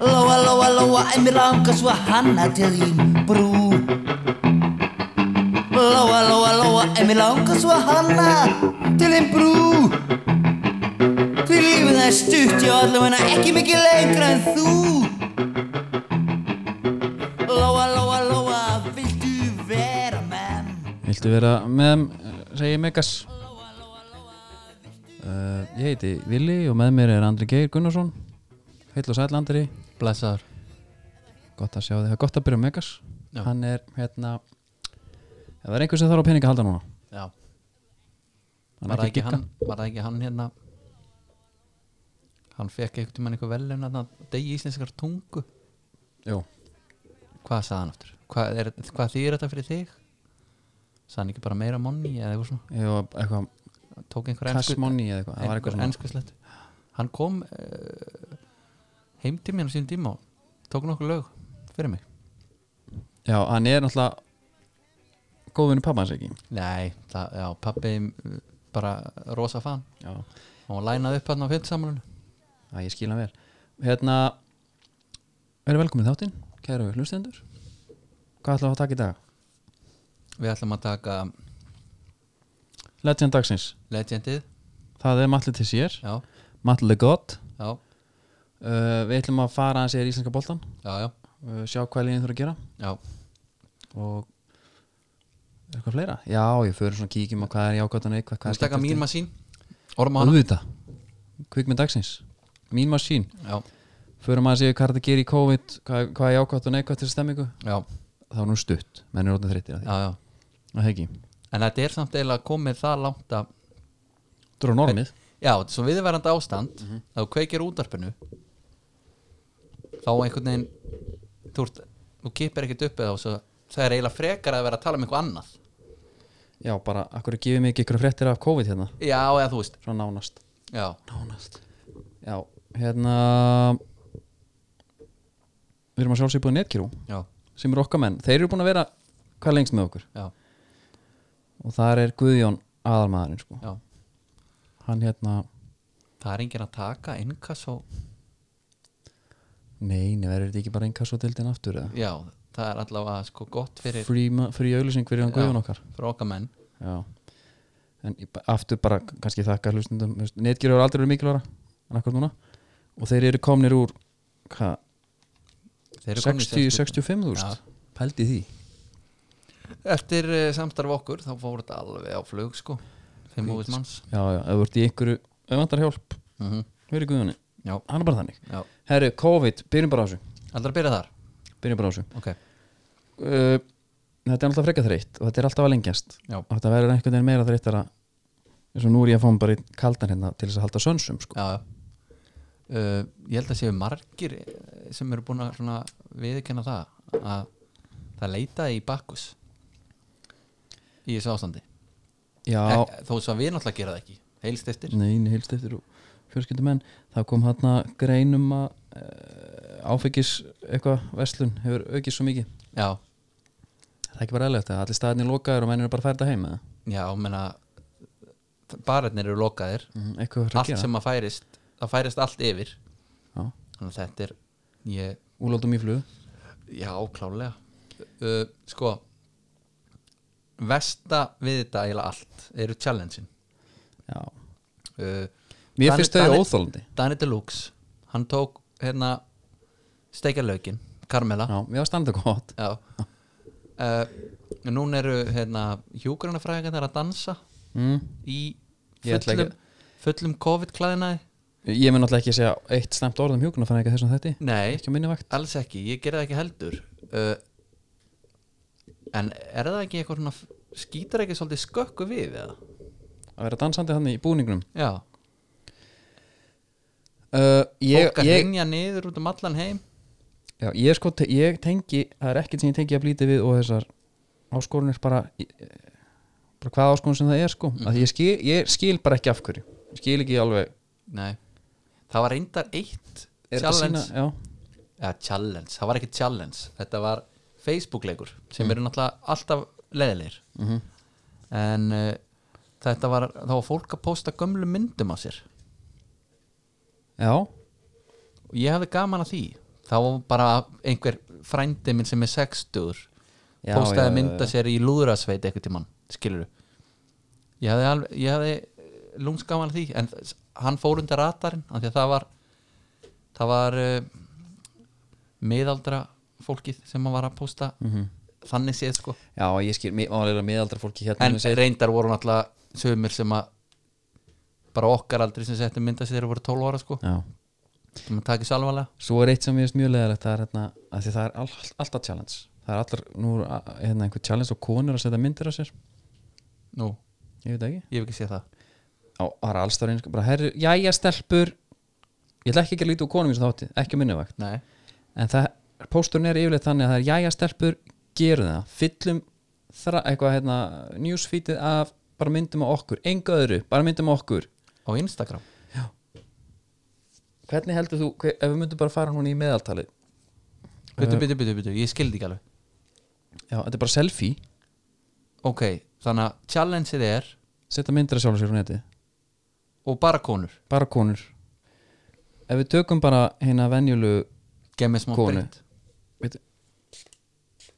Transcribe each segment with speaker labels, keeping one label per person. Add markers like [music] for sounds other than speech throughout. Speaker 1: Lóa, lóa, lóa, en mér langar svo að hanna til þín brú Lóa, lóa, lóa, en mér langar svo að hanna til þín brú Því lífið það er stutt, já allavega ekki mikið lengra en þú Lóa, lóa, lóa, viltu vera menn?
Speaker 2: Viltu vera með þeim, segi Megas uh, Ég heiti Vili og með mér er Andri Geir Gunnarsson Heill og sæll Andri
Speaker 3: Blessaður
Speaker 2: Gott að sjá þig, það er gott að byrja um Megas
Speaker 3: Já.
Speaker 2: Hann er hérna ef Það er einhver sem þarf á peninga að halda núna
Speaker 3: Já,
Speaker 2: Hann er
Speaker 3: var það ekki,
Speaker 2: að
Speaker 3: hann, var það ekki hann hérna Hann fekk einhvern tímann einhver velun að degi íslenskar tungu
Speaker 2: gigga. Jú,
Speaker 3: Hvað sagði hann aftur? Hvað, er, hvað þýr þetta fyrir þig? Sagði hann ekki bara meira money eða eitthvað svona
Speaker 2: jú, eitthvað
Speaker 3: Tók einhver
Speaker 2: Cash money eða eitthvað, það var eitthvað
Speaker 3: einhver
Speaker 2: svona
Speaker 3: enskuslett Hann kom uh, heim til mér á sín tíma og tók nokkur lög fyrir mig
Speaker 2: Já, hann er náttúrulega góðvinni pappans ekki
Speaker 3: Nei, það, já, pappi uh, bara rosa fan
Speaker 2: Já,
Speaker 3: og hann lænaði upp hann á fjöldsamlunum
Speaker 2: það ég skil hann vel Hérna Verið velkomin í þáttinn, kæru hlustendur Hvað ætlaðu að taka í dag?
Speaker 3: Við ætlum að taka
Speaker 2: Legend dagsins
Speaker 3: Legendið
Speaker 2: Það er Matli til sér,
Speaker 3: Já,
Speaker 2: Matli the God
Speaker 3: já,
Speaker 2: uh, Við ætlum að fara hans í íslenska boltan
Speaker 3: já, já,
Speaker 2: uh, Sjá hvað liðin þurfa að gera
Speaker 3: já.
Speaker 2: Og er eitthvað fleira? Já, ég fyrir svona kíkjum á hvað er jákvæmt og neikvægt
Speaker 3: Þú
Speaker 2: Hvað er
Speaker 3: stakka mín masín Orma hana
Speaker 2: Alvita Kvikmynd dagsins Mín masín
Speaker 3: Já,
Speaker 2: Förum að séu hvað er þetta að gera í COVID Hvað, hvað er jákvæmt og neikvægt til stemmingu
Speaker 3: já,
Speaker 2: Það var nú stutt Menn er orðin þreyttir á því
Speaker 3: já, já
Speaker 2: Og heggi
Speaker 3: En þetta er samt eiginlega komið það langt að
Speaker 2: Þú eru normið
Speaker 3: Já, þetta er svo viðverandi ástand mm
Speaker 2: Mhm.
Speaker 3: -hmm. Þá kveikir útarpinu Þá einhvern veginn Þú, ert, þú kipir ekkert upp eða svo, Það er eiginlega frekar að vera að tala um eitthvað annað
Speaker 2: Já, bara Akkur er gefið mikið ykkur fréttir af COVID hérna
Speaker 3: Já, eða þú veist
Speaker 2: Svona nánast
Speaker 3: Já,
Speaker 2: Nánast Já, hérna Við erum að sjálfsögja búið netkjörú
Speaker 3: já,
Speaker 2: sem eru okkar menn, þeir eru búin að vera hvað lengst með okkur
Speaker 3: já,
Speaker 2: og þar er Guðjón aðalmaðurinn sko.
Speaker 3: já
Speaker 2: hann hérna,
Speaker 3: Það er enginn að taka innkass og
Speaker 2: nei, nei, verður þetta ekki bara inkassotildin aftur eða
Speaker 3: Já, það er allavega sko gott fyrir
Speaker 2: frí, ma- frí auðlýsing fyrir hann Guðjón okkar
Speaker 3: Fyrir okkar menn
Speaker 2: já en í- ba- aftur bara kannski þakka hlustundum netgjur eru aldrei verið mikilværa en akkur núna og þeir eru komnir úr hva,
Speaker 3: Þeir eru komnir í
Speaker 2: 60,
Speaker 3: sérstöku-
Speaker 2: 65
Speaker 3: Já.
Speaker 2: þúrst pældi því
Speaker 3: Eftir uh, samstarf okkur þá fór þetta alveg á flug sko Fimm úr manns
Speaker 2: já, já, ef þú ert í einhverju, ef vantar hjálp
Speaker 3: mm
Speaker 2: verið Guðjóni,
Speaker 3: Já,
Speaker 2: hann er bara þannig
Speaker 3: já
Speaker 2: herru, COVID, byrjum bara á þessu
Speaker 3: Aldrei að byrja þar
Speaker 2: byrjum bara á þessu
Speaker 3: Ok,
Speaker 2: uh, þetta er alltaf frekar þreytt og þetta er alltaf að lengjast
Speaker 3: já,
Speaker 2: og þetta verður einhvern veginn meira þreyttara eins og nú er ég að fá mig bara í kaldan hérna til þess að halda sönsum sko.
Speaker 3: já, já. Uh, Ég held að séu margir eh, sem eru búin að svona viðkenna það að það leitaði í bakkus í þessu ástandi
Speaker 2: já,
Speaker 3: Ek, Þó svo að við náttúrulega gera það ekki Heilst eftir
Speaker 2: neini heilst eftir og fjölskyldum en það kom hérna greinum að uh, áfengis eitthvað verslun hefur aukið svo mikið
Speaker 3: Já,
Speaker 2: það er ekki bara eðlilegt að allir staðinni lokaður og menn eru bara að færda heim eða
Speaker 3: já, menna bararnir eru lokaðir
Speaker 2: Mhm, eitthvað verður að
Speaker 3: Allt
Speaker 2: gera
Speaker 3: sem að færist það færist allt yfir
Speaker 2: Já.
Speaker 3: Þannig að þetta er ég
Speaker 2: úlóldum í flug
Speaker 3: Já, klálega uh, Sko Vesta við þetta eiginlega allt eru challenge-in
Speaker 2: já.
Speaker 3: uh,
Speaker 2: mér
Speaker 3: Dani-
Speaker 2: finnst þau
Speaker 3: Dani-
Speaker 2: óþólandi
Speaker 3: Danny Deluxe, hann tók hérna steikarlaukin, Carmela
Speaker 2: já, mér var standið gott
Speaker 3: Já uh, Núna eru hérna hjúgrunafræðingarnar að dansa
Speaker 2: mm.
Speaker 3: í
Speaker 2: Ég ætla
Speaker 3: fullum, fullum COVID-klæðinaði
Speaker 2: ég mun náttúrulega ekki að segja eitt snemt orð um hjúkuna þannig að þessum þetta
Speaker 3: Nei,
Speaker 2: ekki að minni vakt
Speaker 3: alls ekki, ég gerði það ekki heldur uh, En er það ekki eitthvað svona skýtar ekki svolítið skökku við eða?
Speaker 2: að vera dansandi hann í búningnum
Speaker 3: Já,
Speaker 2: uh, ég,
Speaker 3: fólk að
Speaker 2: ég,
Speaker 3: hengja niður út um allan heim
Speaker 2: já, ég, sko, te- ég tengi það er ekkert sem ég tengi að blíti við og þessar áskorunir bara, í- bara hvað áskorun sem það er sko mm.
Speaker 3: Mhm.
Speaker 2: ég, skil, ég skil bara ekki af hverju Ég skil ekki alveg
Speaker 3: Nei, það var reyndar eitt
Speaker 2: Er þetta
Speaker 3: challenge,
Speaker 2: sína- já,
Speaker 3: ja, challenge það var ekki challenge, þetta var
Speaker 2: Mm. Mhm.
Speaker 3: Facebook leikur sem eru náttúrulega alltaf leðilegir -hmm. en uh, þetta var, þá var fólk að posta gömlu myndum af sér
Speaker 2: já,
Speaker 3: og ég hafði gaman að því þá var bara einhver frændi minn sem er sextur
Speaker 2: Já,
Speaker 3: postaði
Speaker 2: já, já,
Speaker 3: mynda
Speaker 2: já.
Speaker 3: sér í lúðrasveit eitthvað tímann, skilur ég hafði, alveg, ég hafði lúms gaman að því en þ- hann fór undir ratarinn af því að það var það var uh, miðaldra fólkið sem hann var að posta
Speaker 2: Mhm.
Speaker 3: þannig séð sko
Speaker 2: já, ég skil mi- málega miðaldra fólki hérna
Speaker 3: en
Speaker 2: sem segir-
Speaker 3: reyndar voru náttúrulega sömur sem að bara okkar aldrei sem settum mynda sér þegar voru 12 ára sko
Speaker 2: já.
Speaker 3: sem að taka sér alvarlega
Speaker 2: svo er eitt sem ég veist mjög leðalegt það er, hérna, að því það er all, alltaf challenge það er allar, nú er a- hérna, einhver challenge og konur að setja myndir á sér
Speaker 3: nú,
Speaker 2: ég veit ekki,
Speaker 3: ég hef ekki séð það
Speaker 2: á, það er allstað reynsk bara, herru, jæja stelpur ég ætla ekki að líta úr konum eins og þátti, ekki minnuvakt
Speaker 3: Nei,
Speaker 2: en það, pósturinn er yfirleitt þannig að það er jæja stelpur, gerum það fyllum þra, eitthvað hérna newsfeedið af bara myndum á okkur enga öðru, bara myndum á okkur
Speaker 3: á Instagram
Speaker 2: hvernig heldur þú, hver, ef við myndum bara fara hún í meðaltalið
Speaker 3: Byttu, byttu, byttu, byttu, ég skildi ekki alveg
Speaker 2: já, þetta er bara selfie,
Speaker 3: Ok, þannig að challengeið er
Speaker 2: setja myndir að sjálf sér hún heiti
Speaker 3: og bara konur,
Speaker 2: bara konur ef við tökum bara hérna venjulu
Speaker 3: gef mér smá
Speaker 2: Konu.
Speaker 3: breytt
Speaker 2: veit,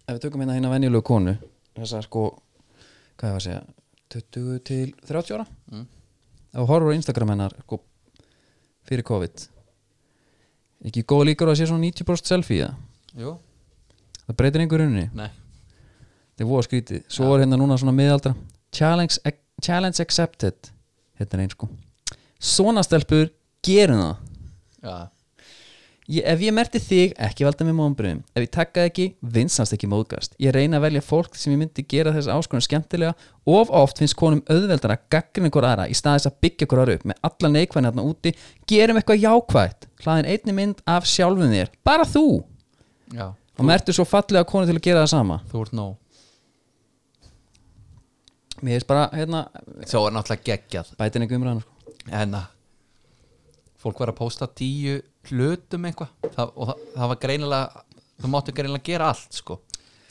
Speaker 2: ef við tökum hérna hérna venjulegu konu þessar sko, hvað ég var að segja 20 til 30 ára
Speaker 3: Mm.
Speaker 2: ef við horfum á Instagram hennar sko, fyrir COVID ekki góð líkur á að sé svona 90% selfie eða?
Speaker 3: Jú,
Speaker 2: það breytir einhver unni,
Speaker 3: nei,
Speaker 2: þetta er voða skrítið svo er hérna núna svona miðaldra challenge, ac- challenge accepted hérna er einn sko svona stelpur, gerum það
Speaker 3: já,
Speaker 2: Ég, ef ég merti þig, ekki valda mér móðumbröðum Ef ég takka ekki, vinsast ekki móðgast Ég reyna að velja fólk sem ég myndi gera þess áskonum skemmtilega Of oft finnst konum auðveldara gaggrinu hver aðra Í staðis að byggja hver aðra upp Með alla neikvæðin þarna úti Gerum eitthvað jákvætt Hlaðin einni mynd af sjálfum þér Bara þú
Speaker 3: já,
Speaker 2: Og mertu svo fallega konu til að gera það sama
Speaker 3: þú ert nóg
Speaker 2: Mér er bara, hérna,
Speaker 3: Svo er náttúrulega geggjað
Speaker 2: bætin ekki umræðan sko.
Speaker 3: En að fólk var að posta tíu hlutum eitthvað það, og það, það var greinilega þú máttu greinilega gera allt sko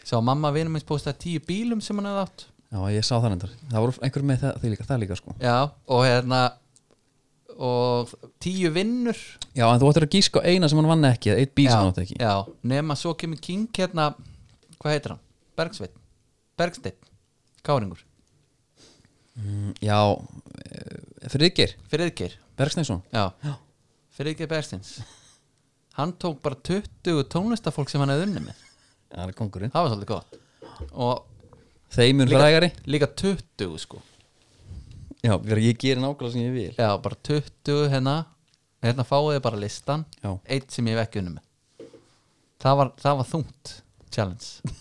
Speaker 3: Svo mamma vinur minns postaði tíu bílum sem hann hefði átt
Speaker 2: Já, ég sá það endur Það voru einhver með það, það líka, það líka sko.
Speaker 3: Já, og hérna og tíu vinnur
Speaker 2: Já, en þú ættir að gíska á eina sem hann vann ekki Eitt bíl sem hann átti ekki
Speaker 3: já, nema svo kemur King hérna, hvað heitir hann? Bergsveit, Bergsteinn Káringur,
Speaker 2: Já, eh, Friðgeir
Speaker 3: Friðgeir
Speaker 2: Bergsteinsson
Speaker 3: já, Friðgeir Bergsteins hann tók bara 20 tónlistafólk sem hann hefði unni með
Speaker 2: Það er kongurinn
Speaker 3: það var svolítið gott og
Speaker 2: Þeim er
Speaker 3: Líka-
Speaker 2: frægari
Speaker 3: líka 20 sko
Speaker 2: Já, fyrir ég gerir nákvæmlega sem ég vil
Speaker 3: já, bara 20 hérna hérna fáið þið bara listan
Speaker 2: Já.
Speaker 3: eitt sem ég hef ekki unni með það var, það var þungt
Speaker 2: [laughs]
Speaker 3: challenge,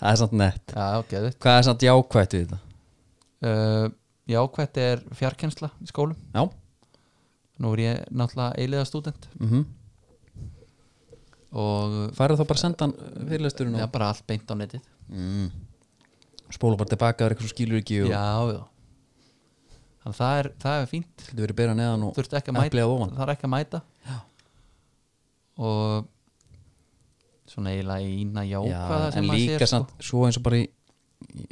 Speaker 2: Það er samt nett
Speaker 3: já, geðu
Speaker 2: Hvað er samt jákvætt við þetta?
Speaker 3: uh, já, hvert er fjarkensla í skólum
Speaker 2: Já
Speaker 3: nú er ég náttúrulega eiliða stúdent
Speaker 2: mm
Speaker 3: og
Speaker 2: Færðu þá bara að senda hann uh, fyrirlesturinn
Speaker 3: það er
Speaker 2: og
Speaker 3: bara allt beint á netið
Speaker 2: mm. Spóla bara tilbaka Það er eitthvað sem skilur ekki og
Speaker 3: já, já þannig að það er, það er fínt
Speaker 2: Þetta verið beira neðan og
Speaker 3: þurft ekki að mæta
Speaker 2: Eplið á ofan.
Speaker 3: það er ekki að mæta já. og svona eiginlega ína jákvæða
Speaker 2: en
Speaker 3: sem maður
Speaker 2: líka
Speaker 3: sér sko.
Speaker 2: samt Svo eins og bara í, í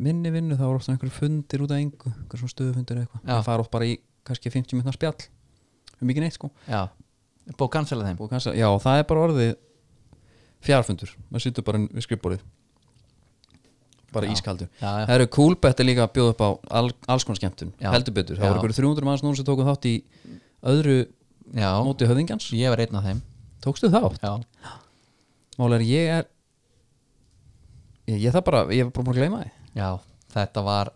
Speaker 2: minni vinnu þá er ofta einhverju fundir út af engu Einhverjum svona stöðufundir eða eitthvað
Speaker 3: Já.
Speaker 2: Það fara oft bara í kannski 50 minna spjall Um ekki neitt sko
Speaker 3: sko. já, Er búið að cancela þeim
Speaker 2: og kannski, Já, það er bara orðið Fjárfundur Maður sittur bara inn við skrifborðið Bara
Speaker 3: Já.
Speaker 2: ískaldur
Speaker 3: já, já.
Speaker 2: Það eru kúlbett er líka að bjóða upp á all, alls konar skemmtun
Speaker 3: Já.
Speaker 2: heldur betur, það
Speaker 3: Já.
Speaker 2: voru ykkur 300 manns núna sem tóku þátt í öðru
Speaker 3: já,
Speaker 2: móti höfðingjans
Speaker 3: ég var einn af þeim
Speaker 2: Tókstu þátt?
Speaker 3: já,
Speaker 2: Málega ég er ég, ég það bara, ég er bara búin að gleyma því
Speaker 3: já, þetta var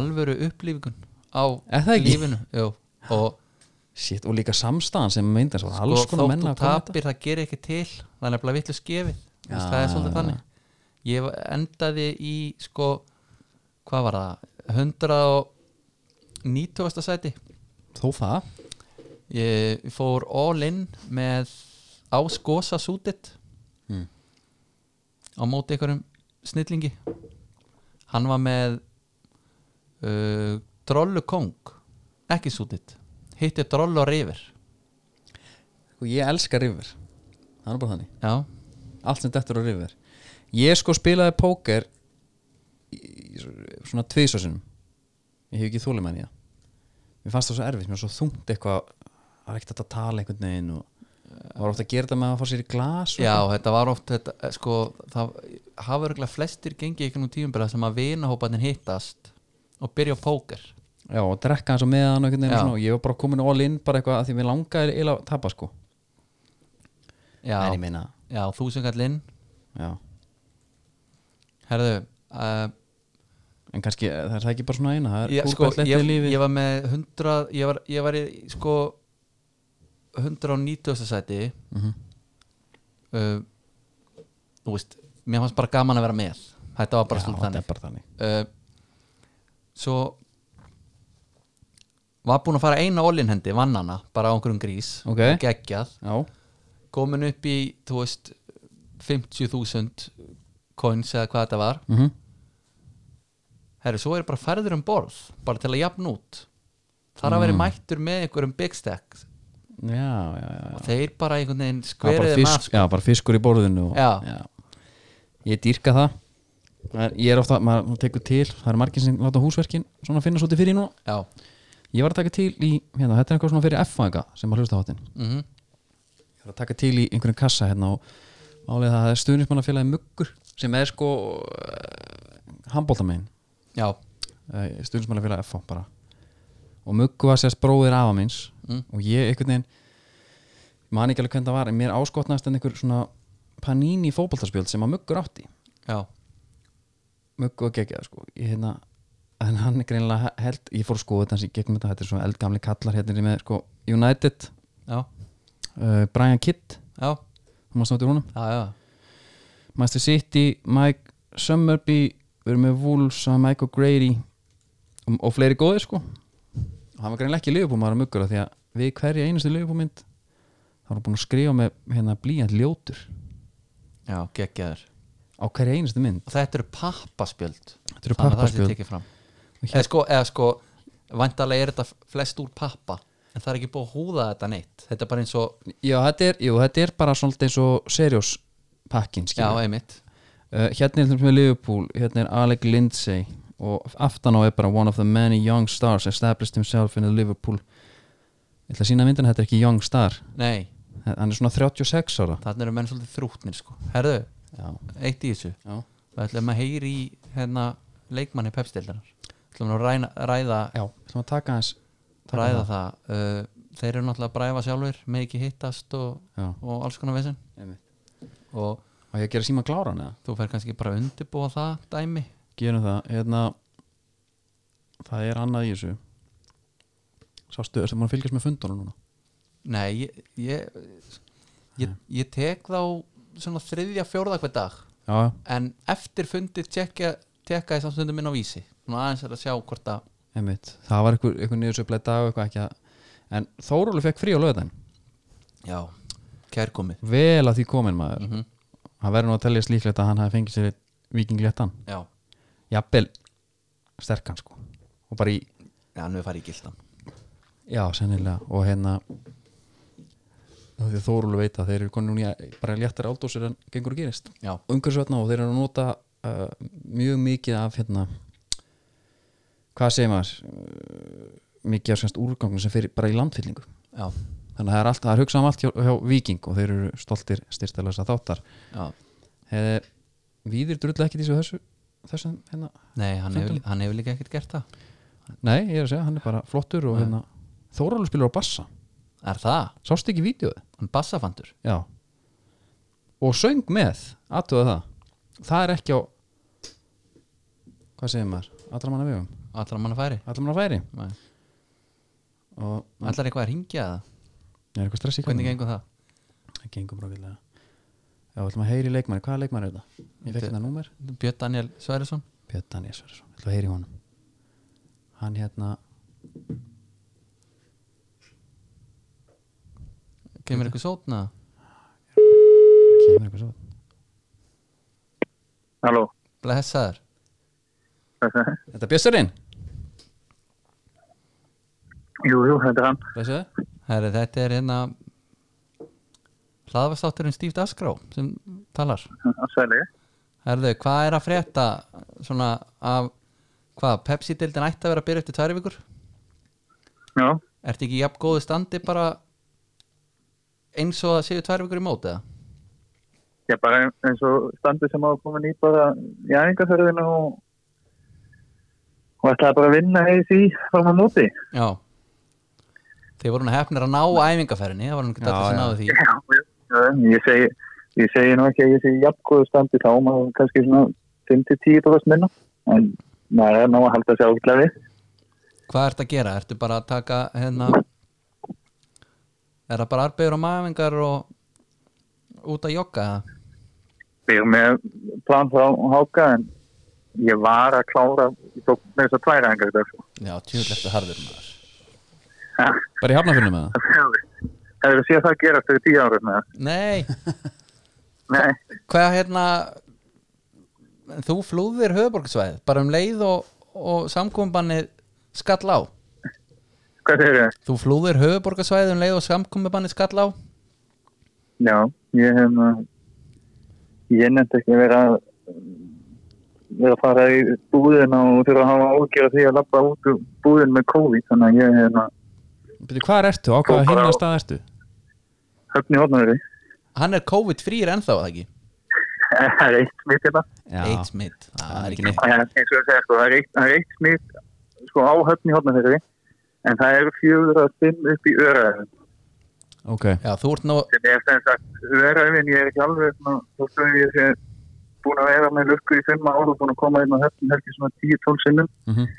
Speaker 3: alvöru upplýfingun á
Speaker 2: Er það ekki?
Speaker 3: lífinu Jú. og
Speaker 2: Shit, og líka samstæðan sem myndast var alls
Speaker 3: sko,
Speaker 2: konar menna
Speaker 3: þótt þú tapir það gerir ekki til það er nefnilega vitlu skefið Þú veist,
Speaker 2: Já.
Speaker 3: það er svolítið þannig ég endaði í sko hvað var það 190. sæti
Speaker 2: Þó það?
Speaker 3: ég fór all in með áskosa sútit
Speaker 2: Mm.
Speaker 3: á móti einhverjum snillingi hann var með uh, drollu kong ekki sútit hitti drollu og rifir
Speaker 2: Og Sko, ég elska rifur Það er bara þannig,
Speaker 3: já,
Speaker 2: allt sem dettur á rifur Ég sko spilaði póker í- í- svona tviðsvarsinum ég hef ekki þúlega með því mér fannst það svo erfitt, mér var svo þungt eitthvað það var ekkert hægt að tala einhvern veginn og það var ofta að gera þetta með að fá sér í glas og
Speaker 3: Já, þetta var oft þetta, eh, sko, það hafa örgulega flestir gengið einhvern tíumbyrða sem að vinahópanin hittast og byrja á póker
Speaker 2: Já, og drekka hans á meðan og einhvern veginn
Speaker 3: Já.
Speaker 2: og svona, og ég var bara komin all in bara eitthvað að því mér langaði eila að tapa sko
Speaker 3: Já,
Speaker 2: en ég meina
Speaker 3: já þú sem kall inn
Speaker 2: já.
Speaker 3: Herðu, uh,
Speaker 2: en kannski eh, það er það ekki bara svona eina það er
Speaker 3: ég,
Speaker 2: kúl
Speaker 3: sko,
Speaker 2: hvað
Speaker 3: ég,
Speaker 2: lettið lífið
Speaker 3: ég var með 100 ég var, ég var í sko 190. sæti
Speaker 2: Mhm.
Speaker 3: uh, þú veist mér fannst bara gaman að vera með þetta var bara
Speaker 2: já,
Speaker 3: svona
Speaker 2: það
Speaker 3: þannig
Speaker 2: er bara þannig
Speaker 3: uh, svo var búinn að fara eina ólinn hendi, vann hana bara á einhverjum grís,
Speaker 2: Ok.
Speaker 3: geggjað
Speaker 2: já,
Speaker 3: komin upp í, þú veist 50.000 coins eða hvað þetta var
Speaker 2: mhm
Speaker 3: herru, svo er bara færður um borð bara til að jafn út þar að vera
Speaker 2: Mm.
Speaker 3: mættur með einhverjum big stack
Speaker 2: já, já, já, já.
Speaker 3: og þeir bara einhvern veginn
Speaker 2: Já, bara,
Speaker 3: skveriði
Speaker 2: fisk,
Speaker 3: maður
Speaker 2: já, bara fiskur í borðinu og,
Speaker 3: Já.
Speaker 2: ég dýrka það Það er- ég er ofta, maður maður tekur til það er margir sem láta húsverkin svona finna svolítið fyrir nú
Speaker 3: já,
Speaker 2: ég var að taka til í, hérna, þetta er eitthvað svona fyrir F-fanga sem að hlusta á hátinn
Speaker 3: mm
Speaker 2: ég var að taka til í einhverjum kassa hérna og málið það er stuðnismannafélagi Muggur sem er sko uh, handbóltamein
Speaker 3: já,
Speaker 2: uh, stuðnismannafélagi FH bara og Muggur var sérst bróðir afa minns
Speaker 3: Mm.
Speaker 2: og ég einhvern veginn ég man ekki alveg hvernig það var en mér áskotnaðist en einhver svona panini fótboltaspjöld sem að Muggur átti
Speaker 3: já,
Speaker 2: Muggur og geggjað sko ég hérna en hann er greinilega held, ég fór að skoða þetta hans í gegnum þetta, þetta er svona eldgamli kallar hérna sem er sko United,
Speaker 3: já,
Speaker 2: uh, Brian Kidd
Speaker 3: já,
Speaker 2: hún var snáttur húnum
Speaker 3: já, já.
Speaker 2: Master City, Mike Summerby við erum með Wolves, hann Mike O'Grady og, og fleiri góðir sko og hann var greinlega ekki liðbúmaður að muggur af því að við hverja einustu liðbúmynd þá erum búin að skrifa með hérna blíjant ljótur
Speaker 3: já geggjaður
Speaker 2: á hverja einustu mynd
Speaker 3: og þetta eru pappaspjöld
Speaker 2: Þetta eru
Speaker 3: Þannig að
Speaker 2: pappaspjöld.
Speaker 3: það sé tekið fram eða sko, eða sko vantarlega er þetta flest úr pappa en það er ekki búið að húða þetta neitt þetta er bara eins og,
Speaker 2: Já, þetta er, jú, þetta er bara svolítið eins og seriós pakkin
Speaker 3: já,
Speaker 2: uh,
Speaker 3: einmitt
Speaker 2: hérna er þetta með Liverpool hérna er Alec Lindsay og aftan á er bara one of the many young stars established himself in the Liverpool ég ætla að sína myndin að þetta er ekki young star
Speaker 3: nei,
Speaker 2: hann er svona 36 ára
Speaker 3: þannig eru menn svolítið þrútnir sko. herðu,
Speaker 2: já,
Speaker 3: eitt í þessu
Speaker 2: já.
Speaker 3: Það ætlum að heyri í hérna leikmanni pepstildarar ætlum að ræna, ræða,
Speaker 2: við ætlum að taka aðeins taka
Speaker 3: ræða það, Uh, þeir eru náttúrulega að bræfa sjálfur með ekki hittast og,
Speaker 2: Já.
Speaker 3: og alls konar vesen
Speaker 2: Einmitt.
Speaker 3: og
Speaker 2: og ég að gera síma kláran eða
Speaker 3: þú fer kannski bara að undirbúa það dæmi
Speaker 2: gerum það, hérna það er annað í þessu sástu, ertu maður að fylgjast með fundunum núna
Speaker 3: nei, ég ég, ég, ég tek þá svona þriðja fjórða hver dag
Speaker 2: já,
Speaker 3: en eftir fundið tekja, tekja ég samstundum inn á vísi svona aðeins er að sjá hvort að
Speaker 2: einmitt, það var einhver, einhver niðursöflega dag og eitthvað ekki að en Þórólu fekk frí á löðan
Speaker 3: já, kærkomið
Speaker 2: vel að því komin maður hann verður nú að telja slíklegt að hann hafi fengið sér vikingléttan,
Speaker 3: já,
Speaker 2: jafnvel sterkan sko og bara í
Speaker 3: já, nú er farið í gildan
Speaker 2: Já, sennilega og hérna og því að Þórulu veit að þeir eru konur núna í bara léttar áldósir en gengur og gerist
Speaker 3: já,
Speaker 2: umhversvætna og þeir eru að nota uh, mjög mikið af hérna hvað segir maður Uh, mikið af semst úrgangum sem fyrir bara í landfyllingu
Speaker 3: já,
Speaker 2: þannig að það er, allt, það er hugsað um allt hjá, hjá Víking og þeir eru stoltir styrstælasa þáttar
Speaker 3: já
Speaker 2: Hei, Víðir drulla ekki þessu þessu þessum hérna
Speaker 3: Nei, hann hefur,
Speaker 2: Fundum.
Speaker 3: hann hefur líka ekkert gert það
Speaker 2: Nei, ég er að segja, hann er bara flottur og hérna Þóralu spilur á bassa
Speaker 3: Er það?
Speaker 2: Sástu ekki vídeoði?
Speaker 3: Hann bassafandur?
Speaker 2: Já Og söng með, aðtöða það Það er ekki á Hvað segir maður? Allra manna vegum
Speaker 3: Allar mann að færi?
Speaker 2: Allra manna færi
Speaker 3: Nei.
Speaker 2: Og
Speaker 3: Allar eitthvað að ringja það?
Speaker 2: er eitthvað stress í
Speaker 3: Hvernig gengur það?
Speaker 2: Það gengur brókilega Já, ætlum að heyri leikmanni Hvaða leikmanni er þetta? Ég fekk
Speaker 3: Þetta-
Speaker 2: þetta númer
Speaker 3: Björn Daniel Sværisson?
Speaker 2: Björn Daniel Sverjesson Ætlum að heyri honum Hann hérna
Speaker 3: Kemur eitthvað sótna?
Speaker 2: Kemur eitthvað svo
Speaker 4: Halló, [laughs]
Speaker 3: Blessaður?
Speaker 2: Þetta er Bjössurinn
Speaker 4: jú, jú, þetta er hann.
Speaker 2: Blessuðu
Speaker 3: Herri, þetta er hérna hlaðvastátturinn Steve Dasgró sem talar
Speaker 4: Sæli.
Speaker 3: Herðu, hvað er að frétta svona af hvað, Pepsi-deildin ætti að vera að byrja eftir tvær vikur
Speaker 4: Já,
Speaker 3: ertu ekki jafn góðu standi bara eins og það séu tvær vikur í móti eða?
Speaker 4: ég bara eins og standið sem á að koma nýtt bara í æfingarferðinu og, og ætlaði bara að vinna í því fram á móti.
Speaker 3: já þeir voru nú hefnir að ná æfingaferðinni það var nú ekki
Speaker 2: Já,
Speaker 3: þetta sem
Speaker 2: já.
Speaker 3: náðu því
Speaker 4: Já, já, ég segi, ég segi nú ekki að ég sé í jafngóðu standi þá, maður kannski svona 5-10 bróðast minna, en maður er ná að halda sér ágætlega við.
Speaker 3: hvað ertu að gera, ertu bara að taka hérna er það bara arbegur og maðurvingar og út að jogga eða?
Speaker 4: Við erum með plan frá Háka, en ég var að klára, ég tók með þess að tværa engar þessu.
Speaker 3: já, tjúðlegt að harður maður
Speaker 2: bara í hafnafjörnum með það
Speaker 4: Hefur þú séð það gerast fyrir 10 ára með það?
Speaker 3: nei,
Speaker 4: Nei.
Speaker 3: hvað hérna þú flúðir höfuborgsvæð bara um leið og, og samkominbanni skall á
Speaker 4: Hvað segir þau?
Speaker 3: þú flúðir höfuborgarsvæði um leið og samkominbanni skall á
Speaker 4: Já, ég hef uh, ég nefndi ekki að vera vera að fara í búðina og þurfa að hafa ágjörð því að lappa út úr búðin með COVID þannig að ég hérna, hef
Speaker 2: Byrju, hvað ertu, á hvaða hinna stað ertu?
Speaker 4: höfni hóðnari
Speaker 3: hann er COVID-frýr ennþá er það ekki
Speaker 4: [laughs] það er eitt smitt hérna
Speaker 2: Já,
Speaker 3: eitt smitt, það er ekki
Speaker 2: neitt.
Speaker 3: neitt
Speaker 4: Eh, eins og ég segja sko, það er eitt, það er eitt smitt sko á höfni hóðnari en það eru fjögur að fimm upp í öraðin
Speaker 2: ok
Speaker 3: já, þú ert nú,
Speaker 4: sem er sem sagt öraðin, ég er ekki alveg svona, þú veist ég sé búin að vera með lukku í fimm ára og búin að koma inn á höfni helgi svona 10-12 sinnum
Speaker 2: mm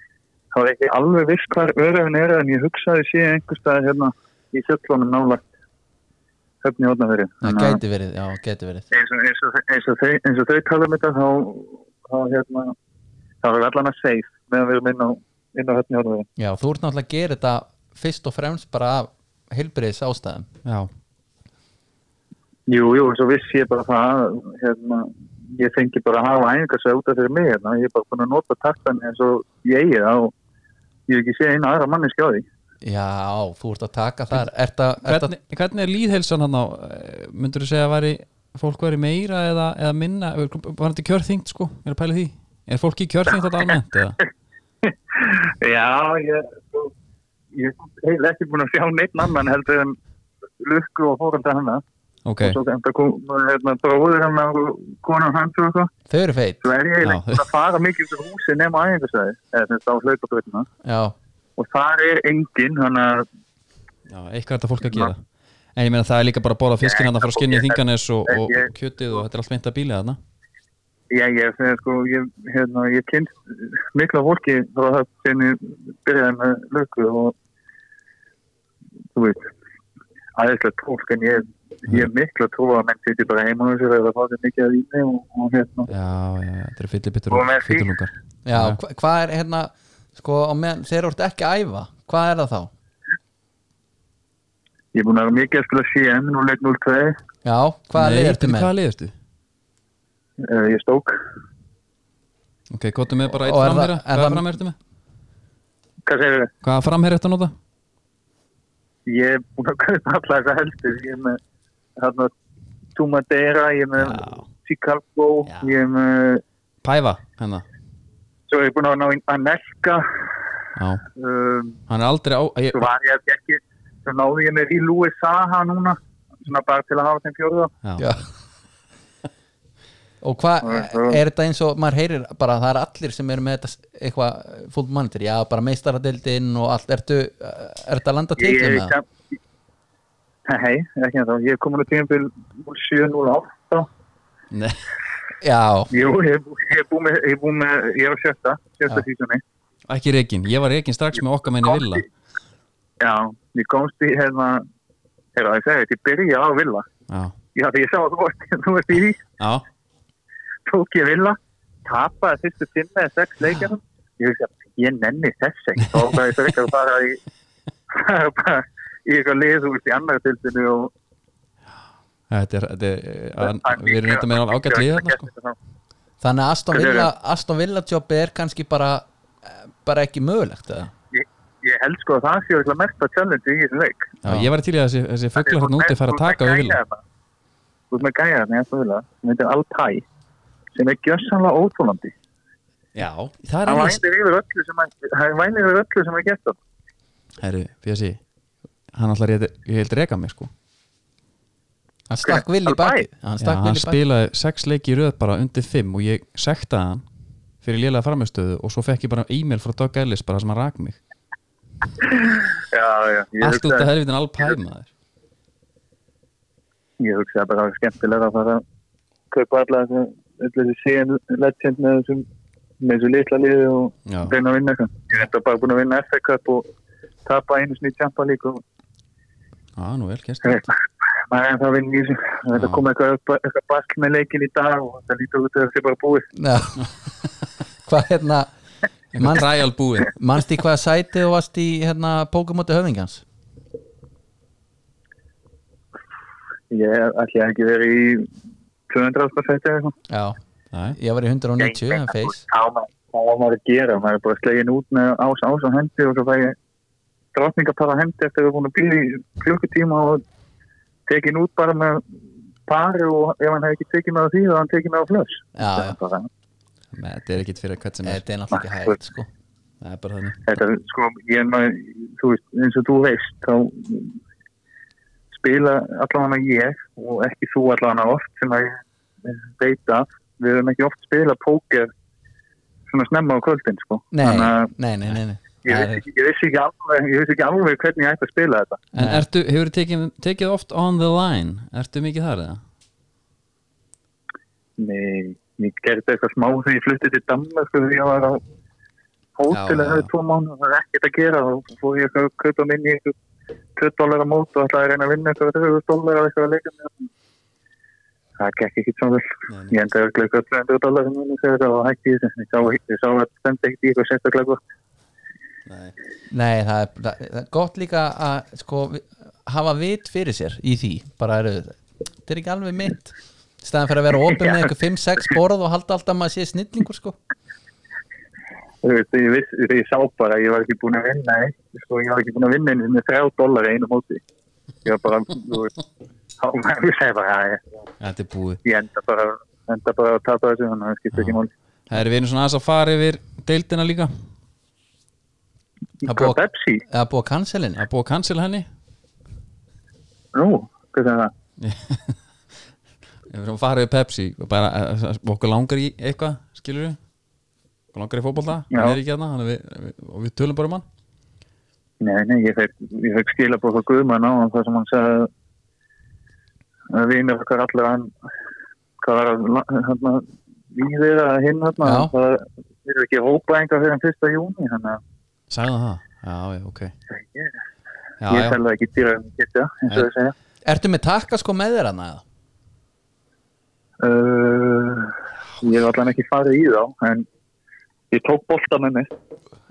Speaker 4: Það var ekki alveg viss hvar öðröfin er en ég hugsaði sé einhver stað hérna í fjöllunum nálægt höfni hóðnaveri.
Speaker 3: það gæti verið já, gæti verið,
Speaker 4: Eins og, eins, og, eins, og þau, eins og þau tala um þetta þá, þá hérna, þá er allan að safe meðan við erum inn á, inn á höfni hóðnaveri.
Speaker 3: já, þú ert náttúrulega að gera þetta fyrst og fremst bara af heilbriðis ástæðum
Speaker 2: Já,
Speaker 4: Jú, jú, eins og vissi ég bara það, hérna, ég fengi bara að hafa æfingarsveið út af fyrir mig hérna, ég er bara búin að nota taktan eins og ég eigi það og ég hef ekki séð eina aðra manneski á því.
Speaker 3: já, þú ert að taka þar ert að, ert að,
Speaker 2: hvernig, hvernig er líðhelsan hann á myndur þú segja að væri, fólk væri meira eða, eða minna, eh, var þetta kjörþyngt sko, er að pæla í því er fólki kjörþyngt þetta almennt
Speaker 4: [laughs]
Speaker 2: eða?
Speaker 4: Já, ég, ég hef ekki búin að sjá neitt annan heldur en lukku og fórölda hennar.
Speaker 2: ok,
Speaker 4: Svo enda kom, hérna, bróður hennar og konan hans og eitthvað.
Speaker 3: þau eru feit
Speaker 4: Svo er ég
Speaker 2: Já.
Speaker 4: eiginlega ekki búin að fara mikið út úr húsi nema æfingarsæði, eða sem þetta á hlaupabröðina.
Speaker 3: já,
Speaker 4: Og þar er enginn, þannig að
Speaker 2: já, eitthvað er þetta fólk að gera en ég meina það er líka bara að bóla fiskinn hann að fara skinnið þinganes og, og og kjötið og þetta er allt meint að bíla þarna
Speaker 4: ég, ég, þegar, sko, ég, hérna, ég kynst mikla fólki frá það sem ég byrjaði með lukku og þú veist, aðeinslega fólk en ég, ég
Speaker 2: Mhm.
Speaker 4: er mikla trú að menn sýtti bara heima og sér eða fá sér mikið að víni og, og hérna.
Speaker 2: já, já, þetta er fyllibittur
Speaker 4: Og
Speaker 2: og
Speaker 4: með því-
Speaker 2: fyllulungar
Speaker 3: já,
Speaker 2: Já.
Speaker 3: hva- hvað er hérna sko, á meðan þeir eru ekki að æfa hvað er það þá?
Speaker 4: Ég er búin að vera mikið að spila CM 0-1-0-2,
Speaker 3: já, hvaða lið ertu með?
Speaker 2: hvaða lið ertu?
Speaker 4: uh, ég stók
Speaker 2: ok, gotum með bara eitt
Speaker 3: Og er það-
Speaker 2: framherja
Speaker 3: er
Speaker 2: hvaða
Speaker 3: það-
Speaker 2: framherja ertu með?
Speaker 4: hvað segir þau?
Speaker 2: hvaða framherja ertu að nota?
Speaker 4: Ég er búin að kaupa alltaf þessa heldur ég er með hérna, Tumadera, ég er með
Speaker 2: Já.
Speaker 4: Chicago,
Speaker 2: Já.
Speaker 4: ég er með
Speaker 2: Pæfa,
Speaker 3: hérna.
Speaker 2: hennar
Speaker 4: svo er ég búin að ná einn Anelka
Speaker 2: já,
Speaker 4: um,
Speaker 2: hann er aldrei á ég,
Speaker 4: svo var ég að ekki svo náði ég með í Lúi Saha núna svona bara til að hafa þeim fjóruða
Speaker 2: já,
Speaker 3: Já Og hvað, er þetta eins og maður heyrir bara það er allir sem eru með þetta s- eitthvað eh, full mannir, já bara meistaradeildin og allt, ertu, eh, er þetta að landa
Speaker 4: ég
Speaker 3: teiklum
Speaker 4: er
Speaker 3: með það?
Speaker 4: ekki að hei, ekki að þá, ég er komin á tíum til 7.08
Speaker 2: Nei,
Speaker 3: Já,
Speaker 4: jú, ég er bú- ég er búin með, ég er búin með ég er á sjötta, sjötta
Speaker 3: Já.
Speaker 4: sísunni
Speaker 2: ekki reikin, ég var reikin strax með okkar menni villa
Speaker 4: já, ég komst í hérna hérna, ég segi, ég byrja á Villa
Speaker 2: já,
Speaker 4: já, því ég sá að þú varst, þú varst í því
Speaker 2: já
Speaker 4: tók ég Villa, tapaði fyrstu tíma eða sex leikjarum ég veist að ég nenni þess ekki þá var það ekki að fara í fara bara í eitthvað liðhús í annar tildinu og
Speaker 2: Þetta er, þetta er, að, við erum reynda með alveg ágætt lið þarna sko.
Speaker 3: þannig að Aston
Speaker 4: Hvað segirðu?
Speaker 3: Villa, Aston Villa jobbi er kannski bara, eh, bara ekki mögulegt eða?
Speaker 4: ég, ég held sko að það sé eitthvað mest að challenge í þessum leik
Speaker 2: Já, ég var til í að þessi, þessi fugglar hérna úti fara að taka við vilja.
Speaker 4: hérna. Þú hérna, ert með gæja þarna í Aston Villa sem heitir Altay sem er gjössanlega óþólandi
Speaker 2: Já, það er
Speaker 4: hann
Speaker 2: annars
Speaker 4: vænir yfir öllu sem hann hann vænir yfir öllu sem hann geta
Speaker 2: Herru, Bjössi Hann ætlar ég held reka mig sko
Speaker 3: hann stakk vil í baki hann
Speaker 2: Já,
Speaker 3: stakk vil
Speaker 2: hann
Speaker 3: í baki
Speaker 2: spilaði sex leiki í röð bara undir fimm og ég sektaði hann fyrir lélega farmjöstöðu og svo fekk ég bara e-mail frá Doug Ellis bara sem hann rak mig
Speaker 4: já, já, ég
Speaker 2: Allt út af
Speaker 4: hugsaði
Speaker 2: helvitin alpæm maður
Speaker 4: ég hugsaði bara að það var skemmtilega að fara að kaupa alla þessu öll þessi síðan legend með þessum með þessu litla liði
Speaker 2: Já.
Speaker 4: og reyna að vinna eitthvað ég er þetta bara búin að vinna FA Cup og tapa einu sinni í Champa League og [laughs]
Speaker 2: Já, nú vel kjæst
Speaker 4: Nei, maður er ennþá að vinna í þessu það er að koma eitthvað, upp- eitthvað basl með leikin í dag og það lítur út að það sé bara búið
Speaker 3: Já. hvað hérna manst,
Speaker 2: Trial búið
Speaker 3: manst í hvaða sæti þú varst í hérna Pókamóti höfingjans
Speaker 4: ég ætla ekki verið í 200 ástafætti eða eitthvað
Speaker 3: já,
Speaker 2: Æ,
Speaker 3: ég var í 190 en feis
Speaker 4: Þá maður- þá var maður að gera, maður er bara slegin út með ás ás á hendi og svo fæ ég drotningapar á hendi eftir að við búin að býða í klukkutíma og tekin út bara með pari og ef hann hefði ekki tekið með á því þá hann tekið með á flöss
Speaker 3: Já, já.
Speaker 4: Þetta,
Speaker 2: Nei, Þetta er ekkit fyrir hvert sem er
Speaker 3: þetta er náttúrulega ekki hægt sko
Speaker 2: Það er bara þannig
Speaker 4: þetta er, sko, ég maður, þú veist, eins og þú veist þá spila allavega ég og ekki þú allavega oft sem að ég veit að við höfum ekki oft spila póker svona snemma á kvöldin sko.
Speaker 3: nei,
Speaker 4: að
Speaker 3: nei, nei, nei, nei.
Speaker 4: ég
Speaker 3: Það
Speaker 4: vissi
Speaker 3: er-
Speaker 4: ekki- ég vissi ekki alveg ég vissi ekki alveg hvernig ég ætti að spila þetta
Speaker 2: En ertu, hefur tekið, tekið oft on the line Ertu mikið þar eða?
Speaker 4: Nei, ég gerði eitthvað smá þegar ég fluttið til Danmark þegar ég var á hótel
Speaker 2: Já,
Speaker 4: eða
Speaker 2: já.
Speaker 4: tvo mánu og það var ekkert að gera og fór ég að kaupa minn í eitthvað 2 dólar á mót og ætlaði að reyna að vinna eitthvað 30 dólar eða eitthvað að leika með það gekk ekki svona vel ég endaði að glöka 200 dólar um minni þegar það var hægt í þessu ég sá, ég sá að það stemdi ekkert í eitthvað sérstaklega gott.
Speaker 3: Nei, það er, það, það er gott líka að sko, vi- hafa vit fyrir sér í því, bara eru þetta er ekki alveg mitt staðan fyrir að vera opið með eitthvað 5-6 borð og halda alltaf að maður sé snillingur sko
Speaker 4: Þú veist, ég, viss, þegar ég sá bara að ég var ekki búin að vinna eitt sko, ég var ekki búin að vinna einu með 3 dólar í einu móti ég var bara þú veist, þá [laughs] ég sagði bara að ég
Speaker 2: Þetta er búið
Speaker 4: ég enda bara, enda bara að tapa þessu þannig að það skiptir ekki máli
Speaker 2: Það er við erum svona aðeins að fara yfir deildina líka
Speaker 3: Það er
Speaker 4: Hvað
Speaker 3: búið-
Speaker 4: Pepsi?
Speaker 3: eða búa kanselinni
Speaker 2: Það er búið að cancel [laughs] henni
Speaker 4: Nú, hvað er það?
Speaker 2: Við erum að fara við Pepsi bara, eh, okkur langar í eitthvað, skilur við okkur langar í fótbolta,
Speaker 4: Já.
Speaker 2: hann er ekki hérna þannig að við, við, og við tölum bara um hann
Speaker 4: Nei, nei, ég fekk, ég fekk skila búið frá Guðmann á hann þar sem hann sagði að- að vinur okkar allir hann hvað var að hann að við þeirra hinn hann
Speaker 3: Já.
Speaker 4: það eru ekki hópa einhver fyrir hann fyrsta júni þannig að
Speaker 2: Sagði hann það? Já, já, ok
Speaker 4: ég,
Speaker 2: Já,
Speaker 4: ég
Speaker 2: já,
Speaker 4: tel það ekki dýra um geta eins og
Speaker 2: Nei.
Speaker 4: það segja
Speaker 3: Ertu með takka sko með þér hana? eða?
Speaker 4: uh, ég hef allan ekki farið í þá en ég tók bolta með mig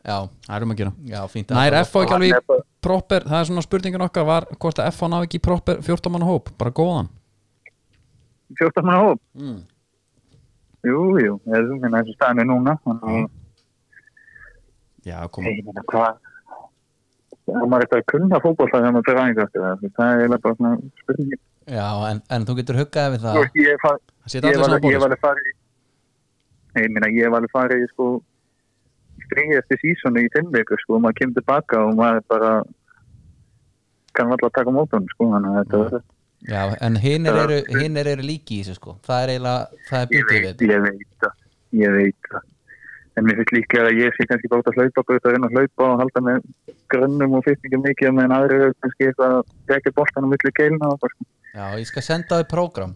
Speaker 3: Já,
Speaker 2: það erum að gera
Speaker 3: já, fínt
Speaker 2: Nær FH ekki
Speaker 4: Hann
Speaker 2: alveg
Speaker 4: er
Speaker 2: í
Speaker 4: bara-
Speaker 2: proper það er svona spurningin okkar var hvort að FH ná ekki í proper 14 manna hóp, bara góðan
Speaker 4: 14 manna hóp
Speaker 2: Mm.
Speaker 4: Jú, jú, ég hérna meina þessu staðinu núna þannig
Speaker 2: Hmm.
Speaker 4: að
Speaker 2: Já, kom
Speaker 4: ég meina hvað og maður er eitthvað að kunna fótboll þegar maður fyrir aðeins eftir það það er eiginlega bara svona spurning
Speaker 3: Já, en, en þú getur huggaði við
Speaker 4: Þú
Speaker 3: það
Speaker 4: veist, ég var
Speaker 2: Það setja allir saman sko.
Speaker 4: ég
Speaker 2: bóli
Speaker 4: var alveg farið í Nei, ég meina ég var alveg farið í sko stríði eftir sísonu í fimmleiku sko og maður kemur tilbaka og maður bara kann alltaf taka mótum sko þannig að þetta var
Speaker 3: Já, en hinir eru, hinir eru líki í þessu sko Það er eiginlega, það er
Speaker 4: ég
Speaker 3: býtið við
Speaker 4: veit, ég veit það ég veit það en mér finnst líklega að ég sé kannski bátt að hlaupa bara út að reyna að hlaupa og halda með grönnum og fyrstningum mikið meðan aðrir eru kannski eitthvað að vekja boltanum millir keilna og bara sko.
Speaker 3: Já, ég skal senda þau prógram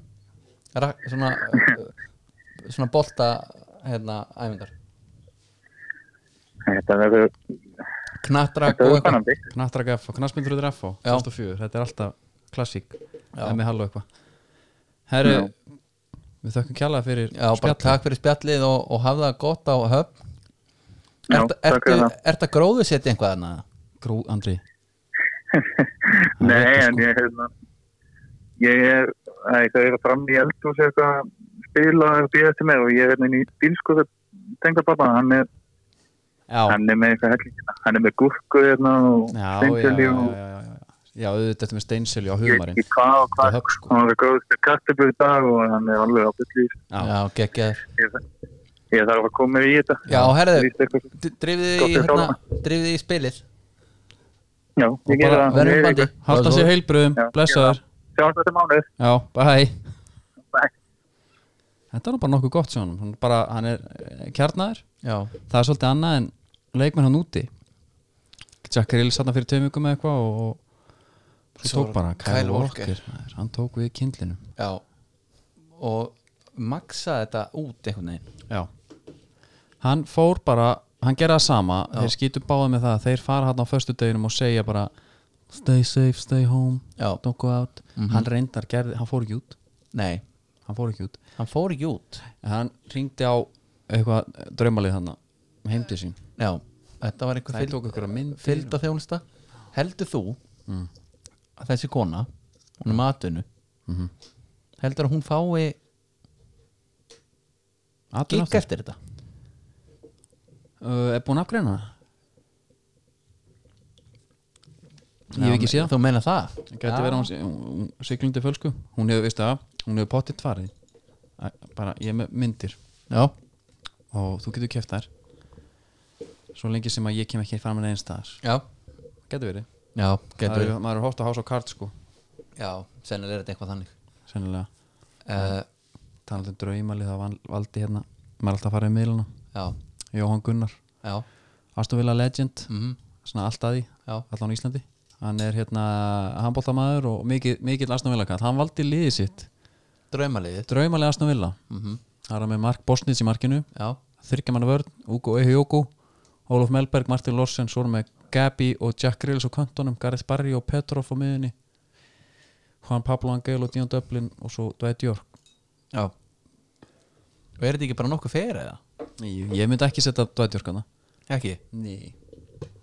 Speaker 3: Svona eh, Svona bolta hérna, æfingar
Speaker 4: þetta verður
Speaker 3: Knattra
Speaker 4: þetta verður spennandi
Speaker 2: Knattraka FH, knastmyndröður FH
Speaker 3: Já.
Speaker 2: 2004, þetta er alltaf klassík
Speaker 3: Já.
Speaker 2: Emmi Halló eitthvað Herru, við þökkum kjallaði fyrir
Speaker 3: Já, bara
Speaker 2: spjallið.
Speaker 3: takk fyrir spjallið og, og hafða það gott á höfn
Speaker 4: Já,
Speaker 3: Ertu
Speaker 4: takk
Speaker 3: ertu-
Speaker 4: fyrir það.
Speaker 3: ertu að gróðu setja einhvað þarna?
Speaker 2: Grú, Andri
Speaker 4: nei
Speaker 2: sko-
Speaker 4: en ég hefna, ég er æ, það er fram í eldhús eitthvað að spila og býða til mig og ég er hérna inn í bílskóðu tengda pappa hann er,
Speaker 2: Já,
Speaker 4: hann er með eitthvað helling hann er með gúrku hérna og
Speaker 2: já, já, já, já, já, já, já.
Speaker 4: steinselju og
Speaker 2: já auðvitað eftir með steinsilju á
Speaker 4: ég veit
Speaker 2: humarinn
Speaker 4: ekki hvað og
Speaker 2: Þetta
Speaker 4: hvað
Speaker 2: högg, sko.
Speaker 4: hann var góðst að kastabu í dag og hann er alveg á byrju
Speaker 2: Já.
Speaker 3: Já, geggjaður
Speaker 4: ég, ég þarf að koma í þetta
Speaker 3: Já, herðu,
Speaker 4: Víst eitthvað.
Speaker 3: drifðið í,
Speaker 4: Gott er
Speaker 3: hérna,
Speaker 4: sjálfan.
Speaker 3: drifðið í spilið
Speaker 4: Já,
Speaker 3: og
Speaker 4: ég gera
Speaker 3: bara
Speaker 4: það
Speaker 3: verðum í bandi
Speaker 2: Halda sér heilbröðum,
Speaker 4: Já,
Speaker 2: blessaður
Speaker 4: Sjáum þetta mánuð
Speaker 2: Já, bæ
Speaker 4: Bye.
Speaker 2: Þetta var nú bara nokkuð gott sjónum Hann, bara, hann er eh, kjarnaður
Speaker 3: Já,
Speaker 2: Það er svolítið annað en leikmenn hann úti Jack Rill satna fyrir tveim vikum eða eitthvað og, og svo
Speaker 3: Svo
Speaker 2: tók
Speaker 3: var
Speaker 2: bara Kyle,
Speaker 3: Kyle Walker.
Speaker 2: Walker, maður, Hann tók við kindlinum
Speaker 3: já og maksa þetta út einhvern veginn
Speaker 2: Já Hann fór bara, hann gera það sama Þeir skýtu báði með það, þeir fara hann á föstudeginum og segja bara Stay safe, stay home,
Speaker 3: Já.
Speaker 2: don't go out Hann reyndar, gerði, hann fór ekki út
Speaker 3: Nei,
Speaker 2: Hann fór ekki út
Speaker 3: hann fór ekki út
Speaker 2: En Hann ringdi á eitthvað draumalið hann Heimdi sín
Speaker 3: Já, þetta var einhver
Speaker 2: Það tók ykkur að mynd
Speaker 3: fylgda þjónusta heldur þú
Speaker 2: Mm.
Speaker 3: að þessi kona, hún er matinu
Speaker 2: Mhm.
Speaker 3: heldur að hún fái gikk
Speaker 2: Atvinna,
Speaker 3: eftir þetta
Speaker 2: uh, Er búin að afgreina það? Ég hef ekki
Speaker 3: Já,
Speaker 2: séð það
Speaker 3: þú meina það
Speaker 2: Gæti verið að hún, sé- hún- hún siglundi fölsku Hún hefur, veistu það, hún hefur pottitt farið Æ, Bara, ég er með myndir
Speaker 3: já,
Speaker 2: og þú getur keft þær svo lengi sem að ég kem ekki fram með einn staðar
Speaker 3: já,
Speaker 2: getur verið,
Speaker 3: já,
Speaker 2: Getur
Speaker 3: getur
Speaker 2: Er, maður er hótt að hása á kart sko
Speaker 3: já, sennilega er þetta eitthvað þannig
Speaker 2: sennilega,
Speaker 3: uh,
Speaker 2: talandi um draumalið það van- valdi hérna, maður er alltaf að fara í miðluna
Speaker 3: já,
Speaker 2: Jóhann Gunnar,
Speaker 3: já,
Speaker 2: Astovilla Legend
Speaker 3: mhm,
Speaker 2: svona allt að því,
Speaker 3: já
Speaker 2: allan á Íslandi hann er hérna handbóltamaður og mikill mikil Astovilla kall, hann valdi liðið sitt
Speaker 3: draumaliðið,
Speaker 2: draumalið Astovilla
Speaker 3: mhm,
Speaker 2: það er hann með Mark Bosnitz í markinu
Speaker 3: já
Speaker 2: þryggjamanna vörn, Ugo Ehijoku Ólaf Melberg, Martin Lorsen, svo erum við Gabi og Jack Grills og Kantonum Gareth Barry og Petrov á miðunni Juan Pablo Angel og Dion Dublin og svo Dwight York
Speaker 3: já og er þetta ekki bara nokkuð fyrir eða?
Speaker 2: ég myndi ekki setja Dwight York hana
Speaker 3: ekki,
Speaker 2: Nei.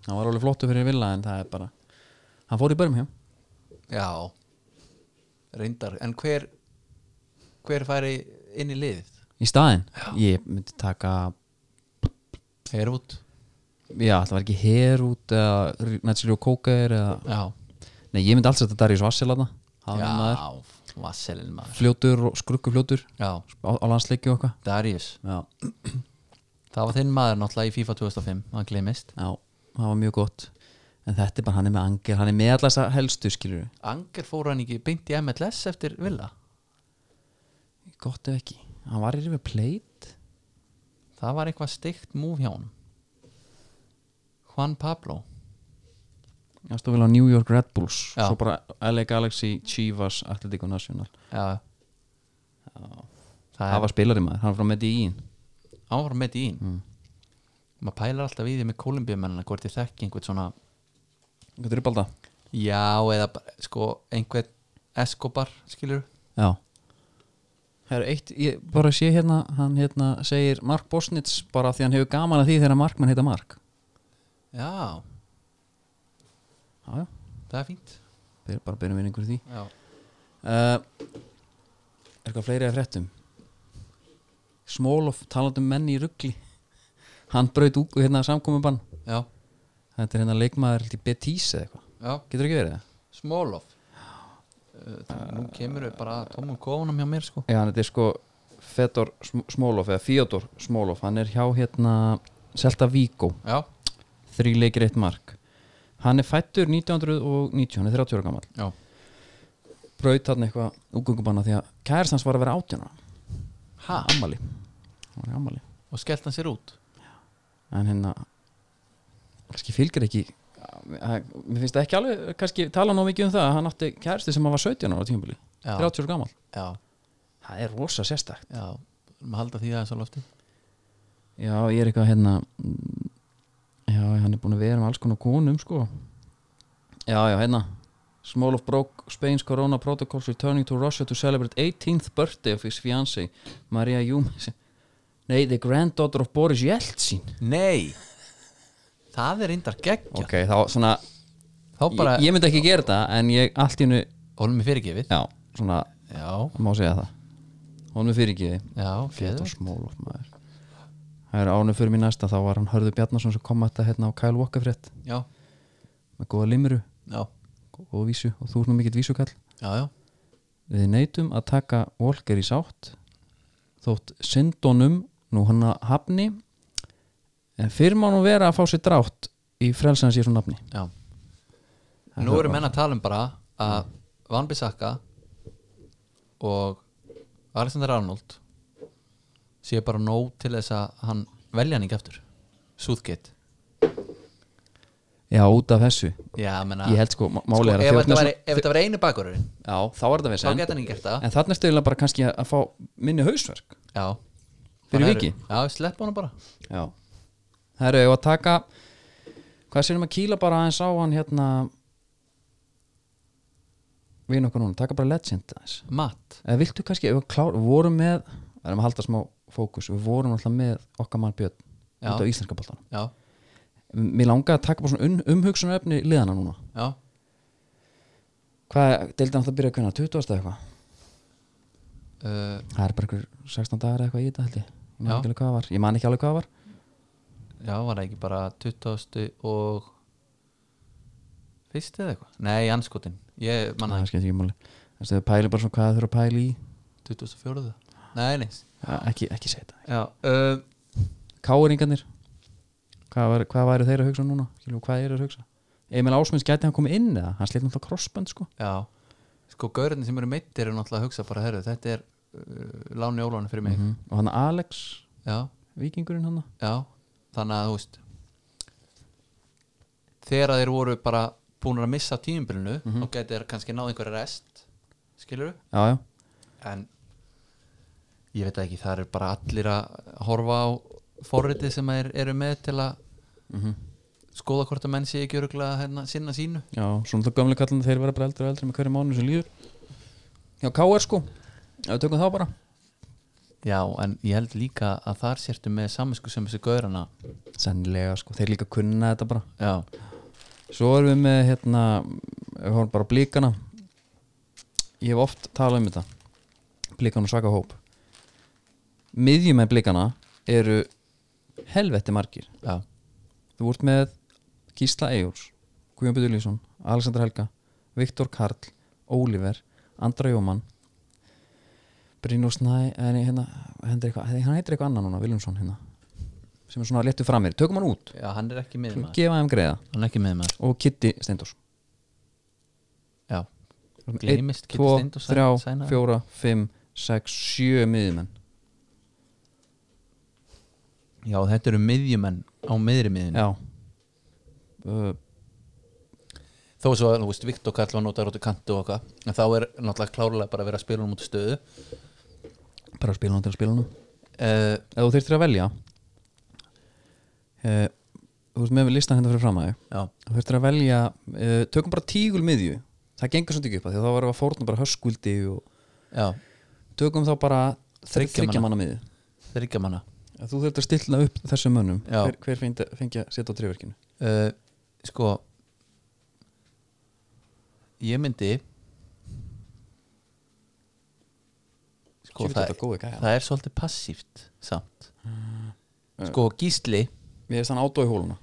Speaker 2: hann var alveg flottu fyrir Villa en það er bara hann fór í börjum hjá
Speaker 3: já reyndar, en hver hver færi inn í liðið?
Speaker 2: í staðinn, ég myndi taka
Speaker 3: er út,
Speaker 2: já, það var ekki her út eða Natsiri og Kókair eða...
Speaker 3: já
Speaker 2: nei, ég myndi alls að þetta Darius Vassel hana hann var maður,
Speaker 3: Já, Vasselin maður
Speaker 2: fljótur og skrukkufljótur
Speaker 3: Já,
Speaker 2: á, á landsleiki og eitthvað
Speaker 3: Darius
Speaker 2: já
Speaker 3: Það var þinn maður náttúrulega í FIFA 2005 hann glemist
Speaker 2: Já, það var mjög gott En þetta er bara, hann er með angir, hann er með allar þessar helstu skilur
Speaker 3: Anger fór hann ekki beint í MLS eftir Villa
Speaker 2: Gott ef ekki, hann var í rifið pleit
Speaker 3: Það var eitthvað steikt múf hjá hann Juan Pablo
Speaker 2: Já, stóðvel á New York Red Bulls
Speaker 3: Já.
Speaker 2: Svo bara LA Galaxy, Chivas, Atletico National
Speaker 3: Já,
Speaker 2: Það
Speaker 3: Það var
Speaker 2: var spilari maður, hann var frá Medellín
Speaker 3: Hann var með í ín Maður pælar alltaf í því með Kolumbíumennina hvort ég þekki einhvern svona
Speaker 2: Hvað er uppalda?
Speaker 3: Já, eða bara, sko einhvern Escobar, skilur
Speaker 2: Já Það er eitt, ég bara sé hérna Hann hérna segir Mark Bosnitz bara því hann hefur gaman að því þegar Markmann heita Mark
Speaker 3: Já,
Speaker 2: Já, já,
Speaker 3: það er fínt
Speaker 2: Þeir bara byrjum við einhverju því
Speaker 3: Já,
Speaker 2: uh, Er eitthvað fleiri að fréttum? Smólof talandi um menn í ruggli Hann braut út hérna samkomiðbann
Speaker 3: já,
Speaker 2: Þetta er hérna leikmaður til Betis eða eitthvað
Speaker 3: já
Speaker 2: Getur ekki verið það?
Speaker 3: Smólof Nú kemur við bara að tómum kofunum hjá mér sko
Speaker 2: Já, hann þetta er sko Fedor Sm- Smólov eða Fyodor Smólov Hann er hjá hérna Selta Víkó
Speaker 3: Já,
Speaker 2: Þrý leikir eitt mark Hann er fættur 1990, hann er 30 ára gammal
Speaker 3: já,
Speaker 2: Braut hann eitthvað úgungubanna því að kærist hans var að vera 18 ára
Speaker 3: ha,
Speaker 2: Ammali Hann var í ammali
Speaker 3: og skellt hann sér út
Speaker 2: en hérna kannski fylgir ekki að- mér finnst það ekki alveg, kannski tala nóg mikið um það að hann átti kæristi sem hann var 17 ára á tímabili
Speaker 3: Já.
Speaker 2: 30 ára gammal,
Speaker 3: Já,
Speaker 2: það er rosa sérstakt
Speaker 3: já, maður halda því aðeins á lofti
Speaker 2: já, ég er eitthvað hérna mm, já, hann er búin að vera með alls konar konum sko já, já, hérna Small of broke Spain's Corona protocols returning to Russia to celebrate 18th birthday of his fiancée Maria Jumis nei, the granddaughter of Boris Yeltsin
Speaker 3: Nei, það er reyndar geggja
Speaker 2: ok, þá svona
Speaker 3: Þá bara,
Speaker 2: ég, ég myndi ekki gera þetta en ég allt í hennu
Speaker 3: honum er fyrirgefið
Speaker 2: já, svona,
Speaker 3: Já,
Speaker 2: það má segja það honum fyrir ekki því
Speaker 3: já,
Speaker 2: þetta
Speaker 3: geður
Speaker 2: smólof maður það er ánum fyrir mér næsta þá var hann Hörður Bjarnason sem kom að þetta hérna á Kyle Walker frétt
Speaker 3: Já,
Speaker 2: með góða limru
Speaker 3: já,
Speaker 2: og vísu og þú er nú mikill vísukall
Speaker 3: já, já,
Speaker 2: við neytum að taka Walker í sátt þótt syndonum nú hann að hafni en fyrir má nú vera að fá sér drátt í frelsans Jésu nafni
Speaker 3: Já Nú eru menn að tala um bara að Van Bissaka og Alexander Arnold sé bara nóg til þess að hann velja hann ekki aftur Súðgeitt
Speaker 2: já, út af þessu,
Speaker 3: Já, menna
Speaker 2: ég held sko má-
Speaker 3: sko,
Speaker 2: málið er
Speaker 3: ef,
Speaker 2: að
Speaker 3: þetta
Speaker 2: þjóðna
Speaker 3: væri, ef þetta væri einu bakurinn
Speaker 2: já, þá er þetta
Speaker 3: þá
Speaker 2: vesen
Speaker 3: geta hann ekki gert það
Speaker 2: en þarna er stöðulega bara kannski að, að fá minni hausverk
Speaker 3: Já
Speaker 2: Fyrir
Speaker 3: Þannig
Speaker 2: Viki?
Speaker 3: eru- Já, slepp honum bara
Speaker 2: já það eru eigum að taka hvað sérum að kýla bara aðeins á hann hérna við okkar núna, taka bara legend aðeins
Speaker 3: Matt
Speaker 2: eða viltu kannski, ef við klár, við vorum með við erum að halda smá fókus, við vorum alltaf með okkar mann Björn
Speaker 3: Já.
Speaker 2: út á íslenska boltanum
Speaker 3: Já,
Speaker 2: M- mér langaði að taka bara svona um, umhugsunaröfni liðana núna,
Speaker 3: já
Speaker 2: hvað, deildi hann það byrja hvernig 20. eða eitthvað,
Speaker 3: uh,
Speaker 2: það er bara einhver 16 dagar eða eitthvað í þetta held ég, ég man ekki
Speaker 3: Já.
Speaker 2: alveg hvað það var ég man ekki alveg hvað það var,
Speaker 3: Já, var það ekki bara 20 og Fyrst eða eitthvað? Nei, anskotin Ég
Speaker 2: Næ,
Speaker 3: manna
Speaker 2: það skemmt ekki máli þess að þau pæli bara svona hvað þau eru að pæli í
Speaker 3: 2004 Nei, neins
Speaker 2: ja, ekki, ekki segja þetta,
Speaker 3: Já, uh,
Speaker 2: káeringarnir hvað, var, hvað væri þeir að hugsa núna Skiljum, hvað er þeir að hugsa Emil Ásmunds gæti hann komið inn eða, hann slitt náttúrulega crossband sko
Speaker 3: já Sko, gaurðin sem eru meittir eru náttúrulega að hugsa bara herru, þetta er uh, láni óláni fyrir mig
Speaker 2: mm og hann Alex
Speaker 3: Já,
Speaker 2: vikingurinn hann
Speaker 3: já Þannig að þú veist Þegar þeir voru bara búin að missa tímbilinu mm -hmm. og gæti þeir kannski náð einhverja rest skilur
Speaker 2: já, já,
Speaker 3: en ég veit það ekki, það eru bara allir að horfa á forritið sem þeir eru með til að skoða hvort að menn sé ekki öruglega hérna, sinna sínu
Speaker 2: já, svona það gömlega kallan þeir vera bara eldri og eldri með hverju mánu sem líður já, K.R. sko já, við tökum þá bara
Speaker 3: Já, en ég held líka að þar sértu með saminsku sem þessi gaurana
Speaker 2: sennilega sko, þeir líka kunna þetta bara
Speaker 3: Já,
Speaker 2: svo erum við með hérna við horfum bara á blíkana ég hef oft talað um þetta blíkana og svaka hóp miðjumenn blíkana eru helvetti margir
Speaker 3: já,
Speaker 2: Þú ert með Gísla Eyjúls, Guðjón Björn Lýsson, Alexander Helga, Viktor Karl, Oliver, Andra Jómann, Brynjó Snæ, eh, nei, hérna, hann heitir eitthvað, hann heitir eitthvað annan núna, Viljónsson hérna, sem er svona léttu framir. Tökum hann út,
Speaker 3: já hann er ekki með maður
Speaker 2: gefa þeim greiða
Speaker 3: Hann er ekki með maður,
Speaker 2: og Kitty Steindors.
Speaker 3: já Gleymist Kitty Steindórs sæ-
Speaker 2: 3,
Speaker 3: sænaði.
Speaker 2: 4, 5, 6, 7 miðjumenn.
Speaker 3: Já, þetta eru miðjumenn á miðri miðinu
Speaker 2: Já. Uh,
Speaker 3: Þó svo, þú veist, Viktor Karl var notaður út í kanti og eitthvað En þá er náttúrulega klárlega bara að vera að spila um út í stöðu
Speaker 2: bara spila hann til að spila hann.
Speaker 3: uh,
Speaker 2: Ef þú þurftir að velja, uh, þú ert með listan hérna fyrir fram að þau.
Speaker 3: Já,
Speaker 2: þú þurftir að velja uh, tökum bara tígul miðju það gengur svolítið ekki upp að því að þá varum við að fórna bara höskuldi og
Speaker 3: já,
Speaker 2: tökum þá bara
Speaker 3: Þriggja
Speaker 2: þryggja manna miðju
Speaker 3: þryggja manna
Speaker 2: að þú þurftir að stilla upp þessum mönnum
Speaker 3: Já.
Speaker 2: hver, hver fengi, fengi að setja á triverkinu
Speaker 3: uh, Sko Ég myndi Sko,
Speaker 2: Djöfull,
Speaker 3: það,
Speaker 2: þetta er góði gæja.
Speaker 3: það er svolítið passíft samt Sko, Gísli
Speaker 2: mér er þann ádó í hóluna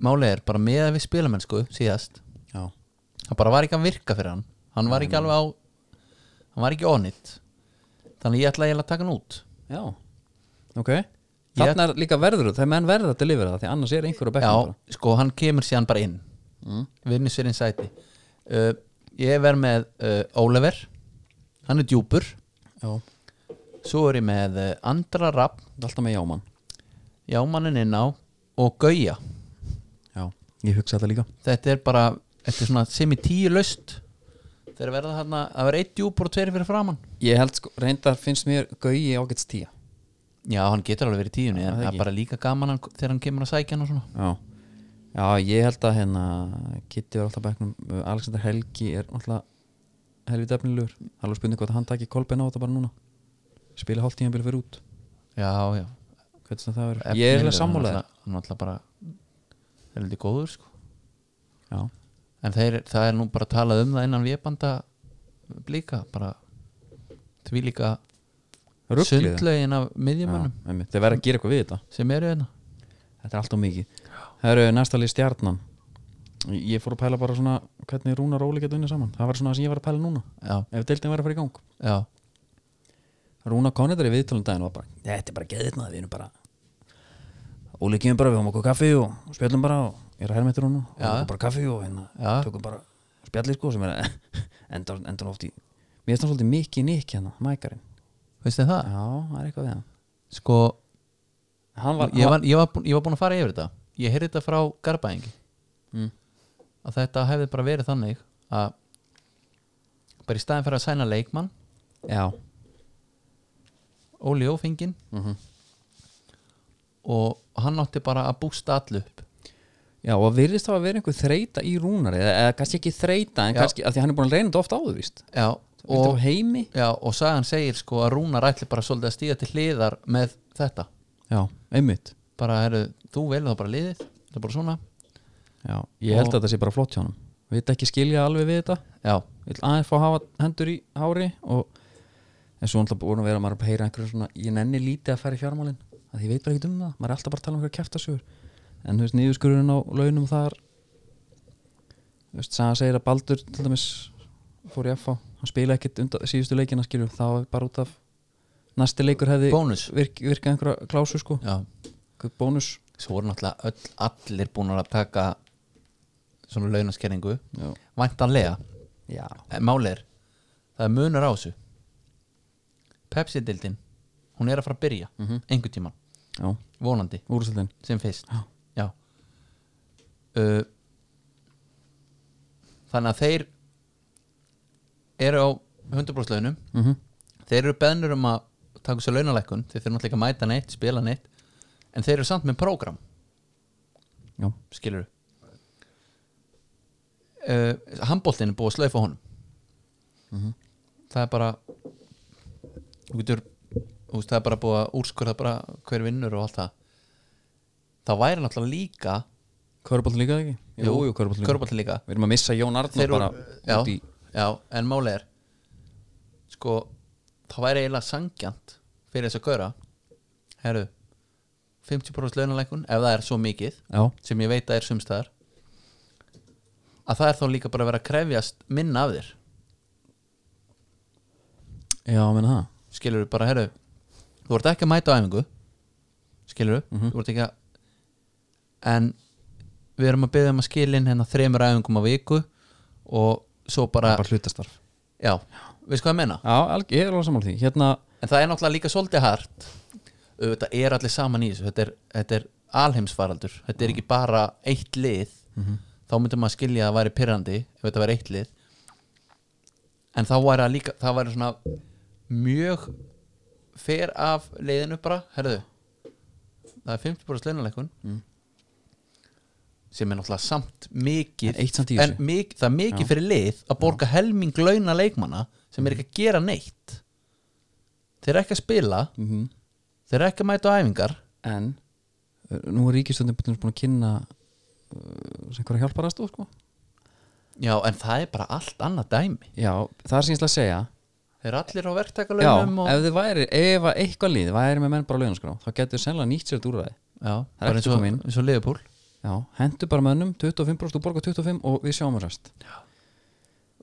Speaker 3: Málið er bara með að við spilamennsku síðast
Speaker 2: já,
Speaker 3: það bara var ekki að virka fyrir hann hann var ekki alveg á hann var ekki onnit þannig ég ætla að ég ætla að taka hann út
Speaker 2: já. ok þarna er líka verður þegar menn verður að delivera það því annars er einhver að bekka
Speaker 3: já, sko hann kemur síðan bara inn mm. vinnisverinn sæti uh, ég verð með uh, Oliver hann er djúpur
Speaker 2: já.
Speaker 3: svo er ég með uh, Andra Rapp
Speaker 2: Þú ert alltaf með jámann
Speaker 3: jámannin inn á og Gauja
Speaker 2: já. ég hugsa þetta líka
Speaker 3: þetta er bara, þetta er svona sem í tíu löst þegar verða þarna að vera eitt djúpur og tveir fyrir framann
Speaker 2: ég held sko, reyndar finnst mér gauji ágæts tíja
Speaker 3: já, hann getur alveg verið í tíunni en
Speaker 2: það
Speaker 3: það
Speaker 2: ekki.
Speaker 3: er bara líka gaman hann, þegar hann kemur að sækja hann og svona
Speaker 2: Já, já ég held að hérna Kitty var alltaf á bekknum uh, Alexander Helgi er alltaf helvið efnilegur, það er alveg spurning hvort hann taki kolbein á þetta bara núna spila hálft tíma fyrir út
Speaker 3: já, já
Speaker 2: hvernig sem það verður, ég er alveg sammálaðið
Speaker 3: hann var alltaf bara þeir er lítið góður sko
Speaker 2: já,
Speaker 3: en þeir, það er nú bara talað um það innan vébanda blíka bara því líka
Speaker 2: rugglið
Speaker 3: sundlögin af miðjumönnum
Speaker 2: þeir verða að gera eitthvað við þetta
Speaker 3: sem eru hérna
Speaker 2: þetta er alltaf mikið það eru næsta lið stjarnan ég fór að pæla bara svona hvernig Rúnar og Óli geta unnið saman það var svona það sem ég var að pæla núna
Speaker 3: já,
Speaker 2: ef deildin var að fara í gang
Speaker 3: já,
Speaker 2: Rúna Konedar í viðtölum daginn var bara þetta er bara geðið maður, við erum bara Óli kemur bara, við fáum okkur kaffi og og spjöllum bara og ég er að hermættur hún og
Speaker 3: Já.
Speaker 2: okkur bara kaffi og hérna
Speaker 3: Já.
Speaker 2: tökum bara spjallir sko sem er [laughs] endur, endur oft í mér finnst hann svolítið mikið nikk hérna, mækarinn
Speaker 3: veistu það?
Speaker 2: já, það er eitthvað við hann
Speaker 3: sko,
Speaker 2: hann var,
Speaker 3: ég var, ég, var búin, ég var búin að fara yfir þetta ég heyrði þetta frá garbaðingi
Speaker 2: Mm.
Speaker 3: að þetta hefði bara verið þannig að bara í staðin fyrir að sæna leikmann
Speaker 2: já,
Speaker 3: Óli Ófingin
Speaker 2: Mhm.
Speaker 3: og hann átti bara að bústa allu upp
Speaker 2: já, og virðist þá að vera einhver þreita í Rúnari eða, eða kannski ekki þreita, en
Speaker 3: Já.
Speaker 2: kannski af því að hann er búin að reyna þetta oft áður, víst
Speaker 3: já,
Speaker 2: og
Speaker 3: og,
Speaker 2: heimi,
Speaker 3: já, og sagan segir sko að Rúnar ætli bara svolítið að stíða til hliðar með þetta
Speaker 2: já, einmitt
Speaker 3: bara, heru, þú velur þá bara liðið það er bara svona
Speaker 2: já, ég held
Speaker 3: Og-
Speaker 2: að þetta sé bara flott hjá hann við þetta ekki skilja alveg við þetta
Speaker 3: já,
Speaker 2: vill aðeins fá að hafa hendur í hári og en svo alltaf búin að vera maður að heyra einhverjum svona, ég nenni lítið að fara í fjármálin að ég veit bara ekkert um það, maður er alltaf bara að tala um einhverja kæftasögur en þú veist, niðurskurðurinn á launum þar þú veist, Saga segir að Baldur til dæmis fór í FH, hann spila ekkit undan síðustu leikina skilju, þá er bara út af næsti leikur hefði
Speaker 3: bónus
Speaker 2: virk, virkað einhverja klásu sko,
Speaker 3: já,
Speaker 2: einhver bónus
Speaker 3: svo voru náttúrulega öll, allir búin að taka svona launaskerningu
Speaker 2: já,
Speaker 3: væntanlega,
Speaker 2: já.
Speaker 3: En málið er það er munur á þessu Pepsi-dildin hún er að fara að byrja, mm -hmm. einhvern tíman
Speaker 2: já.
Speaker 3: vonandi,
Speaker 2: úrstældin
Speaker 3: sem fyrst
Speaker 2: Já.
Speaker 3: Já. Uh, þannig að þeir eru á 100% launum
Speaker 2: mm -hmm.
Speaker 3: þeir eru beðnur um að taka sér launalækkun þeir þurfum náttúrulega ekki að mæta neitt, spila neitt en þeir eru samt með prógram
Speaker 2: já,
Speaker 3: skilur uh, handbóltin er búið að slaufa honum
Speaker 2: Mhm.
Speaker 3: það er bara þú getur þú veist, það er bara búið að úrskurða bara hver vinnur og allt það það væri náttúrulega líka
Speaker 2: körbólt líka ekki? jú, jú, körbólt líka
Speaker 3: körbóltin líka
Speaker 2: Við erum að missa Jón Arnór
Speaker 3: þeir
Speaker 2: bara
Speaker 3: voru, já,
Speaker 2: út í
Speaker 3: já, en máli er sko, það væri eiginlega sangjant fyrir þess að göra herru 50% launalækun, ef það er svo mikið
Speaker 2: Já,
Speaker 3: sem ég veit að er sumstæðar að það er þá líka bara að vera að krefjast minna af þér
Speaker 2: já, menna það
Speaker 3: skilur bara, herru þú ert ekki að mæta á æfingu skilur, þú ert ekki að en við erum að byggja um að skilin hérna þremur æfingum á viku og svo bara,
Speaker 2: Bara hlutastarf
Speaker 3: já, veist hvað ég menna
Speaker 2: Já, alg, ég er alveg sammála því Hérna,
Speaker 3: en það er náttúrulega líka svolítið hart auðvitað er allir saman í þessu þetta er, þetta er alheimsfaraldur þetta er ekki bara eitt lið þá myndum maður skilja að það væri pyrrandi ef þetta væri eitt lið en þá væri það líka það væri svona mjög fer af leiðinu bara herðu, það er 50% launaleikun
Speaker 2: Mm.
Speaker 3: sem er náttúrulega samt mikið
Speaker 2: En eitt samt í
Speaker 3: en
Speaker 2: þessu.
Speaker 3: mik, það er mikið fyrir lið að borga helming launa leikmanna sem
Speaker 2: Mm.
Speaker 3: er ekki að gera neitt þeir eru ekki að spila
Speaker 2: Mhm.
Speaker 3: þeir eru ekki að mæta á æfingar
Speaker 2: en uh, Nú er ríkistöndin búin að kynna uh, sem hverja hjálpar aðstof, sko
Speaker 3: já en það er bara allt annað dæmi
Speaker 2: Já, það er sínst að segja
Speaker 3: þeir eru allir á
Speaker 2: Já,
Speaker 3: verktakalögnum og...
Speaker 2: ef þið væri, ef að eitthvað líð væri með menn bara á launaskrá, þá getur þið sennilega nýtt sér þetta úrræði
Speaker 3: já,
Speaker 2: Það er ekki
Speaker 3: bara eins
Speaker 2: að
Speaker 3: og,
Speaker 2: koma inn.
Speaker 3: eins og liðupúl
Speaker 2: Já, hendur bara mönnum, 25% þú borgar 25 og við sjáum að rest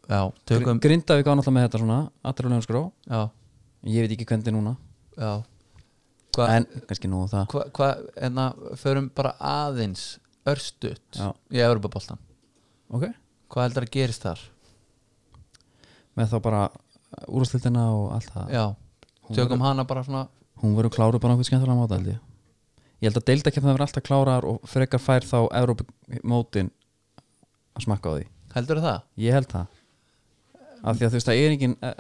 Speaker 3: já, tökum
Speaker 2: Grindavík á náttúrulega með þetta svona, allir á launaskrá
Speaker 3: já,
Speaker 2: Ég veit ekki hvernig núna,
Speaker 3: já hvað
Speaker 2: en kannski nú það
Speaker 3: hva, hva, en að förum bara aðeins örstutt
Speaker 2: Já.
Speaker 3: í Európa-bóltan
Speaker 2: Ok,
Speaker 3: hvað heldur að gerist þar
Speaker 2: með þá bara úrstildina og allt það
Speaker 3: já, tökum hana bara svona
Speaker 2: hún verður kláruð bara einhvern skemmtilega móta held ég ég held að deildakefna verður alltaf klárar og frekar fær þá Evrópumótin að smakka á því
Speaker 3: heldur það
Speaker 2: ég held það af því að þú veist það er engin eh,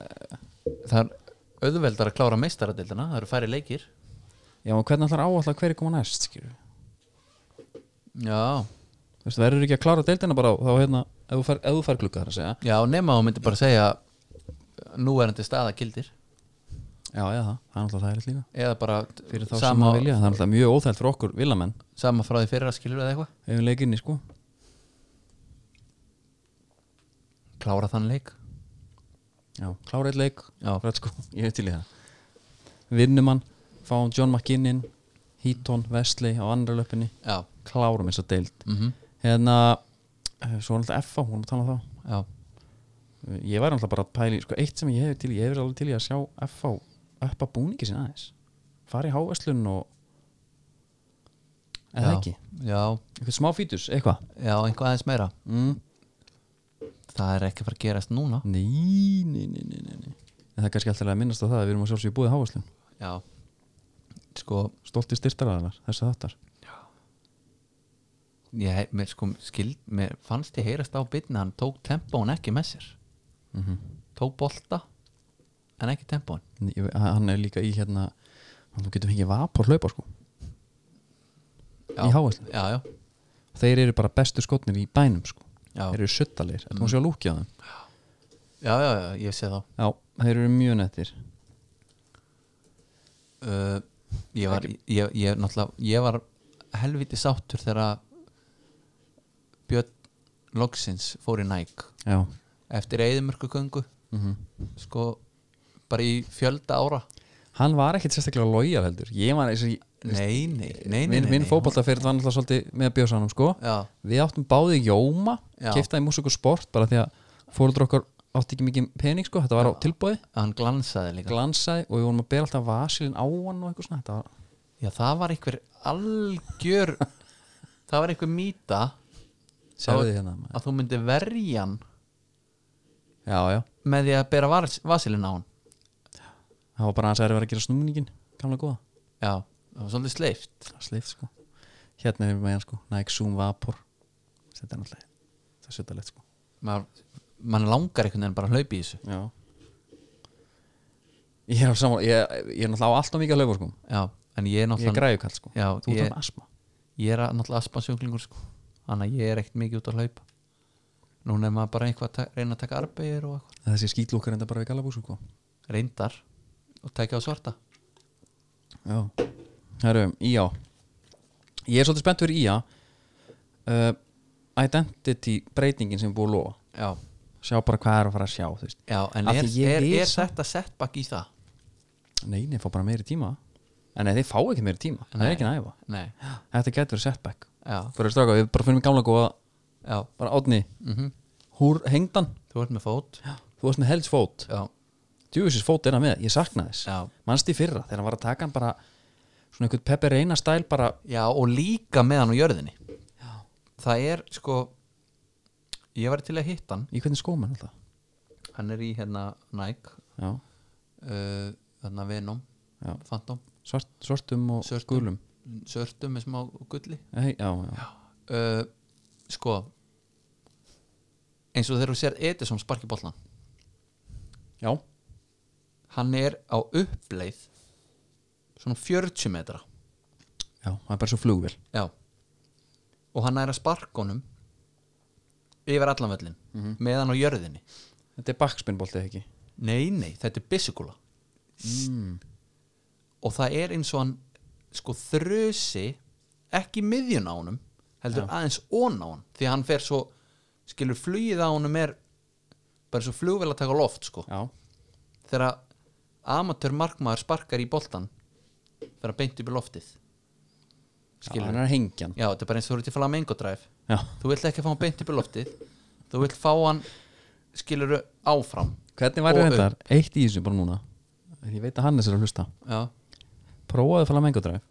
Speaker 3: það er auðveldar að klára meistaradildina það eru færi leikir
Speaker 2: já og hvernig ætlar áallega hverju koma næst skilur
Speaker 3: já,
Speaker 2: þú veist verður ekki að klára deildina bara á- þá hérna ef þú fær, ef þú fær glugga þar að segja
Speaker 3: já nema þú myndir bara segja nú er þetta staða gildir
Speaker 2: já já það, það er alltaf þærið líka
Speaker 3: eða bara
Speaker 2: fyrir þá sem
Speaker 3: sama,
Speaker 2: að vilja það er alltaf mjög óþælt fyrir okkur villamenn
Speaker 3: sama frá því fyrir að skilur eða eitthvað
Speaker 2: ef við leikinni sko
Speaker 3: klára þann leik
Speaker 2: já klára eitt leik
Speaker 3: Já.
Speaker 2: Rætt sko ég er til í það vinnumann fáum John McKinnon Heaton Wesley á andra löpunni
Speaker 3: já,
Speaker 2: klárum þess að deild
Speaker 3: mm
Speaker 2: hérna, eh, svo er alltaf F hún að tala um þá
Speaker 3: já.
Speaker 2: ég væri alltaf bara að pæli, sko eitt sem ég hefur til, í- ég hefur alveg til í að sjá F uppa búningi sinna aðeins fara í háverslun og eða
Speaker 3: já,
Speaker 2: ekki
Speaker 3: já,
Speaker 2: eitthvað smá fítus, eitthvað
Speaker 3: já, einhvað aðeins meira
Speaker 2: mm.
Speaker 3: það er ekki að fara að gerast núna
Speaker 2: nei, nei, nei, nei, nei, nei en það er kannski alltaf að minnast á það að við erum að sjálfsögja búið háverslun
Speaker 3: já, sko
Speaker 2: stolti styrtaraðanar, þessu þáttar
Speaker 3: ég, mér, sko, skild, mér fannst ég heyrast á bitna hann tók tempón ekki með sér
Speaker 2: Mhm.
Speaker 3: tók bolta en ekki tempón
Speaker 2: Nei, ég veit- hann er líka í hérna hann þú getur fengið vapor hlaupa sko
Speaker 3: já,
Speaker 2: Í hávaxlu?
Speaker 3: já, já,
Speaker 2: þeir eru bara bestu skotnir í bænum sko
Speaker 3: Já.
Speaker 2: þeir eru suttalir, þetta hún sé að lúkja á þeim
Speaker 3: já, já, já, ég sé þá
Speaker 2: já, þeir eru mjög nettir
Speaker 3: uh, ég var ég, ég, náttúrulega, ég var helviti sáttur þegar Björn Logsins fór í Nike
Speaker 2: já,
Speaker 3: eftir eðimörkugöngu
Speaker 2: Mhm.
Speaker 3: sko bara í fjölda ára
Speaker 2: hann var ekkit sérstaklega lojal heldur ég var eins og ég-
Speaker 3: nei, nei, nei, nei, nei,
Speaker 2: eh, minn, minn
Speaker 3: nei.
Speaker 2: fótboltaferð var náttúrulega svolítið með bjössanum sko
Speaker 3: já,
Speaker 2: við áttum báði Jóma
Speaker 3: Já.
Speaker 2: keiftaði músík og sport bara því að fóruldur okkar átti ekki mikið pening sko þetta var á tilbóði,
Speaker 3: hann glansaði líka
Speaker 2: glansaði og við vorum að bera alltaf vasilin á hann og eitthvað svona þetta var
Speaker 3: já, það var einhver algjör [laughs] það var einhver mýta
Speaker 2: Sérðu
Speaker 3: að-
Speaker 2: hérna, maður.
Speaker 3: að þú myndi verja hann
Speaker 2: já, já,
Speaker 3: með því að bera vas vasilinn á hann
Speaker 2: það var bara hans að vera að gera snúningin gamla góða
Speaker 3: já, það var svolítið sleift
Speaker 2: Það er sleif sko hérna er með hann sko, Nike Zoom Vapor þetta er náttúrulega það er sjötalegt sko
Speaker 3: maður, maður langar einhvern veginn bara að hlaupa í þessu
Speaker 2: já ég er, saman, ég, ég er náttúrulega á alltaf mikið að laufa sko
Speaker 3: já, en ég er
Speaker 2: ég er
Speaker 3: náttúrulega
Speaker 2: græðu kall sko,
Speaker 3: Já,
Speaker 2: þú ert
Speaker 3: ég-
Speaker 2: með asma
Speaker 3: ég er að- náttúrulega aspansjúklingur sko þannig að ég er ekkert mikið út að hlaupa núna er maður bara einhvað að ta- reyna að taka arbeigir og eitthvað,
Speaker 2: þessi skýtlúkar enda bara við galabús sko
Speaker 3: reyndar og tekja á svarta
Speaker 2: já, herru, íá ég er svolítið spennt fyrir íá uh, identity breytingin sem er búið að lofa
Speaker 3: já,
Speaker 2: sjá bara hvað er að fara að sjá þú veist.
Speaker 3: já en
Speaker 2: Af
Speaker 3: er,
Speaker 2: því ég
Speaker 3: er,
Speaker 2: vil
Speaker 3: er
Speaker 2: samt-
Speaker 3: þetta setback í það?
Speaker 2: nei, nei, fá bara meiri tíma en nei, þeir fá ekki meiri tíma, það
Speaker 3: Nei.
Speaker 2: er ekki næfa
Speaker 3: nei,
Speaker 2: þetta getur verið setback
Speaker 3: já,
Speaker 2: Fyrir stráka, við bara finnum í gamla góða eh,
Speaker 3: já
Speaker 2: bara átni,
Speaker 3: mm
Speaker 2: húr hengdan
Speaker 3: þú ert með fót
Speaker 2: þú varst með helst fót,
Speaker 3: já,
Speaker 2: djúvisins fót er hann með ég sakna þess,
Speaker 3: Já.
Speaker 2: mannst í fyrra þegar hann var að taka hann bara svona einhvern Pepe Reina stæl bara,
Speaker 3: já og líka með hann á jörðinni já. það er sko ég var til að hitta hann
Speaker 2: í hvernig skóma alltaf
Speaker 3: hann er í hérna Nike
Speaker 2: já,
Speaker 3: uh, hérna Venom,
Speaker 2: Já.
Speaker 3: Phantom
Speaker 2: Svart, svartum og
Speaker 3: Svörtum.
Speaker 2: gulum
Speaker 3: Sörtum með smá gulli
Speaker 2: Hei, já, já.
Speaker 3: uh, sko eins og þegar þú sér Edison sparki bollan
Speaker 2: já,
Speaker 3: hann er á uppleið svona 40 metra
Speaker 2: já, það er bara svo flugvél
Speaker 3: já og hann er að sparkonum yfir allan völlin meðan á jörðinni
Speaker 2: þetta er backspinbolti ekki
Speaker 3: nei nei, þetta er byssukúla og það er eins og hann sko þrösi ekki miðjun á honum heldur aðeins ón á hann því að hann fer svo skilur flugið á honum er bara svo flugvel að taka á loft sko
Speaker 2: já,
Speaker 3: þegar amatör markmaður sparkar í boltan þegar hann beint upp í loftið
Speaker 2: já
Speaker 3: skilur
Speaker 2: hann er hengjan
Speaker 3: já, þetta er bara eins og þú eru til Flamengo drive
Speaker 2: já.
Speaker 3: þú vilt ekki fá hann beint upp í loftið þú vilt fá hann skilur áfram
Speaker 2: hvernig væri
Speaker 3: Og
Speaker 2: reyndar, eitt í þessu bara núna ég veit að Hannes er að hlusta
Speaker 3: já,
Speaker 2: prófaðu flamengodræf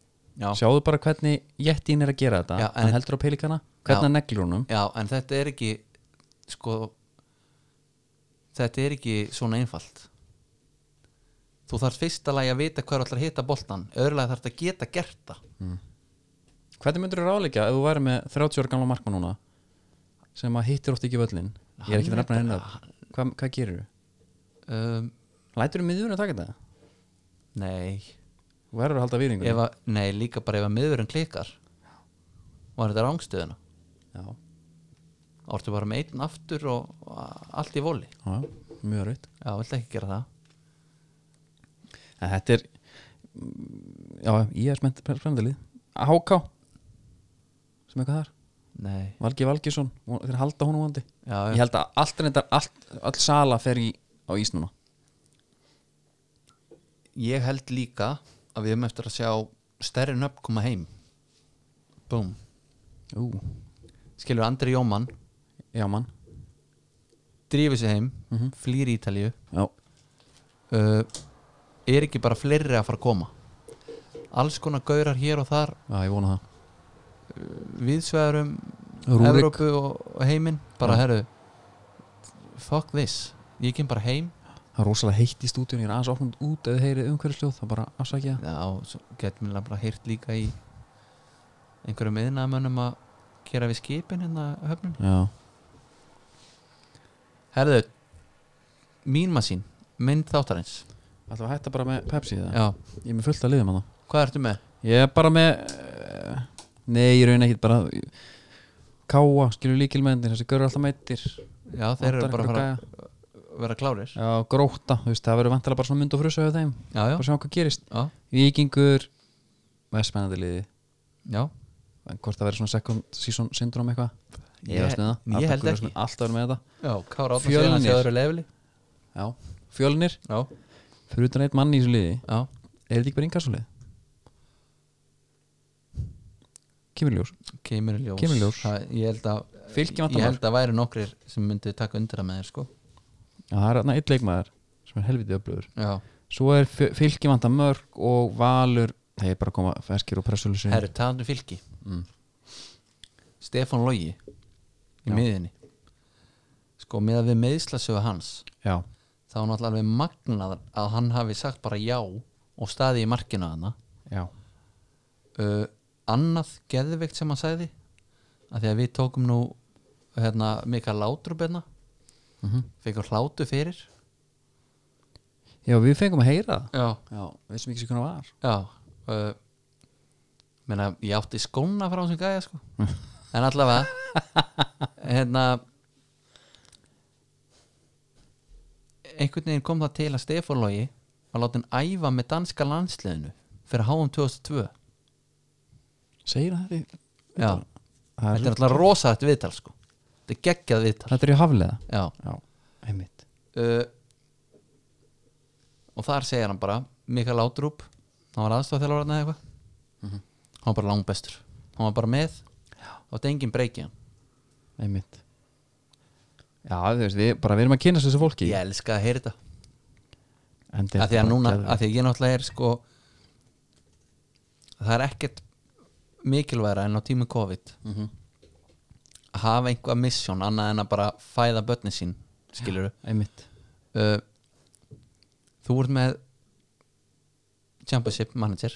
Speaker 3: já,
Speaker 2: sjáðu bara hvernig jettin er að gera þetta
Speaker 3: Já, en-
Speaker 2: hann heldur á pelikana, hvernig
Speaker 3: Já.
Speaker 2: hann neglir honum
Speaker 3: já en þetta er ekki sko þetta er ekki svona einfalt þú þarf fyrsta lagi að vita hvað þú ætlar að hita boltan öðrulega þarf þetta að geta gert það
Speaker 2: Hvernig myndur þú ráðleika ef þú væri með 30 ára gamla markmann núna sem að hittir oft ekki völlin ég er ekki að
Speaker 3: Hann
Speaker 2: nefna
Speaker 3: er
Speaker 2: hennar
Speaker 3: bara-
Speaker 2: Hva, hvað gerir þú?
Speaker 3: um,
Speaker 2: Lætur þú miðurinn að taka þetta?
Speaker 3: nei
Speaker 2: Þú verður að halda výringunni
Speaker 3: ef að, nei líka bara ef að miðurinn klikkar var þetta rángstöðuna
Speaker 2: Já,
Speaker 3: ártu bara með einn aftur og, og allt í voli
Speaker 2: já, mjög rauðt
Speaker 3: já, viltu ekki gera það
Speaker 2: En þetta er mm, Já, ég er spennt fremdalið HK sem eitthvað þar,
Speaker 3: nei,
Speaker 2: Valgi Valgisson von- þeir halda honum vandi
Speaker 3: já,
Speaker 2: Ég held að allt reyndar, allt, all sala fer í á ís núna
Speaker 3: ég held líka að við höfum eftir að sjá stærri nöfn koma heim búm,
Speaker 2: Ú,
Speaker 3: skilur Andri Jómann
Speaker 2: já mann
Speaker 3: drífið sig heim, flýr í Ítalíu
Speaker 2: Já,
Speaker 3: uh, er ekki bara fleiri að fara að koma alls konar gaurar hér og þar
Speaker 2: Já, ég vona það
Speaker 3: viðsvegarum
Speaker 2: Rúrik.
Speaker 3: Evrópu og, og heiminn bara herru fuck this, ég kem bara heim
Speaker 2: Það er rosalega heitt í stúdíun, ég er aðeins opnund út ef þið heyrið umhverfisljóð, það bara afsækja
Speaker 3: já, svo getur mér bara heyrt líka í einhverjum yðnaðamönnum að gera við skipin hérna á höfnum
Speaker 2: Já,
Speaker 3: herðu, mín masín mynd þáttarins
Speaker 2: ætlum við að hætta bara með Pepsi það
Speaker 3: já,
Speaker 2: Ég er með fullt að liðum að það
Speaker 3: hvað ertu með?
Speaker 2: Ég er bara með eh, Nei, ég raun ekkit bara Káa, skilur líkilmennir, þessi görur alltaf meittir
Speaker 3: já, þeir eru bara að fara að vera klárir já,
Speaker 2: Já, gróta, þú veist, það verður vantilega bara svona mynd og frusa hjá þeim
Speaker 3: já,
Speaker 2: Bara sjá hvað gerist
Speaker 3: já,
Speaker 2: Víkingur, mest spennandi liði
Speaker 3: já.
Speaker 2: En hvort það verður svona second season syndrom eitthvað
Speaker 3: Ég-
Speaker 2: efast um það.
Speaker 3: ég
Speaker 2: Arnar
Speaker 3: held
Speaker 2: Guðjónsson
Speaker 3: ekki.
Speaker 2: er Alltaf verður með þetta
Speaker 3: já Kára Átnarsson
Speaker 2: Fjölnir.
Speaker 3: hann sé á öðru lefli
Speaker 2: Já, fjölnir,
Speaker 3: já,
Speaker 2: fyrir utan eitt mann í þessu liði
Speaker 3: já,
Speaker 2: Er þetta ekki bara inkasulið? Kemur í ljós
Speaker 3: kemur í ljós,
Speaker 2: Kemur í ljós.
Speaker 3: Það, ég held að
Speaker 2: Fylki vantar
Speaker 3: ég
Speaker 2: mark.
Speaker 3: held að væri nokkrir sem myndi taka undir það með þér sko
Speaker 2: Já, það er þarna eitt leikmaður sem er helviti öflugur
Speaker 3: já,
Speaker 2: Svo er fjö- fylki vanda mörg og valur Það er bara að koma ferskir og pressulisir
Speaker 3: herru, talandu fylki Stefán Logi í
Speaker 2: Já.
Speaker 3: miðinni sko, með að við meðslasögu hans
Speaker 2: Já,
Speaker 3: þá er náttúrulega alveg magnað að hann hafi sagt bara já og staði í markinu hana
Speaker 2: já,
Speaker 3: uh, annað geðveikt sem hann sagði að því að við tókum nú hérna, mikal látrup hérna fengum hlátu fyrir
Speaker 2: já við fengum að heyra það
Speaker 3: já,
Speaker 2: Já, við sem ekki sér hvernig var
Speaker 3: já uh, menna, ég átti skóna frá þessum gæja
Speaker 2: [laughs]
Speaker 3: sko en allavega hérna einhvern veginn kom það til að Stefán Logi var látin æfa með danska landsliðinu fyrir HM 2002
Speaker 2: Segir það því
Speaker 3: já,
Speaker 2: Það
Speaker 3: þetta
Speaker 2: er,
Speaker 3: er alltaf rosalegt viðtal sko þetta er geggjað viðtal
Speaker 2: þetta er í haflega
Speaker 3: já
Speaker 2: Já, einmitt
Speaker 3: uh, og þar segir hann bara Mikael Átrúp, hann var aðstofþjálfarinn eða eitthvað hann var bara langbestur hann var bara með og þetta enginn breykið hann
Speaker 2: Einmitt Já, þú veist, við bara við erum að kynast þessu fólki
Speaker 3: ég elska að heyra þetta
Speaker 2: En þetta
Speaker 3: af því
Speaker 2: er
Speaker 3: að núna,
Speaker 2: bara-
Speaker 3: af því að ég náttúrulega er sko það er ekkert mikilværa en á tími COVID að hafa einhvað misjón annað en að bara fæða börni sín skilur
Speaker 2: Einmitt
Speaker 3: uh, þú ert með championship manager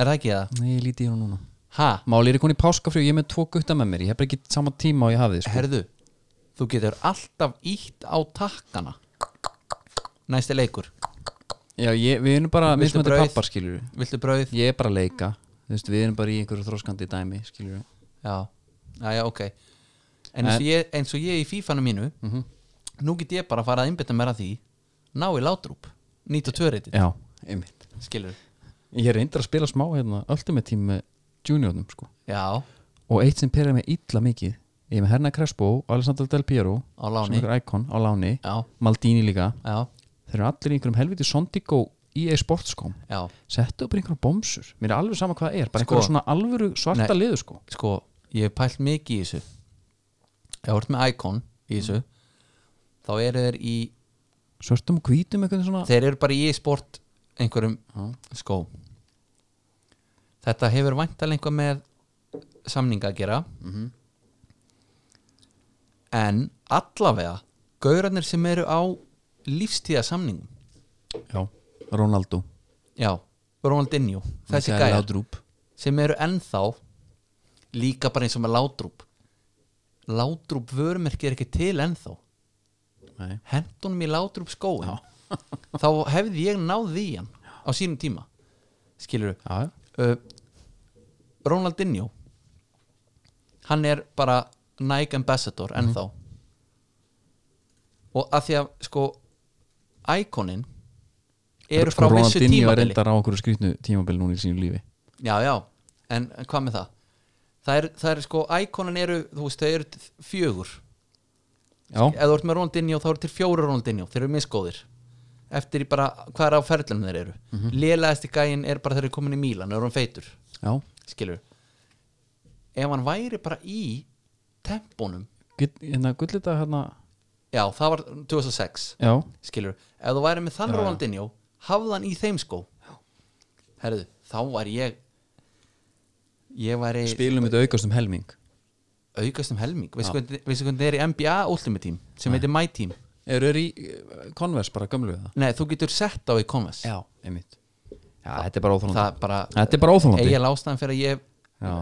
Speaker 3: er það ekki það?
Speaker 2: Nei, ég líti í hún núna
Speaker 3: ha?
Speaker 2: Máli er í koni páskafrjú, ég er með tvo gutta með mér Ég hef bara ekki sama tíma og ég hafði sko.
Speaker 3: herðu, þú getur alltaf ítt á takkana næsti leikur
Speaker 2: Já, ég, við erum bara
Speaker 3: Viltu
Speaker 2: mismöndi
Speaker 3: brauð?
Speaker 2: pappar, skilur
Speaker 3: viltu brauð?
Speaker 2: Ég er bara að leika Þú veist, Við erum bara í einhverju þróskandi dæmi, skilur
Speaker 3: já, já, já ok en Mhm. eins og ég, eins og ég í fífanu mínu nú get ég bara að fara að einbytta mér að því ná í látrúp 92 reytið,
Speaker 2: Já, einmitt
Speaker 3: skilur
Speaker 2: Ég reyndar að spila smá hérna, öllum með tími með juniornum sko.
Speaker 3: já,
Speaker 2: Og eitt sem perið mig illa mikið Ég er með Herna Crespo og Alessandro Del Piero
Speaker 3: Á láni.
Speaker 2: Sem er íkon á láni
Speaker 3: Já.
Speaker 2: Maldini líka
Speaker 3: já,
Speaker 2: Þeir eru allir í einhverjum helviti Sondigo EA Sportscom
Speaker 3: já
Speaker 2: Settu upp einhverjum bomsur Mér er alveg sama hvað það er Bara
Speaker 3: Sko.
Speaker 2: einhverjum svona alvöru svarta
Speaker 3: Nei.
Speaker 2: liðu sko
Speaker 3: sko, ég hef pælt mikið í þessu ég hef vart með Icon í þessu þá eru þeir í
Speaker 2: Svörtum og hvítum einhvern svona
Speaker 3: þeir eru bara í sport einhverjum skó þetta hefur væntal einhver með samninga að gera en allavega gaurarnir sem eru á lífstíða samningum
Speaker 2: Já, Ronaldo
Speaker 3: já, Ronaldinho þessi
Speaker 2: Mikael
Speaker 3: gæjar
Speaker 2: Laudrup.
Speaker 3: sem eru ennþá líka bara eins og með látrúp látrúp vörumerki er ekki til ennþá
Speaker 2: Nei.
Speaker 3: hendunum í látrúp skóin þá hefði ég náð því hann á sínum tíma skilur
Speaker 2: Já, já.
Speaker 3: uh, Ronaldinho hann er bara Nike Ambassador
Speaker 2: Mhm.
Speaker 3: ennþá og að því að sko íkonin eru frá vissu
Speaker 2: Ronaldinho er
Speaker 3: tímabili
Speaker 2: reyndar á okkur skrýtnu tímabili núna í sínu lífi
Speaker 3: já, já, en en hvað með það það er, það er sko, íkonin eru þú veist, þau eru t- fjögur
Speaker 2: Já,
Speaker 3: ef þú ert með Ronaldinho þá eru til fjóru Ronaldinho þeir eru misgóðir eftir í bara hvað er á ferðlunum þeir eru mm
Speaker 2: Mhm.
Speaker 3: -hmm. lélæðasti gæin er bara þeir eru komin í Mílan þeir eru hann feitur,
Speaker 2: já
Speaker 3: skilur ef hann væri bara í tempónum,
Speaker 2: Gull- Hérna gullita hérna
Speaker 3: já það var 2006
Speaker 2: Já,
Speaker 3: skilur, ef þú væri með þann Ronaldinho hafðan í þeim skó herðu, þá var ég ég var í
Speaker 2: spilum þetta aukast um helming
Speaker 3: aukast um helming veistu hvernig veistu hvernig það er í NBA Ultimate Team sem heitir My Team
Speaker 2: eru þeir í eh, Converse bara gömlu það
Speaker 3: nei, þú getur sett á í Converse
Speaker 2: já, einmitt já, þetta er bara
Speaker 3: það
Speaker 2: óþólandi
Speaker 3: bara
Speaker 2: þetta er bara óþólandi
Speaker 3: eiginlega ástæðan fyrir að ég
Speaker 2: Já.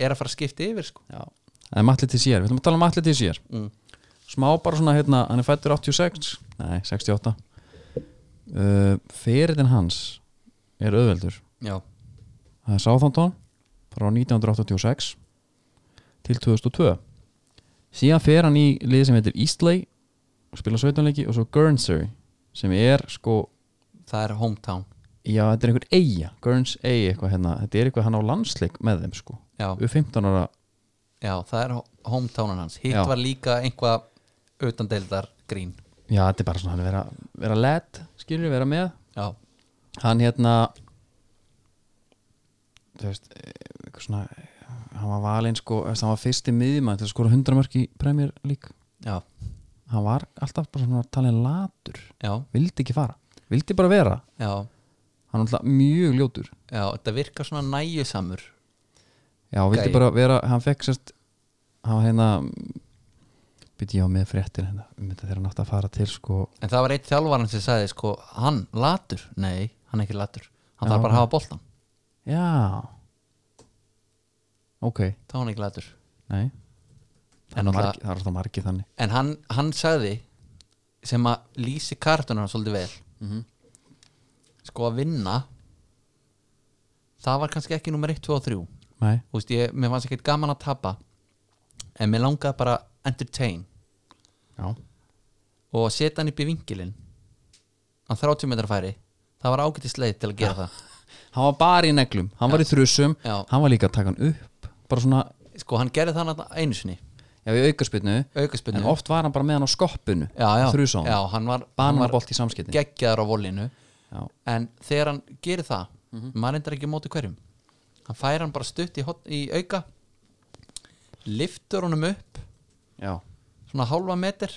Speaker 3: er að fara að skipta yfir sko.
Speaker 2: Já, það er Matli Tissier, við ætlum að tala um Matli Tissier Smá bara svona, hérna, hann er fættur 86 Nei, 68 uh, Ferilinn hans er auðveldur
Speaker 3: já,
Speaker 2: Það er Southampton frá 1986 til 2002 Síðan fer hann í liði sem heitir Eastley og spila 17 leiki og svo Guernsey sem er sko,
Speaker 3: það er hometown
Speaker 2: já þetta er einhver eiga Guernsey eitthvað hérna, þetta er eitthvað hann á landsleik með þeim sko,
Speaker 3: Já.
Speaker 2: upp 15 ára
Speaker 3: Já, það er ho- hometownan hans Hitt
Speaker 2: Já.
Speaker 3: var líka einhvað utandeildar grín
Speaker 2: Já, þetta er bara svona hann vera, vera led, skilur, vera með
Speaker 3: Já,
Speaker 2: Hann hérna Þú veist, eh, eitthvað svona eh, Hann var valinn sko, þú veist, hann var fyrsti miðjumann til að skora 100 mörk í Premier League
Speaker 3: já,
Speaker 2: Hann var alltaf bara svona talin latur
Speaker 3: já,
Speaker 2: Vildi ekki fara, vildi bara vera
Speaker 3: já,
Speaker 2: Hann var alltaf mjög ljótur
Speaker 3: já Þetta virkar svona næjusamur
Speaker 2: Já, vildi
Speaker 3: Gæi.
Speaker 2: bara vera, hann fekk sérst Hann var hérna Býtti ég á með fréttir hérna um þetta þegar hann átti að fara til sko
Speaker 3: En það var eitt þjálfarinn sem sagði sko Hann latur, nei, hann er ekki latur Hann
Speaker 2: Já.
Speaker 3: þarf bara að hafa boltan,
Speaker 2: Já Ok,
Speaker 3: þá er hann ekki latur
Speaker 2: nei Það
Speaker 3: En
Speaker 2: er
Speaker 3: náttúrulega-
Speaker 2: margi- það er alltaf margið þannig
Speaker 3: En hann, hann sagði sem að lýsi kartunum svolítið vel
Speaker 2: Mhm.
Speaker 3: Sko að vinna Það var kannski ekki númer 1, 2 og 3
Speaker 2: Nei,
Speaker 3: þú veist, ég, mér fannst ekkert gaman að tapa en mér langaði bara að entertain
Speaker 2: já
Speaker 3: og að setja hann upp í vingilin á 30 metra færi það var ágætis leið til að
Speaker 2: [laughs]
Speaker 3: gera það
Speaker 2: hann var bara í neglum, hann var í þrjusum
Speaker 3: Já.
Speaker 2: hann var líka að taka hann upp bara svona,
Speaker 3: sko, hann gerði það þarna einu sinni
Speaker 2: já við aukarspilnu
Speaker 3: aukaspunni,
Speaker 2: en oft var hann bara með hann á skoppinu
Speaker 3: já, já,
Speaker 2: þrjusum,
Speaker 3: já, hann var, hann var
Speaker 2: bananbolt í samskipti
Speaker 3: geggjaður á volinu
Speaker 2: Já.
Speaker 3: en þegar hann gerir það maður endur ekki á móti hverjum hann fær hann bara stutt í, hot, í auka liftur honum upp
Speaker 2: já,
Speaker 3: svona hálfa meter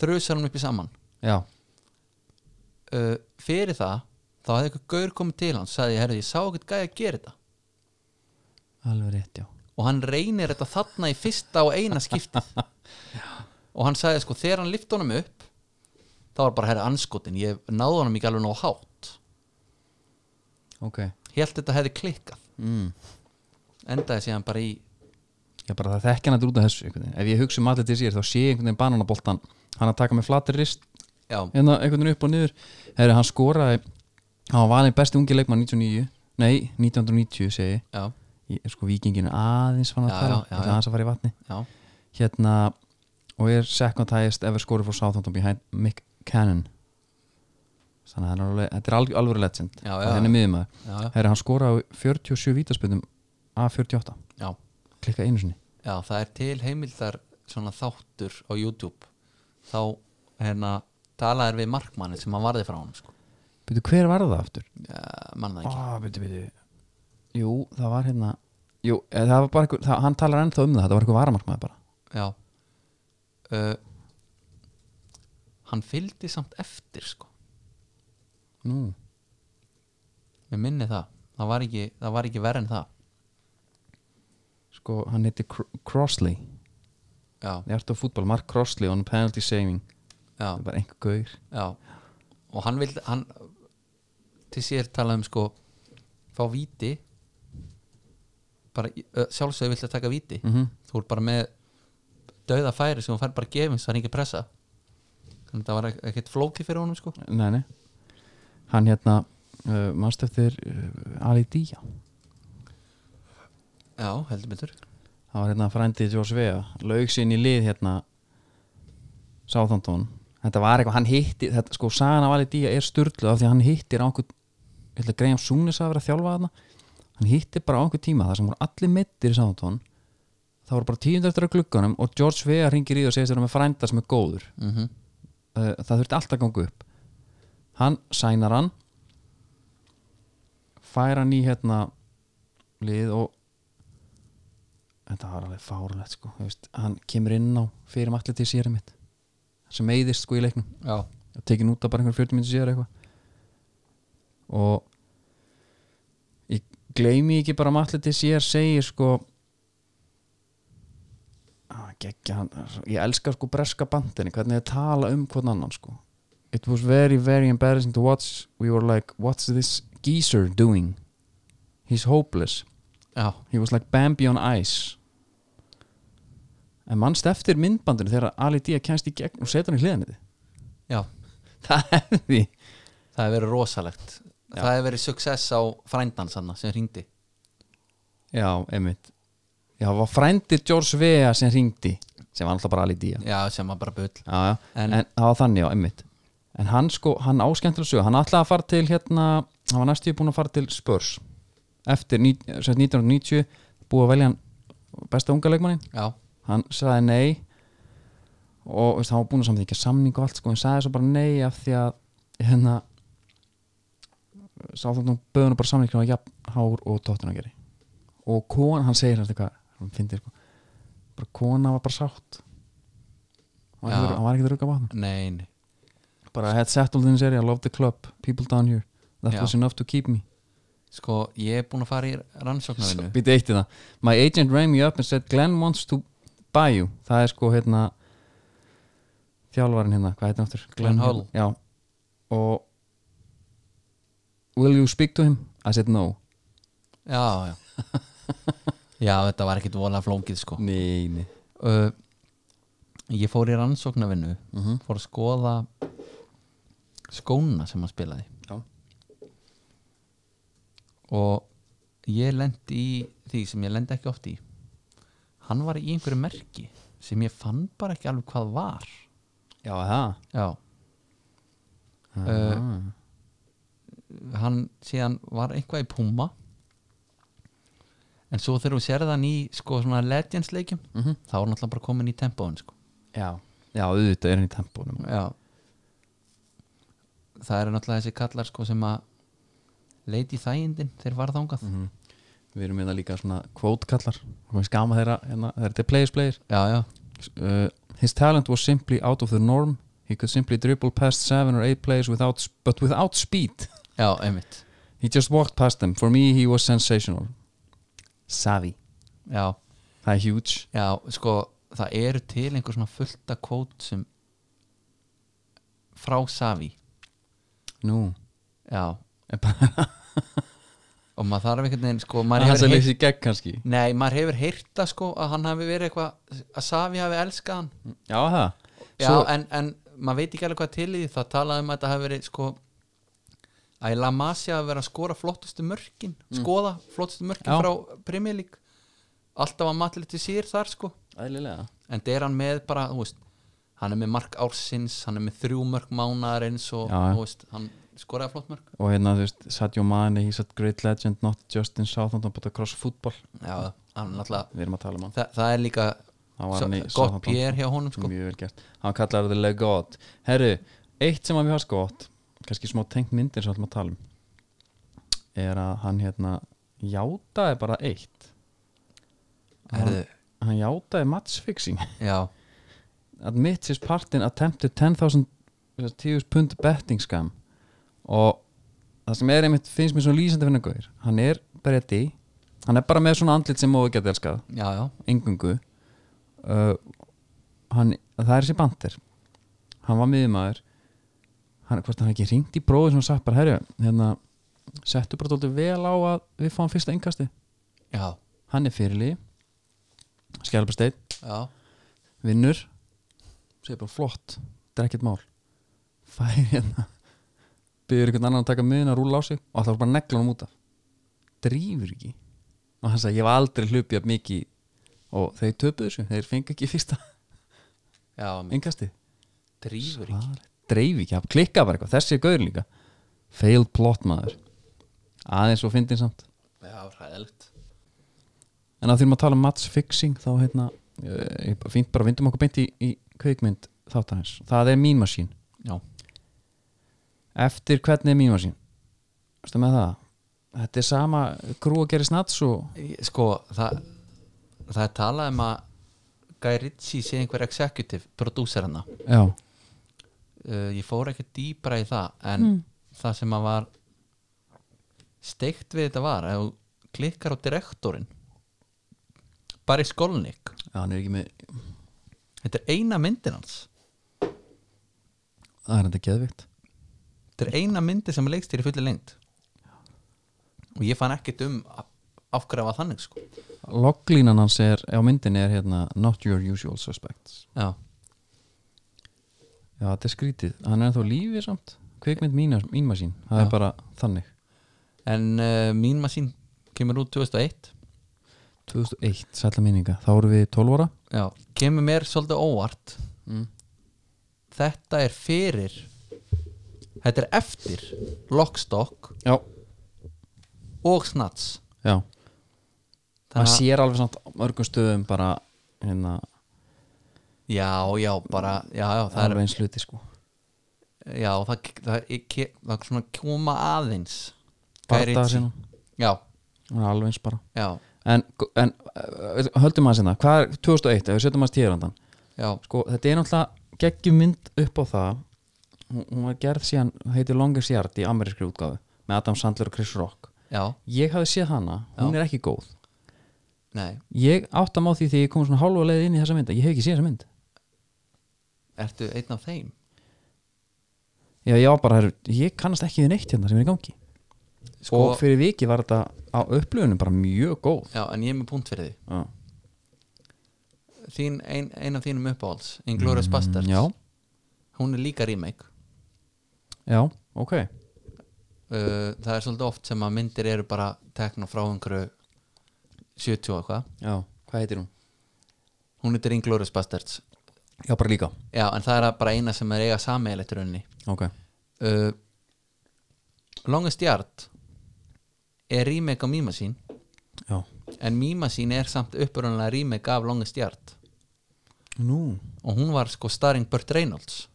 Speaker 3: þrjusar hann upp í saman
Speaker 2: já,
Speaker 3: uh, fyrir það þá hefði eitthvað gaur komið til hans sagði, herrðu, ég sá ekkert gæði að gera þetta
Speaker 2: alveg rétt, já
Speaker 3: og hann reynir þetta þarna í fyrsta og eina skiptið og hann sagði sko, þegar hann lifti honum upp þá var bara herra anskotin ég náði honum ekki alveg nóg hátt
Speaker 2: ok,
Speaker 3: held þetta hefði klikkað
Speaker 2: mm.
Speaker 3: endaði síðan bara í
Speaker 2: ég bara það þekki hann að út af þessu einhvern veginn. ef ég hugsa um allir til sér þá sé ég einhvern veginn bananaboltan hann að taka með flatir rist
Speaker 3: já,
Speaker 2: hérna einhvern veginn upp og niður Heri, hann skoraði, hann var valinn besti ungi leikmann 99, nei 1990 segi,
Speaker 3: já,
Speaker 2: ég, Ég- sko vikinginu aðeins fann að
Speaker 3: Já,
Speaker 2: tala,
Speaker 3: já, já,
Speaker 2: ætla
Speaker 3: já.
Speaker 2: aðeins að fara í vatni
Speaker 3: já,
Speaker 2: hérna og er second highest ever scorer for Southampton behind Mick Cannon þannig að hann er alveg, þetta er alveg, alveg legend
Speaker 3: Já, já.
Speaker 2: Og hann er hérna miðum að
Speaker 3: Já, já.
Speaker 2: hann skora á 47 vítaspöndum að 48,
Speaker 3: já,
Speaker 2: klikka einu sinni
Speaker 3: já það er til heimildar svona þáttur á YouTube þá hérna talaðir við markmanni sem hann varði frá honum sko.
Speaker 2: byrju, hver var það aftur?
Speaker 3: já, mann það ekki
Speaker 2: Ah, byrju, byrju. Jú, það var hérna Jú, eh, það var bara einhver, það, hann talar ennþá um það þetta var eitthvað varamarkmaði bara
Speaker 3: já uh, hann fylgdi samt eftir sko
Speaker 2: Nú,
Speaker 3: mér minni það, það var ekki, það var ekki verð en það
Speaker 2: sko, hann heiti Cro- Crossley
Speaker 3: já,
Speaker 2: Ég ert á fútbol, Mark Crossley on penalty saving
Speaker 3: já,
Speaker 2: það er bara einhver gaur
Speaker 3: já og hann vildi hann, til sér talaði um sko fá víti bara uh, sjálfsögðu vildi að taka víti
Speaker 2: mm
Speaker 3: þú er bara með dauða færi sem hún fær bara gefins, það er ekki pressa þannig að það var ek- ekkert flóki fyrir honum sko
Speaker 2: Nei, nei Hann hérna, uh, manst eftir uh, Ali Día
Speaker 3: já, heldur betur
Speaker 2: Það var hérna frændið George Vea Laug sín í lið hérna Southampton Þetta var eitthvað, hann hitti þetta, Sko, sagan af Ali Día er sturlu Af því að hann hittir á einhvern Ég ætla að greiða um Súnis að vera að þjálfa þarna Hann hittir bara á einhvern tíma þar sem voru allir mittir í Southampton Það voru bara tíundar eftir að glugganum Og George Vea ringir í og segist þér með frænda sem er góður
Speaker 3: mm
Speaker 2: uh, það þurfti alltaf að ganga upp hann sænar hann fær hann í hérna lið og þetta var alveg fárlegt sko þú veist, hann kemur inn á fyrir allir til sérum mitt sem meiðist sko í leiknum
Speaker 3: já,
Speaker 2: og tekin út af bara einhver 40 minnir sér eitthvað og ég gleymi ekki bara matli til sér segir sko Ah, geggja, hann, ég elska sko breska bandinni hvernig þið tala um hvern annan sko it was very very embarrassing to watch we were like what's this geezer doing he's hopeless
Speaker 3: já,
Speaker 2: he was like Bambi on ice en mannst eftir myndbandinu þegar Ali D kennst í gegn og setur hann í hliðinni
Speaker 3: já
Speaker 2: [laughs] það hefði
Speaker 3: það hefur verið rosalegt það hefur verið success á frændan sanna sem hringdi
Speaker 2: já, einmitt já, það var frændir George Vea sem ringdi sem var alltaf bara Ali D já,
Speaker 3: já, sem var bara bull
Speaker 2: já,
Speaker 3: En-
Speaker 2: en, það var þannig já, einmitt en hann sko, hann áskemmtilega sög hann ætlaði að fara til hérna hann var næstíð búin að fara til Spurs eftir ní- sem sagt 1990 búið að velja hann besta unga leikmannin
Speaker 3: já,
Speaker 2: hann sagði nei og veist, hann var búin að samþykja samning og allt sko, hann sagði svo bara nei af því að hérna sá þannig að böðunum bara samning hann jafn hár og tóttuna geri og kona, hann segir hans eitthvað hann finnir sko, bara kona var bara sátt hann var
Speaker 3: Já.
Speaker 2: ekkert- hann var ekki að rugga vatn
Speaker 3: nei, nei
Speaker 2: bara I had settled in this area, I love the club people down here, that
Speaker 3: Já.
Speaker 2: was enough to keep me
Speaker 3: sko, ég er búin að fara í rannsóknarvinnu
Speaker 2: Býti eitt í það My agent rang me up and said Glenn wants to buy you Það er sko hérna Þjálfarinn hérna, hvað heitir hann aftur?
Speaker 3: Glenn Hull.
Speaker 2: Já Og Will you speak to him? I said no
Speaker 3: já, já [laughs] já, þetta var ekkit vola flókið sko
Speaker 2: Nei, nei
Speaker 3: uh, ég fór í rannsóknarvinnu fór að skoða skóna sem hann spilaði
Speaker 2: Já.
Speaker 3: og ég lendi í því sem ég lendi ekki oft í hann var í einhverju merki sem ég fann bara ekki alveg hvað var
Speaker 2: Já, það
Speaker 3: já uh, Eh, hann síðan var eitthvað í Puma en svo þegar þú sérði hann í sko svona Legends leikjum þá er hann alltaf bara komin í tempóin sko
Speaker 2: Já, já, auðvitað er hann í tempónum
Speaker 3: Já Það eru náttúrulega þessi kallar sko sem að leiti í þægindin þeir var þangað
Speaker 2: Við erum hérna líka svona kvótkallar Hún veist gama þeirra, hérna, þeirra til players players
Speaker 3: Já, já,
Speaker 2: uh, his talent was simply out of the norm he could simply dribble past seven or eight players without but without speed
Speaker 3: já, einmitt
Speaker 2: he just walked past them for me he was sensational savvy
Speaker 3: Já,
Speaker 2: það er huge
Speaker 3: já, sko það eru til einhver svona fullta kvót sem frá Savi
Speaker 2: [laughs] nú
Speaker 3: Já,
Speaker 2: er bara
Speaker 3: og maður þarf einhvern veginn sko, maður
Speaker 2: hans
Speaker 3: hefur
Speaker 2: að
Speaker 3: heyrt
Speaker 2: leysa í gegn kannski
Speaker 3: Nei, maður hefur heyrta sko að hann hafi verið eitthvað að Savi hafi elskað hann
Speaker 2: já það
Speaker 3: Já, en, en maður veit ekki alveg hvað til í því það talaði um að þetta hafi verið sko að í La Masia hafi verið að skora flottustu mörkin skoða flottustu mörkin
Speaker 2: Mm. Já.
Speaker 3: frá Premier League alltaf að matla til sér þar sko
Speaker 2: æðlilega
Speaker 3: en það er hann með bara, þú veist hann er með mark ársins, hann er með þrjú mörk mánaðarins og
Speaker 2: Já, já.
Speaker 3: þú veist, hann skoraði flott mörk
Speaker 2: og hérna þú veist Sadio Mane he's a great legend not just in Southampton but across football
Speaker 3: Já, hann náttúrulega
Speaker 2: við erum að tala um hann
Speaker 3: það, það er líka
Speaker 2: Hann var
Speaker 3: svo-
Speaker 2: hann í
Speaker 3: gott
Speaker 2: Southampton.
Speaker 3: pér hjá honum sko
Speaker 2: mjög vel gert hann kallar það legot herru, eitt sem að mér varst gott kannski smá tengt myndir sem við ætlum að tala um er að hann hérna játaði bara eitt
Speaker 3: Herðu,
Speaker 2: hann játaði matchfixing
Speaker 3: já,
Speaker 2: admits his part in attempted 10.000 10.000 pund betting scam og það sem er einmitt finnst mér svona lýsandi fyrir gauðir hann er bretti hann er bara með svona andlit sem móðu geta elskað
Speaker 3: já, já,
Speaker 2: engungu uh, hann, það er þessi bandir hann var miðumæður hann, hvort hann hafi ekki ringt í bróði sem hann sagt bara, herru, hérna settu bara tóltu vel á að við fáum fyrsta engasti
Speaker 3: já,
Speaker 2: hann er fyrirli skjálpasteinn,
Speaker 3: já
Speaker 2: vinnur segir bara flott, þetta er ekkert mál fær hérna byrður einhvern annan að taka miðin að rúla á sig og það var bara negla hann út af drífur ekki og hann sagði, ég var aldrei hlupið af mikið og þeir töpuðu þessu, þeir fengi ekki fyrsta [laughs]
Speaker 3: já, mér
Speaker 2: engastið
Speaker 3: drífur ekki
Speaker 2: dreif ekki, hann klikkaði bara eitthvað þessi er gaur líka failed plot maður aðeins og fyndin samt
Speaker 3: já, hræðilegt
Speaker 2: en að því að tala um matchfixing þá hérna, eh, ég bara- fínt bara vindum okkur beint í, í kveikmynd þáttanins það er mín masín
Speaker 3: já,
Speaker 2: eftir hvernig er mín masín veistu með það þetta er sama grú að gera snats og
Speaker 3: Ég- sko það, það er talað um að Guy Ritchie sé einhver executive producer hana
Speaker 2: já,
Speaker 3: uh, ég fór ekki dýpra í það en það sem að var steikt við þetta var ef þú klikkar á direktorinn bara í skólnik
Speaker 2: Já, hann er ekki með
Speaker 3: þetta er eina myndin hans
Speaker 2: Það er hann þetta geðvikt
Speaker 3: þetta er eina myndi sem er leikstýri fulli lengt og ég fann ekkert um af af hverju það var þannig sko
Speaker 2: Loglínan hans er, á myndinni er hérna Not your usual suspects
Speaker 3: já,
Speaker 2: Já, þetta er skrítið, hann er ennþá á lífi samt Kveikmynd mína, mín masín, það er
Speaker 3: Já.
Speaker 2: bara þannig
Speaker 3: en uh, mín masín kemur út 2001
Speaker 2: 2001, sætla minninga, þá eru við 12 ára
Speaker 3: já, Mm. kemur mér svolítið óvart þetta er fyrir þetta er eftir Lockstock
Speaker 2: Já,
Speaker 3: og Snats
Speaker 2: já, maður
Speaker 3: að,
Speaker 2: sér alveg samt á mörgum stöðum bara hérna,
Speaker 3: já, já, bara já, já, það er
Speaker 2: alveg eins hluti sko
Speaker 3: já, það, það, það, það svona koma aðeins Guy
Speaker 2: Bardaga
Speaker 3: Ritchie.
Speaker 2: sinna,
Speaker 3: já,
Speaker 2: hún er alveg eins bara
Speaker 3: já,
Speaker 2: En, en uh, höldum aðeins hérna, hvað er 2001, ef við setjum aðeins tíðrandan
Speaker 3: já
Speaker 2: sko, þetta er náttúrulega geggjumynd upp á það hún, hún var gerð síðan, heiti Longest Yard í amerískri útgáfu með Adam Sandler og Chris Rock
Speaker 3: Já,
Speaker 2: ég hafði séð hana, hún er ekki góð
Speaker 3: nei,
Speaker 2: ég áttam á því því ég kom svona hálfa leið inn í þessa mynd að ég hef ekki séð þessa mynd
Speaker 3: ertu einn af þeim?
Speaker 2: já, já, bara, heru, ég kannast ekki við neitt hérna sem er í gangi
Speaker 3: Sko,
Speaker 2: og fyrir viki var þetta á upplöfunum bara mjög góð
Speaker 3: já, en ég er með punkt fyrir
Speaker 2: já,
Speaker 3: því Þín, ein, ein af þínum uppáhalds Inglourious Bastards
Speaker 2: Mm, já,
Speaker 3: Hún er líka remake
Speaker 2: já ok
Speaker 3: uh, Það er svolítið oft sem að myndir eru bara tekna frá einhverju 70 og eitthvað
Speaker 2: já, hvað heitir hún?
Speaker 3: Hún heitir Inglourious Bastards
Speaker 2: já, bara líka
Speaker 3: Já, en það er bara eina sem er eiga sameigilegt raunni
Speaker 2: ok,
Speaker 3: uh, Longest Yard er remake á Mima sín
Speaker 2: já,
Speaker 3: en Mima sín er samt upprunnilega remake af Longest Yard
Speaker 2: nú
Speaker 3: og hún var sko starring Burt Reynolds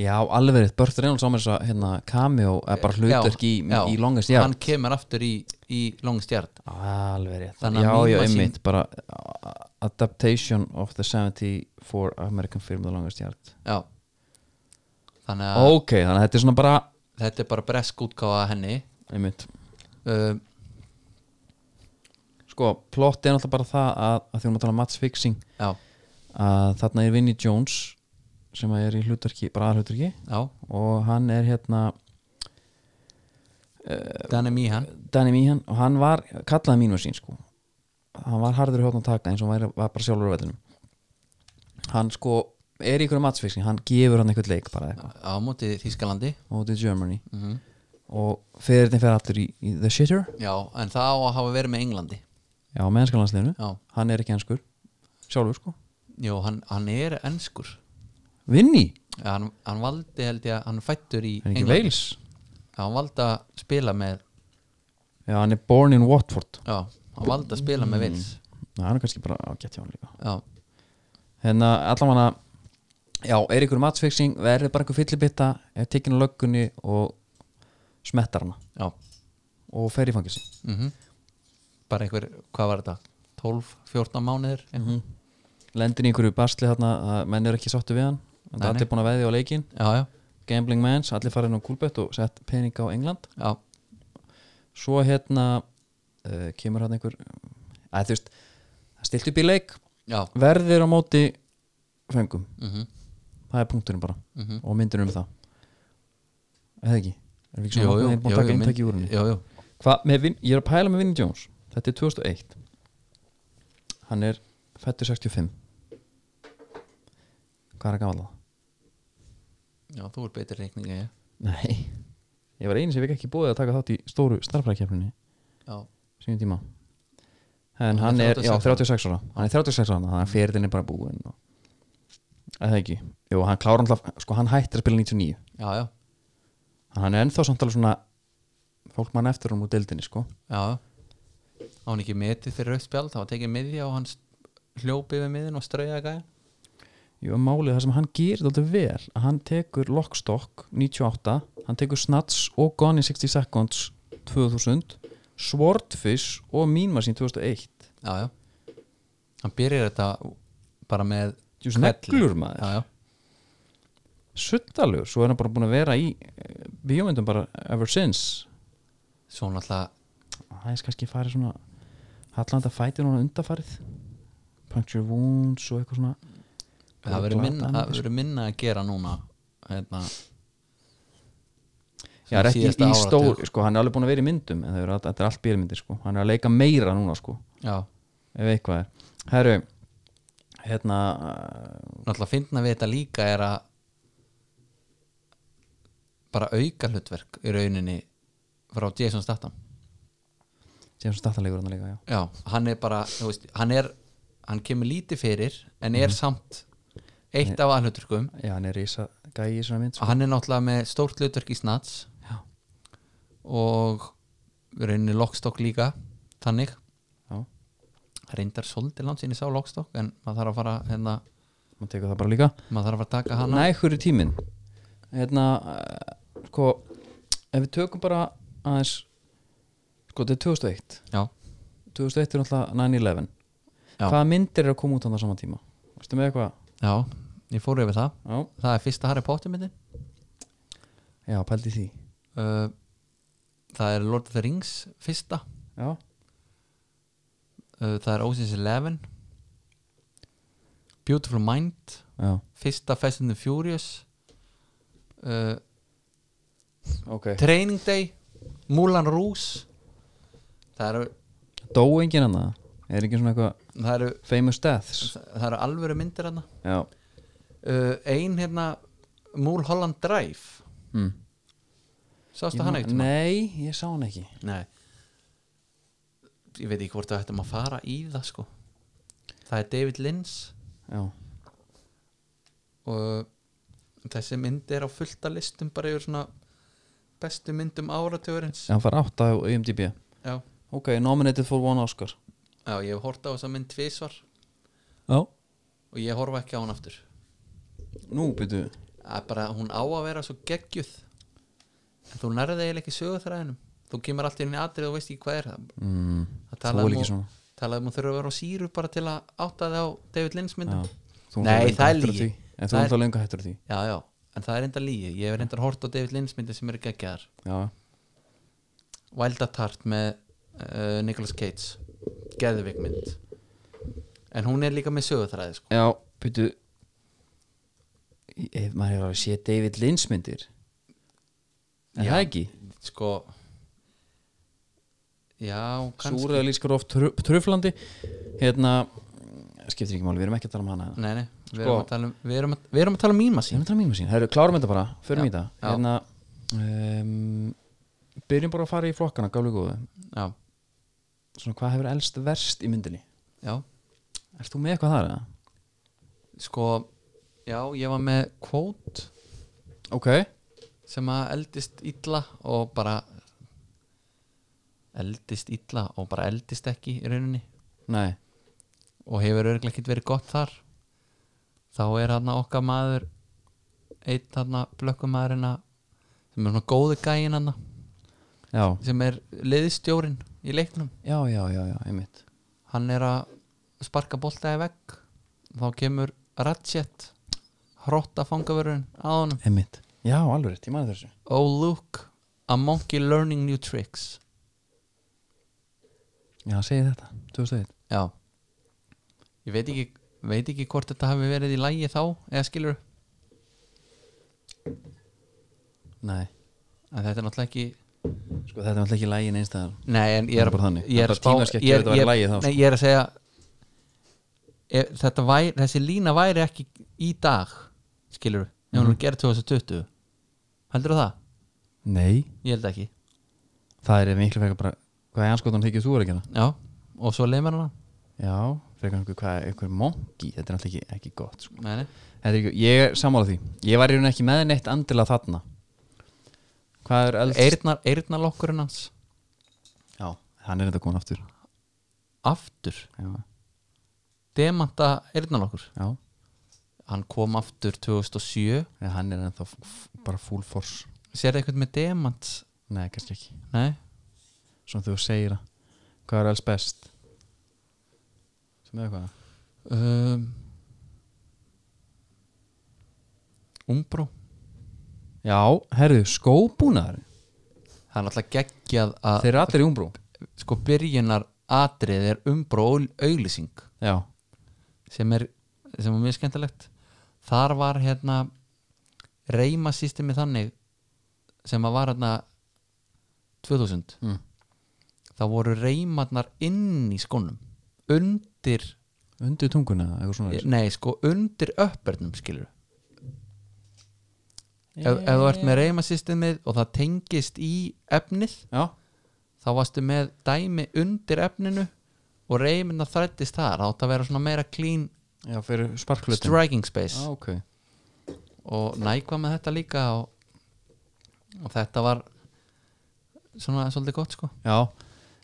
Speaker 2: Já, alveg rétt, Burt Reynolds á mér svo hérna cameo, eða bara hlutverk í,
Speaker 3: Já,
Speaker 2: í
Speaker 3: já.
Speaker 2: longest yard
Speaker 3: hann kemur aftur í, í longest yard
Speaker 2: Alveg rétt,
Speaker 3: Þannig
Speaker 2: já,
Speaker 3: að
Speaker 2: já,
Speaker 3: míma sín-
Speaker 2: einmitt bara uh, Adaptation of the 74 American Film The Longest Yard
Speaker 3: já þannig að
Speaker 2: Ok, þannig að þetta er svona bara
Speaker 3: þetta er bara bresk útgáfa af henni
Speaker 2: einmitt,
Speaker 3: uh,
Speaker 2: sko, plott er náttúrulega bara það að, að því hún að tala um matchfixing
Speaker 3: já,
Speaker 2: að þarna er Vinnie Jones sem að er í hlutverki, bara aðhlutverki
Speaker 3: já,
Speaker 2: og hann er hérna
Speaker 3: Danny Meehan
Speaker 2: Danny Meehan og hann var, kallaði mínu sín sko hann var harður í hóttan að taka eins og hann væri- var bara sjálfur á vellinum hann sko er í einhverju matsfixing, hann gefur hann einhvern leik bara eitthvað,
Speaker 3: á móti Þískalandi
Speaker 2: og þetta er Germany
Speaker 3: mm
Speaker 2: og fyrirtin fer allir í, í The Shitter
Speaker 3: já, en það á að hafa verið með Englandi
Speaker 2: já, með enskalansliðinu,
Speaker 3: já,
Speaker 2: hann er ekki enskur sjálfur sko,
Speaker 3: Jó, hann, hann er ennskur
Speaker 2: Vinni
Speaker 3: Já, hann, hann valdi held ég að hann er fættur í
Speaker 2: hann er ekki
Speaker 3: Englandi.
Speaker 2: Wales,
Speaker 3: já, hann valdi að spila með
Speaker 2: já, hann er born in Watford
Speaker 3: já, hann valdi að spila
Speaker 2: Mm.
Speaker 3: með Wales
Speaker 2: Ná, hann er kannski bara á gett hjá hann líka
Speaker 3: já,
Speaker 2: hérna allavega já, er ykkur matsfixing, verður bara einhver fyllibitta er tekinn á löggunni og smettar hana
Speaker 3: já
Speaker 2: og fer í fangilsi
Speaker 3: mm bara einhver, hvað var þetta 12, 14 mánuðir mm
Speaker 2: Mhm. lendir í einhverju basli þarna að menn eru ekki sáttu við hann en það
Speaker 3: Nei,
Speaker 2: er allir búin að veðja á leikin
Speaker 3: já, já,
Speaker 2: gambling mans, allir farin á kúlbett og sett pening á England
Speaker 3: já,
Speaker 2: svo hérna uh, kemur hann einhver að þú veist, það stilt upp í leik
Speaker 3: já
Speaker 2: verðir á móti fengum,
Speaker 3: mm -hmm.
Speaker 2: það er punkturinn bara
Speaker 3: Mhm.
Speaker 2: og myndir um það eða ekki, er við ekki svona nokkuð búin að taka eintaki úr henni
Speaker 3: jú, jú.
Speaker 2: Hva, með, Vin- ég er að pæla með Vinnie Jones þetta er 2001 hann er fættur 65 hvað er að gamla það?
Speaker 3: já, þú er betri reikningi ég
Speaker 2: Nei Ég var einu sem fikk ekki búið að taka þátt í stóru starfræðkeppninni
Speaker 3: já,
Speaker 2: sínum tíma En
Speaker 3: Hann
Speaker 2: hann
Speaker 3: er
Speaker 2: er, já,
Speaker 3: 36
Speaker 2: 36 ára Hann er 36 ára, þannig að fyrirtin er bara búin og... Eða ekki Jú, hann klára alltaf, sko hann hættir að spila 99
Speaker 3: já, já,
Speaker 2: Þannig að Hann er ennþá samt alveg svona Fólk mann eftir hann úr deildinni, sko
Speaker 3: já á hann ekki metið fyrir rauðspjald það var tekið miðja og hann hljópið við miðin og straujaði gæja
Speaker 2: Jú, málið það sem hann gerir þetta vel að hann tekur Lockstock 98 hann tekur Snats og Gone in 60 Seconds 2000 Swordfish og Mínmasín 2001
Speaker 3: já, já hann byrjar þetta bara með
Speaker 2: Jú,
Speaker 3: hvelli.
Speaker 2: sneglur maður
Speaker 3: já, já,
Speaker 2: suttalegur, svo er hann bara búin að vera í eh, bíómyndum bara ever since
Speaker 3: svo náttúrulega
Speaker 2: það er kannski farið svona Hallanda fæti núna undarfarið puncture wounds og eitthvað svona
Speaker 3: það verður
Speaker 2: Glata
Speaker 3: minna, það
Speaker 2: mikið, sko.
Speaker 3: verður minna að gera núna hérna
Speaker 2: Já, það er
Speaker 3: síðasta
Speaker 2: ekki í
Speaker 3: áratug.
Speaker 2: stóri, sko, hann er alveg búin að vera í myndum en það eru all- þetta er allt bílmyndir, sko, hann er að leika meira núna, sko,
Speaker 3: já,
Speaker 2: ef eitthvað er Herru, hérna uh,
Speaker 3: náttúrulega fyndna við þetta líka er að bara auka hlutverk í rauninni frá Jason Statham
Speaker 2: James Stathalegur hann að leika, já
Speaker 3: já, hann er bara, þú veist, hann er hann kemur lítið fyrir en er samt eitt af aðhlutverkum
Speaker 2: Já, hann er rísa gæi í svona mynd, sko
Speaker 3: hann er náttúrulega með stórt hlutverk í Snats
Speaker 2: Já,
Speaker 3: og í rauninni Lockstock líka þannig
Speaker 2: já,
Speaker 3: reyndar svolítið langt sinni sá Lockstock en maður þarf að fara hérna,
Speaker 2: maður tekur það bara líka
Speaker 3: maður þarf að fara að taka hana
Speaker 2: Nægur í tíminn Hérna, uh, sko ef við tökum bara aðeins sko, þetta er 2001
Speaker 3: já,
Speaker 2: 2001 er náttúrulega 9-11
Speaker 3: Já.
Speaker 2: Hvaða myndir eru að koma út á það sama tíma? Varstu með eitthvað?
Speaker 3: já, ég fór yfir það
Speaker 2: Já,
Speaker 3: það er fyrsta Harry Potter myndin
Speaker 2: já, pældi í því
Speaker 3: uh, það er Lord of the Rings fyrsta
Speaker 2: Já,
Speaker 3: uh, það er Ocean's Eleven Beautiful Mind
Speaker 2: já,
Speaker 3: fyrsta Fast and the Furious uh,
Speaker 2: ok
Speaker 3: Training Day Moulin Rouge það eru,
Speaker 2: Dó enginn annað? hérna, Er enginn svona eitthvað
Speaker 3: það eru,
Speaker 2: famous deaths?
Speaker 3: það eru alvöru myndir hana
Speaker 2: Já
Speaker 3: uh, ein hérna Mulholland Drive
Speaker 2: mm.
Speaker 3: sástu hann
Speaker 2: Ég
Speaker 3: eitt
Speaker 2: man- Nei, ég sá hann ekki
Speaker 3: Nei ég veit ekki hvort við ættum að fara í það sko það er David Lins
Speaker 2: Já,
Speaker 3: og þessi mynd er á fullta listum bara yfir svona bestu myndum áratugurins
Speaker 2: hann fær 8 á IMDb
Speaker 3: já.
Speaker 2: Ok, nominated for one Oscar
Speaker 3: já, ég hef hort á þessa mynd tvisvar
Speaker 2: Já
Speaker 3: og ég horfa ekki á hann aftur
Speaker 2: Nú, byrju
Speaker 3: það er bara, hún á að vera svo geggjuð en þú nærði eiginlega ekki sögutræðinum þú kemur alltaf inn í atrið og veist ekki hvað er það
Speaker 2: mm.
Speaker 3: það
Speaker 2: Þú er
Speaker 3: talaði
Speaker 2: ekki
Speaker 3: um,
Speaker 2: svona
Speaker 3: og, talaði um að þurfa að vera á síru bara til að átta þig á David Lynch myndum
Speaker 2: Já. Þú
Speaker 3: Nei,
Speaker 2: náttúrulega
Speaker 3: það er
Speaker 2: löngu hættur
Speaker 3: lygi.
Speaker 2: af því. En þú
Speaker 3: Það
Speaker 2: er
Speaker 3: er-
Speaker 2: alltaf lengur hættur af því
Speaker 3: já, já, en það er enda lígi ég hef enda hort á David Lynch myndi sem eru geggjaðar
Speaker 2: Já,
Speaker 3: Wild at Heart með uh, Nicolas Cage geðvik mynd en hún er líka með sögutræði sko.
Speaker 2: já byrju Ef maður hefur að sé David Lynch myndir Er
Speaker 3: Já.
Speaker 2: það ekki?
Speaker 3: sko já, kannski
Speaker 2: Súræðalískur oft tru- truflandi Hérna Skiptir ekki máli, við erum ekki að tala um hana
Speaker 3: nei, nei, við,
Speaker 2: Sko.
Speaker 3: erum að tala um, við, erum að, við erum að tala um míma
Speaker 2: Ég
Speaker 3: sín
Speaker 2: er að tala mínu sín, herru, klárum þetta bara, förum
Speaker 3: Já,
Speaker 2: í það
Speaker 3: já.
Speaker 2: hérna um, byrjum bara að fara í flokkana, gálu góðu
Speaker 3: já,
Speaker 2: svona hvað hefur elst verst í myndinni
Speaker 3: já,
Speaker 2: Erst þú með eitthvað þar eða?
Speaker 3: sko já, ég var með kvót
Speaker 2: Ok,
Speaker 3: sem að eldist illa og bara eldist illa og bara eldist ekki í rauninni
Speaker 2: nei,
Speaker 3: og hefur örglega ekkert verið gott þar þá er hann okkar maður einn hann blökkumaðurinn að- sem er svona góðu gæin hann
Speaker 2: já
Speaker 3: sem er liðstjórin í leiknum
Speaker 2: Já, já, já, já, einmitt
Speaker 3: hann er að sparka bolta í vegg þá kemur Ratchet hrotta fangavörurinn að honum
Speaker 2: Einmitt, já, alveg rétt, ég mani þessu
Speaker 3: Oh look, a monkey learning new tricks
Speaker 2: Já, segi þetta, 2001
Speaker 3: Já Ég veit ekki, veit ekki hvort þetta hafi verið í lægi þá eða skilur
Speaker 2: Nei,
Speaker 3: en þetta er náttúrulega ekki
Speaker 2: sko þetta er alltaf ekki lægin einstæðar
Speaker 3: Nei, en ég
Speaker 2: Það
Speaker 3: er
Speaker 2: er bara þannig.
Speaker 3: Ég
Speaker 2: Það
Speaker 3: er
Speaker 2: er
Speaker 3: að
Speaker 2: bara
Speaker 3: spá
Speaker 2: tímaskekkja
Speaker 3: ég,
Speaker 2: ef þetta væri
Speaker 3: ég-
Speaker 2: lagið þá, sko.
Speaker 3: Nei, ég er að segja e, þetta væri, þessi lína væri ekki í dag skilur ef
Speaker 2: Mhm.
Speaker 3: hún er gerð 2020 Heldur það?
Speaker 2: Nei,
Speaker 3: Ég held ekki
Speaker 2: það er miklu frekar bara hvað er anskotan þykir þú er að gera
Speaker 3: Já, og svo leið mér hana
Speaker 2: Já, frekar einhver, hvað, einhver mongi þetta er alltaf ekki, ekki gott sko.
Speaker 3: Nei, nei
Speaker 2: Þetta er ekki, ég er sammála því Ég var í raun ekki með neitt andila þarna Hvað er elst
Speaker 3: Eyrnar, eyrnalokkurinn hans
Speaker 2: Já, hann er þetta komin aftur
Speaker 3: aftur,
Speaker 2: Já,
Speaker 3: demanta eyrnalokkur
Speaker 2: já.
Speaker 3: hann kom aftur 2007
Speaker 2: Nei, hann er ennþá f- f- bara full force
Speaker 3: Sérðu eitthvað með demant
Speaker 2: Nei, kannski ekki
Speaker 3: Nei,
Speaker 2: Svona þegar þú segir það Hvað er elst best? Sem eða hvað?
Speaker 3: um, Umbrú
Speaker 2: Já, herðu, skóbúnaður
Speaker 3: það er náttúrulega geggjað að
Speaker 2: þeir eru allir í umbrú
Speaker 3: sko byrjunar atrið er umbró auðlýsing
Speaker 2: já,
Speaker 3: sem er sem er mjög skemmtilegt þar var hérna reyma systemi þannig sem að var hérna 2000
Speaker 2: Mm.
Speaker 3: þá voru reymarnar inn í skónum undir,
Speaker 2: undir tunguna eða eitthvað svona
Speaker 3: nei sko undir öppernum skilur ef, ef þú ert með reyma systemið og það tengist í efnið
Speaker 2: já,
Speaker 3: þá varstu með dæmi undir efninu og reyminna þrættist þar þá átt að vera svona meira clean
Speaker 2: já, fyrir sparklutin
Speaker 3: striking space
Speaker 2: ah, ok,
Speaker 3: og nækva með þetta líka og, og þetta var svona svolítið gott sko
Speaker 2: já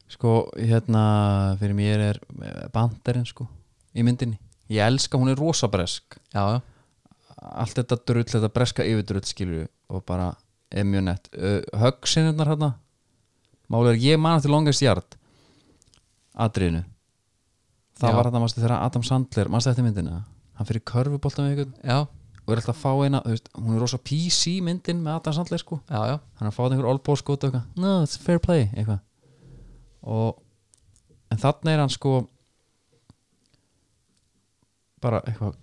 Speaker 2: sko, hérna, fyrir mér er eh, banderinn, sko, í myndinni ég elska, hún er rosa bresk
Speaker 3: já, já,
Speaker 2: allt þetta drull, þetta breska yfirdrull skilur og bara er mjög nett uh, högsinirnar hérna málið er ég man eftir longest yard atriðinu það
Speaker 3: Já.
Speaker 2: var þetta mannstu þegar Adam Sandler mannstu eftir myndina, hann fyrir körfubolta með ykkur
Speaker 3: já,
Speaker 2: og er alltaf að fá eina, þú veist, hún er rosa PC myndin með Adam Sandler sko
Speaker 3: já, já,
Speaker 2: hann er að fá einhver olbó skot og eitthvað no, it's fair play, eitthvað og, en þarna er hann sko bara eitthvað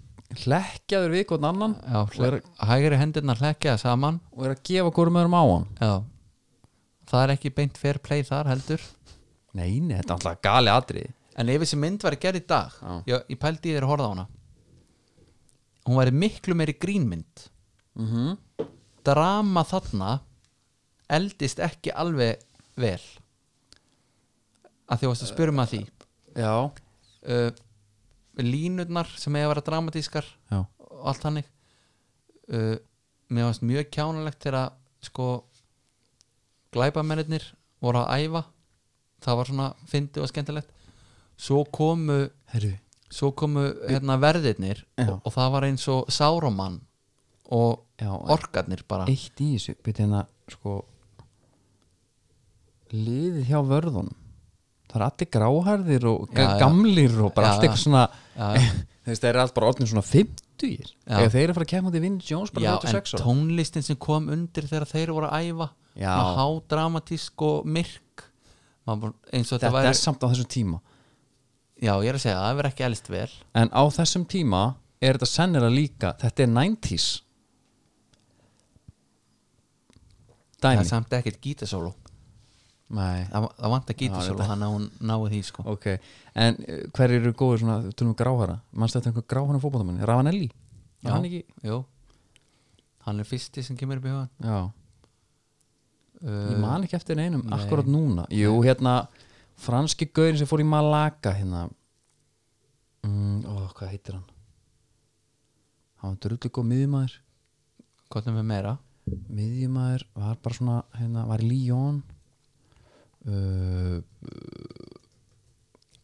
Speaker 2: hlekkjaður við hvort annan
Speaker 3: já
Speaker 2: Og er-
Speaker 3: hle, hægri hendirnar hlekkja saman
Speaker 2: og er að gefa hvorum öðrum á hann
Speaker 3: já, það er ekki beint fair play þar heldur
Speaker 2: Nei, nei, þetta er alltaf gali atrið
Speaker 3: en ef þessi mynd væri gerð í dag
Speaker 2: Já.
Speaker 3: ég, ég pældi í þér að horfa á hana hún væri miklu meiri grínmynd
Speaker 2: mm -hmm.
Speaker 3: drama þarna eldist ekki alveg vel að því varst að spyrja mig að því
Speaker 2: Já
Speaker 3: uh, línurnar sem eiga að vera dramatískar
Speaker 2: Já,
Speaker 3: og allt hannig uh, mér varst mjög kjánalegt þegar að sko glæpamennir voru að æfa það var svona fyndi og skemmtilegt svo komu,
Speaker 2: herru
Speaker 3: svo komu hérna, verðirnir
Speaker 2: Já.
Speaker 3: og, og það var eins og Sároman og
Speaker 2: Já,
Speaker 3: orkarnir bara
Speaker 2: eitt í þessu byrja hérna, sko liðið hjá vörðunum það er allir gráhærðir og ga-
Speaker 3: Já, já.
Speaker 2: gamlir og bara
Speaker 3: Já,
Speaker 2: allt eitthvað
Speaker 3: já.
Speaker 2: svona
Speaker 3: Já, já.
Speaker 2: [laughs] þú veist, það er allt bara orðin svona 50
Speaker 3: Já.
Speaker 2: eða þeir eru að fara að kemja út í Vinn Jones bara
Speaker 3: Já, en
Speaker 2: 36 ára
Speaker 3: tónlistin sem kom undir þegar þeir voru að æfa
Speaker 2: Já.
Speaker 3: svona hádramatísk og myrk Maður bara- eins og
Speaker 2: þetta
Speaker 3: þetta væri
Speaker 2: er samt á þessum tíma
Speaker 3: Já, ég er að segja það, það verður ekki elst vel
Speaker 2: en á þessum tíma er þetta sennilega líka þetta er 90s
Speaker 3: Það er
Speaker 2: dæmi
Speaker 3: samt ekkert gítasólu
Speaker 2: Nei,
Speaker 3: Það, það vant að gítasólu, hann að hún nái því sko
Speaker 2: ok, en eh, hverjir eru góður svona, þú tölum við gráhara mannstu þetta einhver gráhara fótbollamenn, Ravanelli
Speaker 3: Já.
Speaker 2: hann ekki,
Speaker 3: Jú Hann er fyrsti sem kemur upp í hugan
Speaker 2: já, ég
Speaker 3: uh,
Speaker 2: man ekki eftir neinum akkurat núna, jú, hérna franski gaurin sem fór í Malaga hérna mm, ó, hvað heitir hann hann var drullu góð miðjumæður
Speaker 3: Kottum við meira
Speaker 2: miðjumæður var bara svona hérna, var í Líón uh,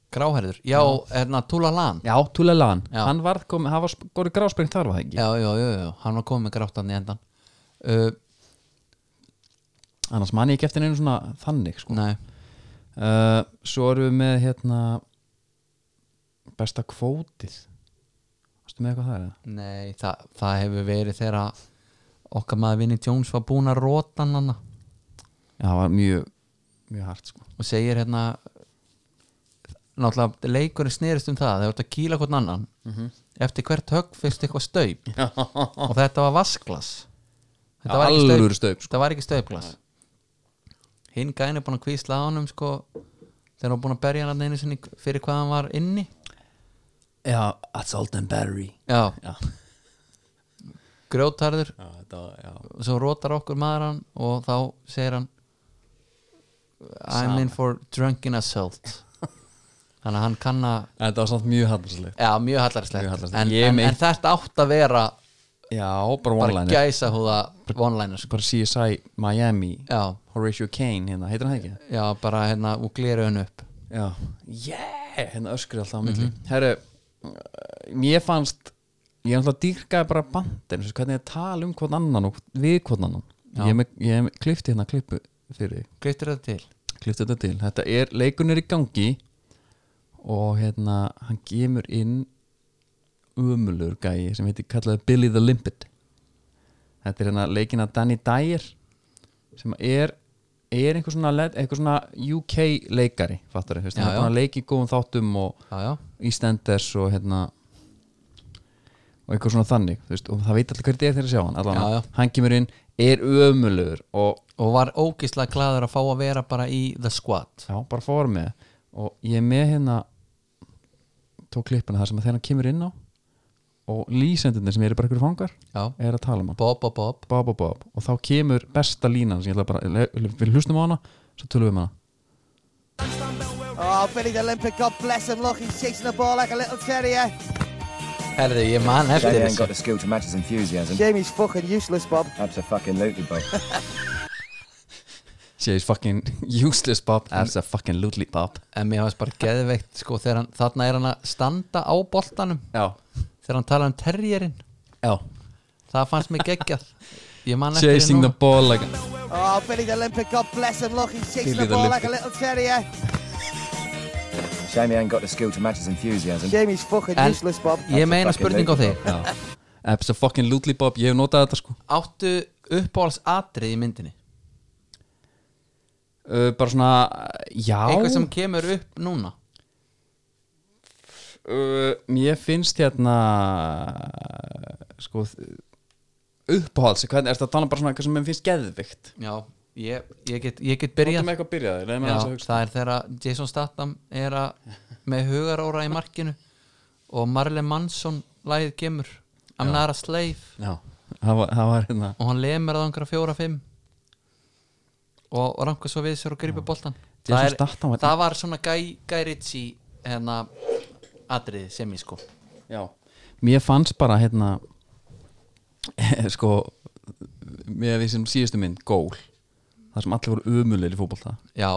Speaker 3: Gráherður, já, hérna Tula Land
Speaker 2: já, Tulelan
Speaker 3: Já.
Speaker 2: hann var komið, hann var góður grásprengt þar var það ekki
Speaker 3: Já, já, já, já, hann var komið með gráttan í endan uh,
Speaker 2: annars man ég ekki eftir neinu svona þannig sko
Speaker 3: Nei,
Speaker 2: Uh, svo erum við með hérna besta kvótið Varstu með eitthvað þar eða?
Speaker 3: nei það, það hefur verið þegar að okkar maður Vinnie Jones var búin að róta hann hann
Speaker 2: Já, það var mjög, mjög hart [laughs] sko
Speaker 3: og segir hérna náttúrulega leikurinn snerist um það þegar þú ert að kýla hvern annan eftir hvert högg fyrst eitthvað staup og þetta var vasklas þetta, var, ekki staup,
Speaker 2: Alvöru staup sko
Speaker 3: þetta var ekki staupglas hinn gæðin er búin að kvísla á honum sko, þegar hann var búin að berja hann einu sinni fyrir hvað hann var inni
Speaker 2: Já, Assault and Battery
Speaker 3: já,
Speaker 2: Já,
Speaker 3: grjótarður
Speaker 2: já þetta var, já
Speaker 3: og svo rótar okkur maður hann og þá segir hann I'm in for drunken assault þannig að hann kann að
Speaker 2: En Þetta var samt mjög hartslegt
Speaker 3: Já, mjög hallarslegt,
Speaker 2: Mjög hallærislegt.
Speaker 3: En,
Speaker 2: Ég
Speaker 3: en,
Speaker 2: meinti-
Speaker 3: en þetta átt að vera
Speaker 2: Já, bara
Speaker 3: bara
Speaker 2: one-liner
Speaker 3: gæsa húða vonlænir sko.
Speaker 2: Bara CSI Miami
Speaker 3: Já,
Speaker 2: Horatio Kane, hérna, heitir hann það ekki?
Speaker 3: já, bara hérna og glera hennu upp
Speaker 2: Já, yeah, hérna öskrið alltaf á milli Herru, uh, mér fannst ég er alltaf dýrkaði bara bandin hvernig ég tala um hvort annan og við hvort annan
Speaker 3: Já.
Speaker 2: ég, er með- ég er með- klippti hérna klippu fyrir þig
Speaker 3: Greitur þetta til
Speaker 2: klippti þetta til, þetta er, leikun er í gangi og hérna hann gemur inn umulur gæi sem heitir kallaði Billy the Limpet þetta er hérna leikina Danny Dyer sem er er einhver svona, led- einhver svona UK leikari fattar þau, hann
Speaker 3: Já,
Speaker 2: er
Speaker 3: já.
Speaker 2: búin að leiki góðum þáttum og
Speaker 3: já, já,
Speaker 2: EastEnders og hérna og eitthvað svona þannig þú veist, og það veit allir hvernig þetta er þegar að sjá hann allan,
Speaker 3: Já, já.
Speaker 2: hann kemur inn, er ömulugur og
Speaker 3: og var ógislega glaður að fá að vera bara í The Squad
Speaker 2: já, bara fór með og ég er með hérna tók klippuna þar sem að þegar hann kemur inn á og lýsendunir sem eru bara ykkur fangar
Speaker 3: já,
Speaker 2: er að tala um hann,
Speaker 3: Bob, Bob, Bob
Speaker 2: Bob og Bob og þá kemur besta línan sem ég ætla bara, le- við hlustum á hana svo tölum við um hana
Speaker 5: Oh, Billy the Olympic, God bless him. Look, he's chasing the ball like a little eh? terrier.
Speaker 3: herði, ég man eftir
Speaker 6: Shaggy ain't got
Speaker 3: þessu
Speaker 6: the skill to match his enthusiasm.
Speaker 5: Jamie's fucking useless, Bob.
Speaker 6: Absolutely, Bob.
Speaker 2: she's fucking [laughs] useless Bob as a fucking lootly Bob
Speaker 3: en mér hafðist bara geðveikt, sko, þegar hann þarna er hann að standa á boltanum
Speaker 2: já,
Speaker 3: þegar hann tala um terrierinn
Speaker 2: já
Speaker 3: það fannst mér geggjað ég man eftir
Speaker 2: chasing the
Speaker 3: núna.
Speaker 2: ball like [laughs]
Speaker 5: Oh, Billy the Olympic, God bless him. Look, he's chasing
Speaker 2: Billy the
Speaker 5: the ball like a
Speaker 2: Olympic.
Speaker 5: little eh? terrier.
Speaker 6: Shaggy ain't got the skill to match his enthusiasm.
Speaker 5: Jamie's fucking
Speaker 3: En-
Speaker 5: useless, Bob.
Speaker 3: ég meina spurning á þig
Speaker 2: já as a fucking lootly Bob, ég hef notað þetta sko
Speaker 3: áttu uppáhalds atrið í myndinni
Speaker 2: uh, bara svona, já
Speaker 3: eitthvað sem kemur upp núna
Speaker 2: uh, Mér finnst hérna sko uppáhalds, hvernig, er þetta að tala bara svona eitthvað sem mér finnst geðvikt
Speaker 3: já, ég, ég, get, ég get
Speaker 2: Þetta
Speaker 3: byrjað
Speaker 2: með eitthvað að byrja þér,
Speaker 3: Já,
Speaker 2: nefnir
Speaker 3: það er þegar að Jason Statham er að með hugaróra í markinu og Marley Manson lægið kemur I'm not a slave
Speaker 2: Já, það var, það var hérna
Speaker 3: og hann lemur að einhverja fjóra fimm og, og rangar svo við sér og grípur boltan
Speaker 2: Jason
Speaker 3: það,
Speaker 2: Statham var-
Speaker 3: það var svona Guy, Guy Ritchie hérna atriði sem ég sko
Speaker 2: Já, mér fannst bara hérna [laughs] sko með því sem síðustu mynd, gól þar sem allir voru umulir í fótbolta
Speaker 3: já,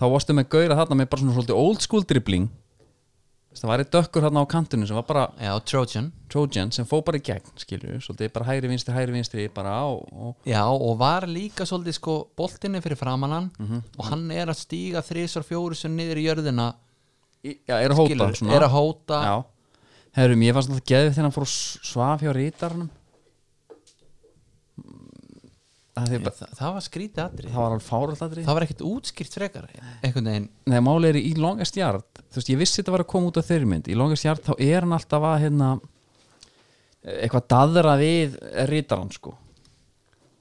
Speaker 2: þá varstu með gauðra þarna með bara svona svolítið old school dribbling Þú veist, það væri dökkur þarna á kantinu sem var bara
Speaker 3: já, Trojan
Speaker 2: Trojan sem fó bara í gegn, skilju svolítið bara hægri vinstri, hægri vinstri bara á og
Speaker 3: já, og var líka svolítið sko boltinni fyrir framan hann
Speaker 2: Mhm.
Speaker 3: og hann er að stíga þrísar fjóru sem niður í jörðina
Speaker 2: Í- Já, er að hóta
Speaker 3: skilur,
Speaker 2: svona.
Speaker 3: er að hóta
Speaker 2: Já, herrum, ég fannst alltaf geðið þegar hann fór að svaf hjá Mm, rítarnum það, er bara,
Speaker 3: Þa, það var skrítið atrið
Speaker 2: það var alveg fáralladri
Speaker 3: það var ekkert útskýrt frekar eh, einhvern veginn,
Speaker 2: Nei, máli er í longest yard þú veist, ég vissi þetta var að koma út af þeirri mynd í longest yard þá er hann alltaf að hérna eitthvað daðra við rítarann sko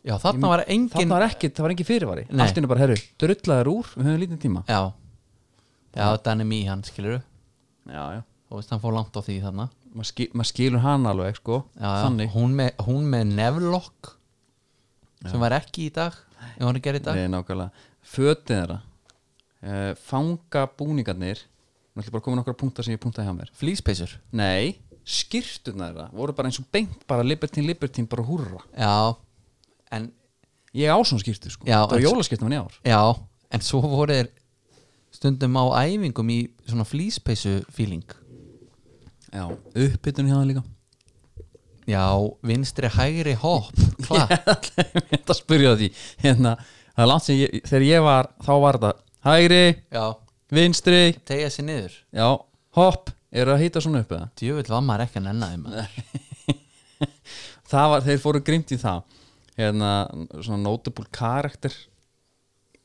Speaker 3: já þarna var engin
Speaker 2: þarna var e- ekki, það var engin fyrirvari
Speaker 3: Nei.
Speaker 2: allt innu bara, herru, drullaður úr, við höfum lítið tíma
Speaker 3: já, já Danny Meehan skilur
Speaker 2: já, já,
Speaker 3: og veist hann fór langt á því þarna
Speaker 2: maður skil, mað skilur hann alveg sko,
Speaker 3: já, já,
Speaker 2: þannig
Speaker 3: hún, með, hún með nefnlokk sem var ekki í dag ef hann er gerð í dag
Speaker 2: Nei, nákvæmlega, fötið þeirra uh, fanga búningarnir Nú ætlum ég bara að koma nokkra punktar sem ég punktaði hjá mér
Speaker 3: flýspeysur
Speaker 2: Nei, skýrtuna þeirra voru bara eins og beint bara libertín, libertín, bara húrra
Speaker 3: já, en
Speaker 2: Ég á svona skýrtu sko,
Speaker 3: Já,
Speaker 2: það var
Speaker 3: en-
Speaker 2: jólaskýrtum hann í ár
Speaker 3: já, en svo voru þeir stundum á æfingum í svona flýspeysu feeling
Speaker 2: Já, uppbytun hérna [laughs] líka
Speaker 3: já, vinstri hægri hopp klart
Speaker 2: Þetta spurði að því hérna, það er langt sem ég, þegar ég var þá var þetta hægri,
Speaker 3: já,
Speaker 2: vinstri
Speaker 3: tegja sér niður
Speaker 2: já, hopp, eru að hýta svona upp eða
Speaker 3: djöfull var maður ekki að nenna þeim maður.
Speaker 2: það var, þeir fóru grimt í það hérna, svona notable karakter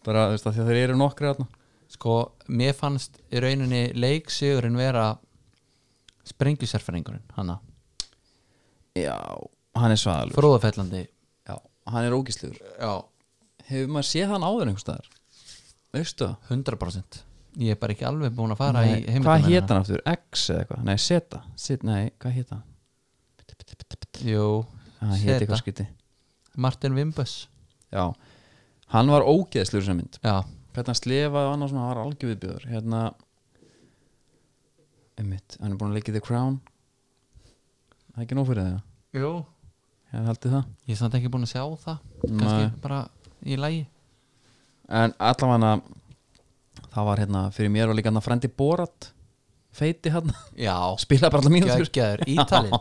Speaker 2: bara, þú veist það, þeir eru nokkri þarna
Speaker 3: sko, mér fannst í rauninni leiksigurinn vera sprengjusérfæringurinn hana,
Speaker 2: já, hann er svaðalur
Speaker 3: fróðafellandi
Speaker 2: já, hann er ógísluður
Speaker 3: já,
Speaker 2: hefur maður séð hann áður einhvers staðar veistu það
Speaker 3: 100% ég er bara ekki alveg búin að fara
Speaker 2: Nei,
Speaker 3: í heimildamennina.
Speaker 2: hvað hét hann aftur, X eða eitthvað nei, Zeta, Zeta, nei, hvað hét hann
Speaker 3: jú,
Speaker 2: hann hét
Speaker 3: Zeta.
Speaker 2: eitthvað skytti
Speaker 3: Martin Vimbus
Speaker 2: já, hann var ógeðsluður sem mynd
Speaker 3: já,
Speaker 2: hvernig hann slefaði og annars svona hann var algjörviðbjör hérna einmitt, hann er búin að leika í The Crown það er ekki nóg fyrir það
Speaker 3: jú
Speaker 2: ég haldi það
Speaker 3: ég er samt ekki búin að sjá það
Speaker 2: Nei.
Speaker 3: kannski bara í lægi
Speaker 2: en allavega það var hérna, fyrir mér var líka hann að frendi Borat feiti hann,
Speaker 3: já,
Speaker 2: spilaði bara allar mínútur
Speaker 3: geggjaður
Speaker 2: [laughs]
Speaker 3: ítalinn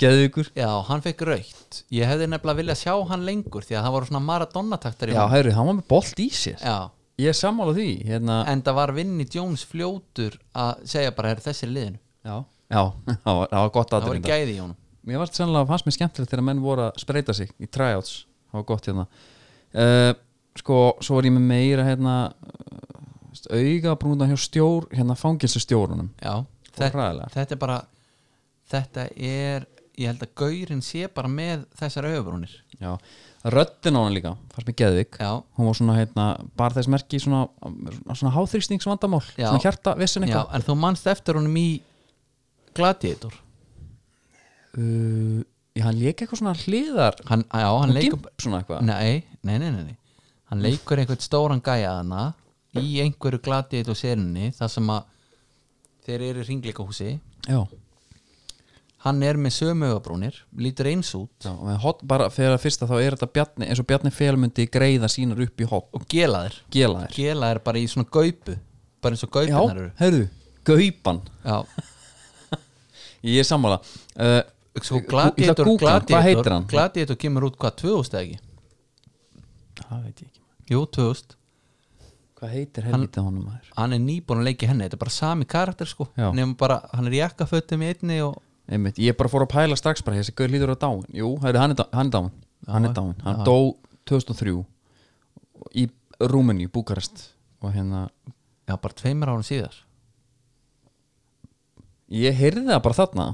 Speaker 2: geðvíkur
Speaker 3: já, hann fekk raukt ég hefði nefnilega viljað sjá hann lengur því að það voru svona Maradona-taktar í
Speaker 2: já,
Speaker 3: honum.
Speaker 2: hæru, hann var með bolt í sér
Speaker 3: já
Speaker 2: ég er sammála því hérna,
Speaker 3: en það var Vinnie Jones fljótur að segja bara er þessi í liðinu
Speaker 2: já, já [laughs] það, var, það var gott
Speaker 3: það voru
Speaker 2: aðrynda
Speaker 3: gæði í honum
Speaker 2: mér varst sennilega fannst mér skemmtilegt þegar menn voru að spreita sig í tryouts, það var gott hérna uh, sko, svo var ég með meira hérna augabrúnda hjá stjór hérna fangilsustjórunum
Speaker 3: Já,
Speaker 2: hræðilega.
Speaker 3: þetta er bara þetta er, ég held að gaurin sé bara með þessar auðbrúnir
Speaker 2: Já, röddin á hann líka fannst mér geðvik
Speaker 3: Já.
Speaker 2: hún var svona hérna, bar þess merki í svona, svona háþrýstingsvandamál
Speaker 3: Já.
Speaker 2: svona hjarta vissin
Speaker 3: Já,
Speaker 2: eitthvað
Speaker 3: en þú manst eftir honum í Gladiator
Speaker 2: uh, Já, hann leik eitthvað svona hliðar
Speaker 3: hann, Já, hann
Speaker 2: hann
Speaker 3: leikur
Speaker 2: gimp svona eitthvað
Speaker 3: nei, nei, nei, nei, nei Hann leikur einhvern stóran gæjaðana í einhverju Gladiator serinni þar sem að þeir eru í ringleikahúsi
Speaker 2: Já,
Speaker 3: Hann er með sömu auðbrúnir lítur eins út
Speaker 2: já og með hot, bara fyrir að fyrsta þá er þetta bjarni, eins og Bjarni Félmundi greiða sínar upp í hot og
Speaker 3: og gelaðir
Speaker 2: gela þær
Speaker 3: Gelaðir bara í svona gaupu bara eins og
Speaker 2: Já,
Speaker 3: gaupunar eru
Speaker 2: heyrðu, gaupan
Speaker 3: Já,
Speaker 2: Ég er sammála uh,
Speaker 3: Sko,
Speaker 2: Ég- ég ætla að
Speaker 3: gladiator,
Speaker 2: googla hann, hvað heitir
Speaker 3: gladiator,
Speaker 2: hann?
Speaker 3: gladiator kemur út hvað, 2000 eða ekki?
Speaker 2: Það veit ég ekki
Speaker 3: Jú, 2000
Speaker 2: Hvað heitir helvítið honum maður?
Speaker 3: Hann er nýbúin að leiki henni, þetta er bara sami karakter sko
Speaker 2: Já.
Speaker 3: Nefnum bara, hann er í jakkafötum í einni og
Speaker 2: Einmitt, ég bara fór að pæla strax bara þessi gauð lítur að dáin Jú, heyrðu, hann er dá- hann er dáin Hann er dáin, hann dó 2003 í Rúmeni, Búkarest og hérna,
Speaker 3: Já, bara tveimur árum síðar
Speaker 2: ég heyrði það bara þarna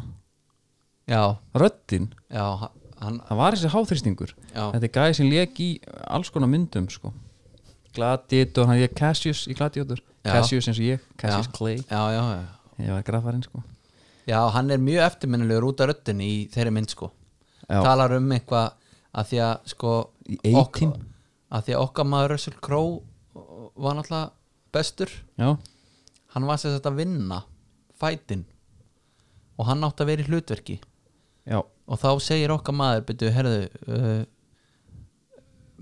Speaker 3: Já,
Speaker 2: röddin,
Speaker 3: já, ha- hann
Speaker 2: það var þessi háþrýstingur
Speaker 3: Já.
Speaker 2: þetta er gæði sem lék í alls konar myndum sko Gladiator, hann ég Cassius í Gladiator
Speaker 3: Já.
Speaker 2: Cassius eins og ég, Cassius
Speaker 3: já,
Speaker 2: Clay
Speaker 3: já, já, já.
Speaker 2: ég var grafarinn sko
Speaker 3: já, hann er mjög eftirminnilegur út af röddinni í þeirri mynd sko
Speaker 2: Já.
Speaker 3: Talar um eitthvað að því að sko
Speaker 2: Í
Speaker 3: ok-
Speaker 2: A-Team.
Speaker 3: Að því að okkar maður Russell Crowe var náttúrulega bestur
Speaker 2: Já,
Speaker 3: hann var sér þetta að vinna fætin og hann átti að vera í hlutverki
Speaker 2: já,
Speaker 3: og þá segir okkar maður byrju, herðu uh,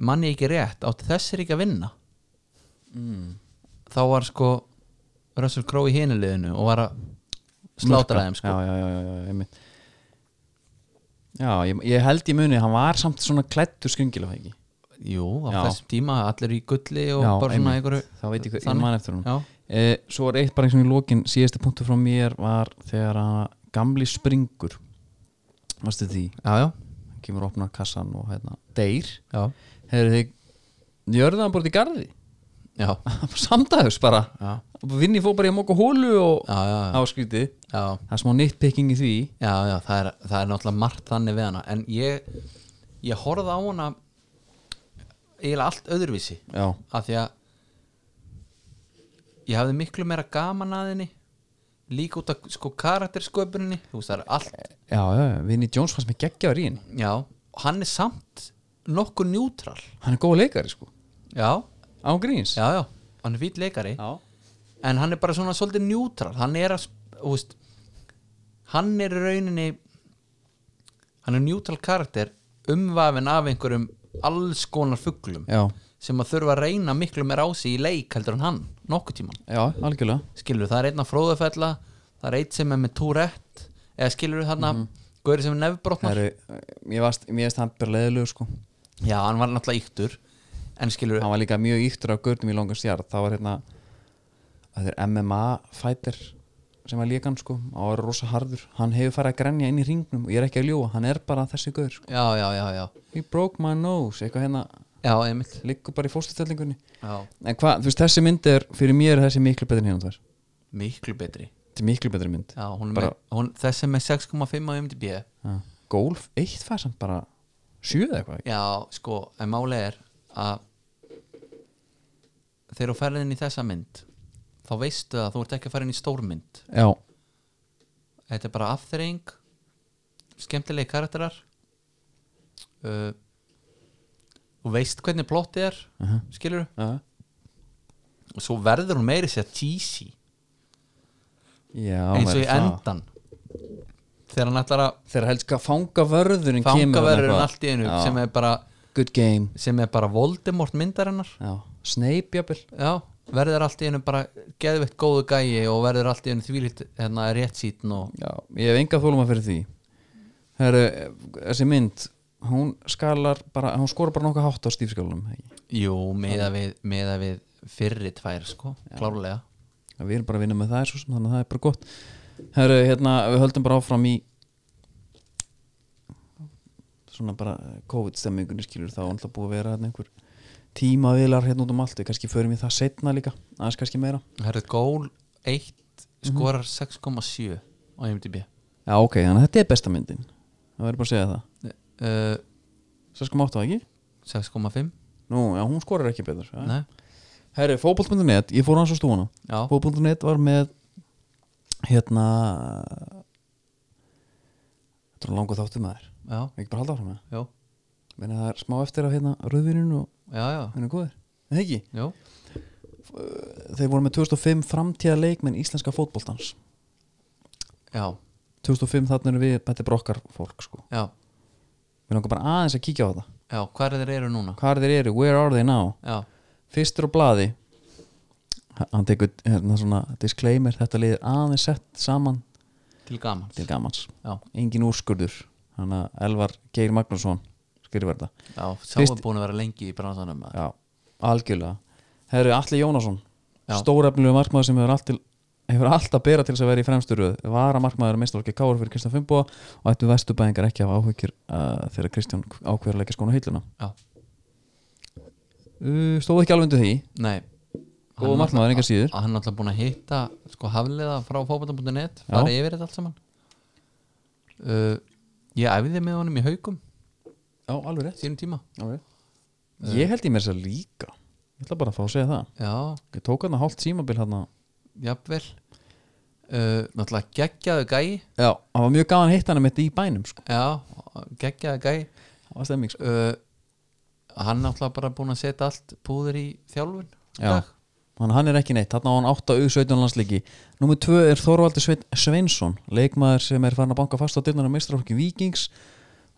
Speaker 3: manni ekki rétt átti þessir ekki að vinna mm.
Speaker 2: Mm.
Speaker 3: þá var sko Russell Crowe í hinuleginu og var að
Speaker 2: Mörka.
Speaker 3: slátra þeim sko
Speaker 2: já, já, já, já, já, einmitt. já ég, ég held í muni hann var samt svona klættur skringilega ekki
Speaker 3: jú, á
Speaker 2: Já.
Speaker 3: þessum tíma allir í gulli og
Speaker 2: Já,
Speaker 3: bara svona
Speaker 2: einmitt.
Speaker 3: einhverju
Speaker 2: Þá veit ég hvað- ég
Speaker 3: þannig.
Speaker 2: man eftir honum.
Speaker 3: já,
Speaker 2: eh, svo er eitt bara eins og í lokin síðasti punktu frá mér var þegar að gamli springur varstu því,
Speaker 3: já, já,
Speaker 2: hann kemur að opna kassan og hérna, deyr
Speaker 3: já,
Speaker 2: hefur þið njörðan bara út í garði [laughs]
Speaker 3: já.
Speaker 2: samdags bara
Speaker 3: Já.
Speaker 2: vinni fór bara í að móka hólu og
Speaker 3: Já, já,
Speaker 2: það
Speaker 3: já.
Speaker 2: var skrítið
Speaker 3: já.
Speaker 2: það er smá nitpicking í því
Speaker 3: Já, já, það er, það er náttúrulega margt þannig við hana en ég, ég horfði á hana eiginlega allt öðruvísi
Speaker 2: já,
Speaker 3: af því að ég hafði miklu meira gaman að henni líka út af sko karaktersköpuninni þú veist það er allt,
Speaker 2: já, já, já. vinni Jones fannst mér geggjaður í henni
Speaker 3: já hann er samt nokkuð njútral
Speaker 2: hann er góð leikari sko,
Speaker 3: já,
Speaker 2: án gríns
Speaker 3: já, já, hann er fýt leikari
Speaker 2: Já.
Speaker 3: en hann er bara svona svolítið njútral hann er að, sp- þú veist hann er í rauninni hann er njútral karakter umvafin af einhverjum alls konar fugglum
Speaker 2: já,
Speaker 3: sem að þurfa að reyna miklu meira á sig í leik heldur en hann, nokkuð tíman
Speaker 2: já, algjörlega
Speaker 3: skilur, það er einn að fróðafella það er einn sem er með túrætt eða skilur þarna, mm gauri sem er nefbrotnar
Speaker 2: Heru, ég varst, mér veist hann bara leðilegu sko
Speaker 3: já, hann var náttúrulega yktur en skilur,
Speaker 2: hann var líka mjög yktur af gurnum í langan stjart það var hérna það er MMA fighter sem var líkan sko, hann var rosa harður hann hefur farið að grenja inn í ringnum og ég er ekki að ljúa hann er bara þessi gaur sko.
Speaker 3: já, já, já, já
Speaker 2: he broke my nose, eitthvað hérna
Speaker 3: já, Emil,
Speaker 2: liggur bara í fóstustellingunni
Speaker 3: já,
Speaker 2: en hvað, þú veist þessi mynd er, fyrir mér er þessi miklu betri en hérna þar,
Speaker 3: miklu betri
Speaker 2: þetta er miklu betri mynd
Speaker 3: já, hún er
Speaker 2: Bara-
Speaker 3: með, hún, þessi er með 6,5 á MDB
Speaker 2: Já. golf, eitt fær samt bara sjöð eitthvað,
Speaker 3: já, sko, en máli er að þegar þú ferðin í þessa mynd þá veistu að þú ert ekki að fara inn í stórmynd
Speaker 2: já,
Speaker 3: þetta er bara afþreying skemmtilegi karakterar uh, þú veist hvernig plottið er uh
Speaker 2: Mhm.
Speaker 3: -huh. skilur
Speaker 2: já,
Speaker 3: og svo verður hún meiri sér cheesy
Speaker 2: já
Speaker 3: eins og
Speaker 2: væri
Speaker 3: í
Speaker 2: það.
Speaker 3: endan þegar hann ætlar að
Speaker 2: þegar helst að fanga vörðurinn
Speaker 3: fanga
Speaker 2: kemur þarna
Speaker 3: verður
Speaker 2: eitthvað.
Speaker 3: allt í einu
Speaker 2: Já.
Speaker 3: sem er, bara,
Speaker 2: good game,
Speaker 3: sem er bara Voldemort myndarinnar
Speaker 2: já, Snape jafnvel
Speaker 3: já, verður allt í einu bara geðveitt góðu gæi og verður allt í einu þvílít hérna rétt sítin og
Speaker 2: Já, ég hef enga þóluma fyrir því Heru, þessi mynd hún skalar bara, hún skora bara nokkuð hátt á stífskálunum ekki?
Speaker 3: jú, meða við, meða við fyrri tvær sko, klárlega
Speaker 2: Að við erum bara að vinna með það svo sem þannig að það er bara gott Heru, hérna, við höldum bara áfram í svona bara COVID-stemmingunni skilur þá er alltaf búið að vera hérna einhver tímavilar hérna út um allt við kannski förum við það setna líka aðeins kannski meira
Speaker 3: Herðu gól 1 skorar 6,7 á IMDb
Speaker 2: Já ok, þannig að þetta er besta myndin það verður bara að segja það
Speaker 3: uh,
Speaker 2: Svo sko máttu það ekki?
Speaker 3: 6,5
Speaker 2: Nú, já, hún skorar ekki betur ja.
Speaker 3: Nei,
Speaker 2: Herri, fótbolt.net, ég fór hans á stúana
Speaker 3: Já.
Speaker 2: Fótbolt.net var með hérna Þetta er langur þáttu maður
Speaker 3: já,
Speaker 2: Ekki bara halda áfram með
Speaker 3: já,
Speaker 2: það Meina það er smá eftir af hérna rauðvininu og
Speaker 3: já, já,
Speaker 2: hann er góður Nei ekki,
Speaker 3: já.
Speaker 2: þeir voru með 2005 framtíða leikmenn íslenska fótboltans
Speaker 3: já,
Speaker 2: 2005 þarna erum við, þetta er bara okkar fólk sko
Speaker 3: já,
Speaker 2: Við langar bara aðeins að kíkja á það
Speaker 3: já, hvað er þeir eru núna?
Speaker 2: Hvar þeir eru, where are they now?
Speaker 3: Já,
Speaker 2: fyrstur á blaði hann tekur hérna svona disclaimer, þetta liðir aðeins sett saman
Speaker 3: til gaman
Speaker 2: til gamans
Speaker 3: Já,
Speaker 2: engin úrskurður, hann að Elvar Geir Magnússon skrifar þetta
Speaker 3: já, sá
Speaker 2: Fyrst-
Speaker 3: er búin að vera lengi í bransanum
Speaker 2: já, algjörlega herru Alli Jónasson,
Speaker 3: Já.
Speaker 2: stórefnilegu markmaður sem hefur allt til hefur allt að bera til þess að vera í fremsturuð var að markmaður meistarvalki Káur fyrir Kristján Fimboa og ættu vesturbæðingar ekki að hafa áhugir uh, þegar Kristján ákveður að leggja skónu hilluna
Speaker 3: Já,
Speaker 2: uh, stóðu ekki alveg undir því
Speaker 3: nei
Speaker 2: Góður markmaður, engu að síður.
Speaker 3: Hann er alltaf búin að hitta sko hafliða frá fótbolta.net
Speaker 2: Já.
Speaker 3: fara yfir þetta allt saman uh, Ég æfði með honum í haukum
Speaker 2: já, alveg Eh. rétt,
Speaker 3: sínum tíma
Speaker 2: ég held ég mér þess að líka ég ætla bara að fá að segja það
Speaker 3: Já,
Speaker 2: Ég tók hann að hálft símabil hann
Speaker 3: jafnvel uh, Náttúrulega geggjaðu gæi
Speaker 2: Já, hann var mjög gaman að hitta hann mitt í bænum sko.
Speaker 3: Já, geggjaðu gæi
Speaker 2: Það var stemming sko.
Speaker 3: uh, Hann náttúrulega bara búin að setja allt púður í þjálfun í
Speaker 2: Já,
Speaker 3: dag.
Speaker 2: hann, hann er ekki neitt Þarna á hann 8 U17 landsleiki Númer 2 er Þorvaldur Sveinn Sveinsson Leikmaður sem er farin að banka fast á dyrnarna Mestrafólki Víkings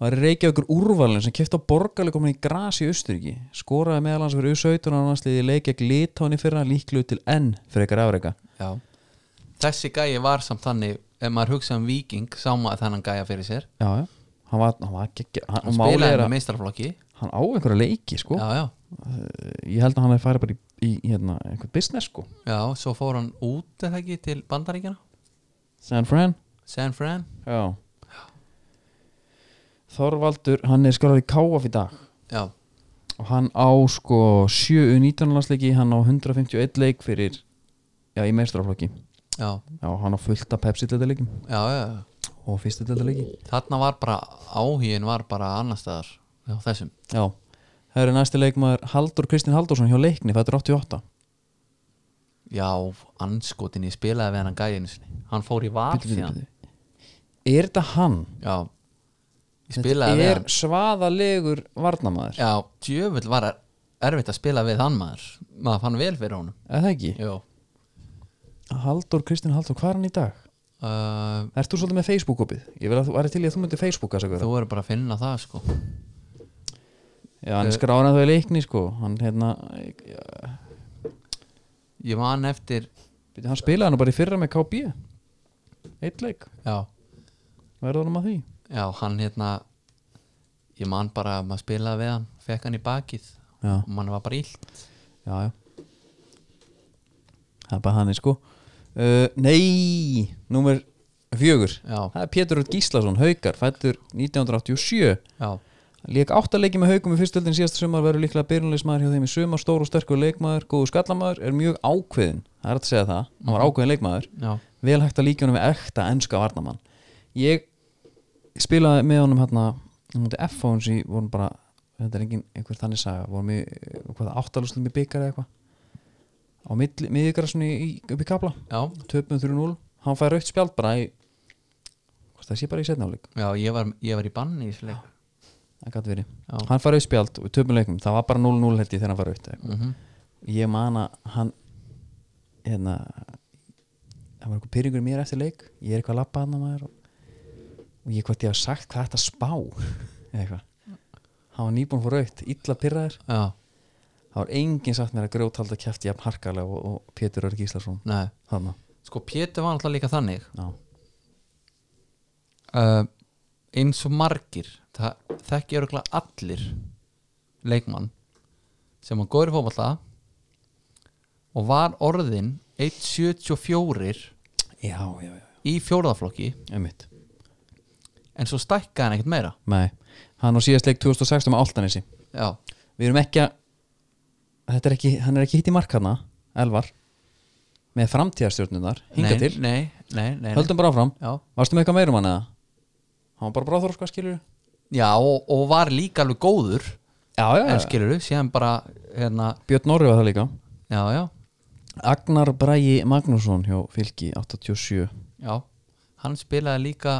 Speaker 2: Var Reykjavíkur úrvalin sem kefti á borgarleik komin í gras í Austuríki Skoraði meðal hans fyrir U17 landsleiki leikja glitáni fyrra líklu til N frekar afreika
Speaker 3: Já. Þessi gæi var samt þannig ef maður hugsa um viking sá maður þennan gæja fyrir sér
Speaker 2: Já, já Hann var, hann var ekki, hann,
Speaker 3: Hann
Speaker 2: og málið
Speaker 3: spilaði
Speaker 2: er
Speaker 3: með
Speaker 2: að
Speaker 3: meistarflokki
Speaker 2: hann á einhverja leiki sko
Speaker 3: Já, já,
Speaker 2: Ég held að hann hefði farið bara í, í hérna, einhvern business sko
Speaker 3: já, svo fór hann út eða ekki til bandaríkjana
Speaker 2: San Fran
Speaker 3: San Fran
Speaker 2: Já Þorvaldur, hann er skorað í KF í dag
Speaker 3: Já,
Speaker 2: og hann á sko 7-19 landsleiki, hann á 151 leik fyrir, já í meistaraflokki
Speaker 3: já,
Speaker 2: já, hann á fullt af Pepsi delta leikim
Speaker 3: já, já, já.
Speaker 2: og fyrstu delta leiki
Speaker 3: Þarna var bara áhugin var bara annar staðar á þessum
Speaker 2: já, það eru næsti leikmaður Haldur Kristinn Haldursson hjá leikni, fættur 88
Speaker 3: Já, anskotin ég spilaði við hennan gæinu sinni Hann fór í val
Speaker 2: Bíddu, bíddu,
Speaker 3: síðan
Speaker 2: bíddu. er þetta hann?
Speaker 3: Já, ég
Speaker 2: Þetta
Speaker 3: spilaði við
Speaker 2: er
Speaker 3: hann
Speaker 2: svaðalegur varnamaður
Speaker 3: Já, djöfull var erfitt að spila við hann maður Maður fann vel fyrir honum
Speaker 2: eða ekki?
Speaker 3: Jó
Speaker 2: Haldur Kristinn Haldursson, hvað er hann í dag?
Speaker 3: uh,
Speaker 2: Ert þú svolítið með Facebook-opið? Ég vil að þú væri til í að þú myndir Facebooka þessu
Speaker 3: Þú eru bara að finna það sko
Speaker 2: Já, hann er skráðan þau í leikni sko Hann, hérna,
Speaker 3: Ég man eftir
Speaker 2: byrju, hann spilaði nú bara í fyrra með KB Eitt leik,
Speaker 3: Já,
Speaker 2: verður hann að því
Speaker 3: já, hann hérna Ég man bara að maður spilaði við hann Fekk hann í bakið
Speaker 2: Já.
Speaker 3: Og mann var bara illt
Speaker 2: Já, já Það er bara hann sko uh, Nei, númer fjögur
Speaker 3: Já.
Speaker 2: Það er Pétur Rödd Gíslason, Haukar Fættur 1987
Speaker 3: Já,
Speaker 2: Lík áttaleiki með haukum í fyrstöldin síðasta sumar verður líklega byrjunleismæður hjá þeim í sumar stór og sterkur leikmaður, góðu skallamaður er mjög ákveðin, það er hægt að segja það hann var ákveðin leikmaður,
Speaker 3: Mhm. Já.
Speaker 2: vel hægt að líka honum við ekta ennska varnamann ég spilaði með honum hérna, hann múti F á hans í vorum bara, þetta er engin einhver þannig saga vorum við, eh, hvað áttalustum í byggar eða eitthvað á miðigrasunni upp í kabla
Speaker 3: já,
Speaker 2: töpum 3-0, hann fær raukt spjald bara í, hvort það sé bara í setnáleik
Speaker 3: já ég, var, ég var í banni í þessu leik
Speaker 2: það gæti verið,
Speaker 3: Já.
Speaker 2: hann fær auðspjald og við töpum leiknum, það var bara 0-0 held ég þegar hann fær auðt mm -hmm. ég man að hann hérna það var eitthvað pyrringur í mér eftir leik ég er eitthvað að labba hann maður og, og ég hvort ég hafa sagt hvað þetta spá [laughs] eða eitthvað hann var nýbúin fór auðt, illa pyrraður
Speaker 3: Já,
Speaker 2: það var enginn sagt mér að grjóthalda kæfti jafn harkalega og, og Pétur Örg Íslason
Speaker 3: nei
Speaker 2: þarna,
Speaker 3: Sko Pétur var alltaf líka þannig
Speaker 2: já,
Speaker 3: uh, eins og margir það þekki örgulega allir leikmann sem var góður í fótballa og var orðin 1.74
Speaker 2: já, já, já,
Speaker 3: í fjórðaflokki
Speaker 2: einmitt
Speaker 3: en svo stækkaði hann ekkert meira
Speaker 2: um nei, hann á síðast leik 2016 með Altanesi
Speaker 3: já,
Speaker 2: við erum ekki að þetta er ekki, hann er ekki hitt í markana Elvar með framtíðarstjórnunar, hinga
Speaker 3: nei,
Speaker 2: til
Speaker 3: Nei, nei, nei, nei.
Speaker 2: höldum bara áfram,
Speaker 3: Já.
Speaker 2: varstu með eitthvað meirum hann eða? hann var bara bráður sko skilur
Speaker 3: Já, og, og var líka alveg góður
Speaker 2: já, já,
Speaker 3: en skilur við, síðan bara hérna,
Speaker 2: Björn Norri var það líka
Speaker 3: já, já,
Speaker 2: Agnar Bragi Magnússon hjá Fylki 87
Speaker 3: já hann spilaði líka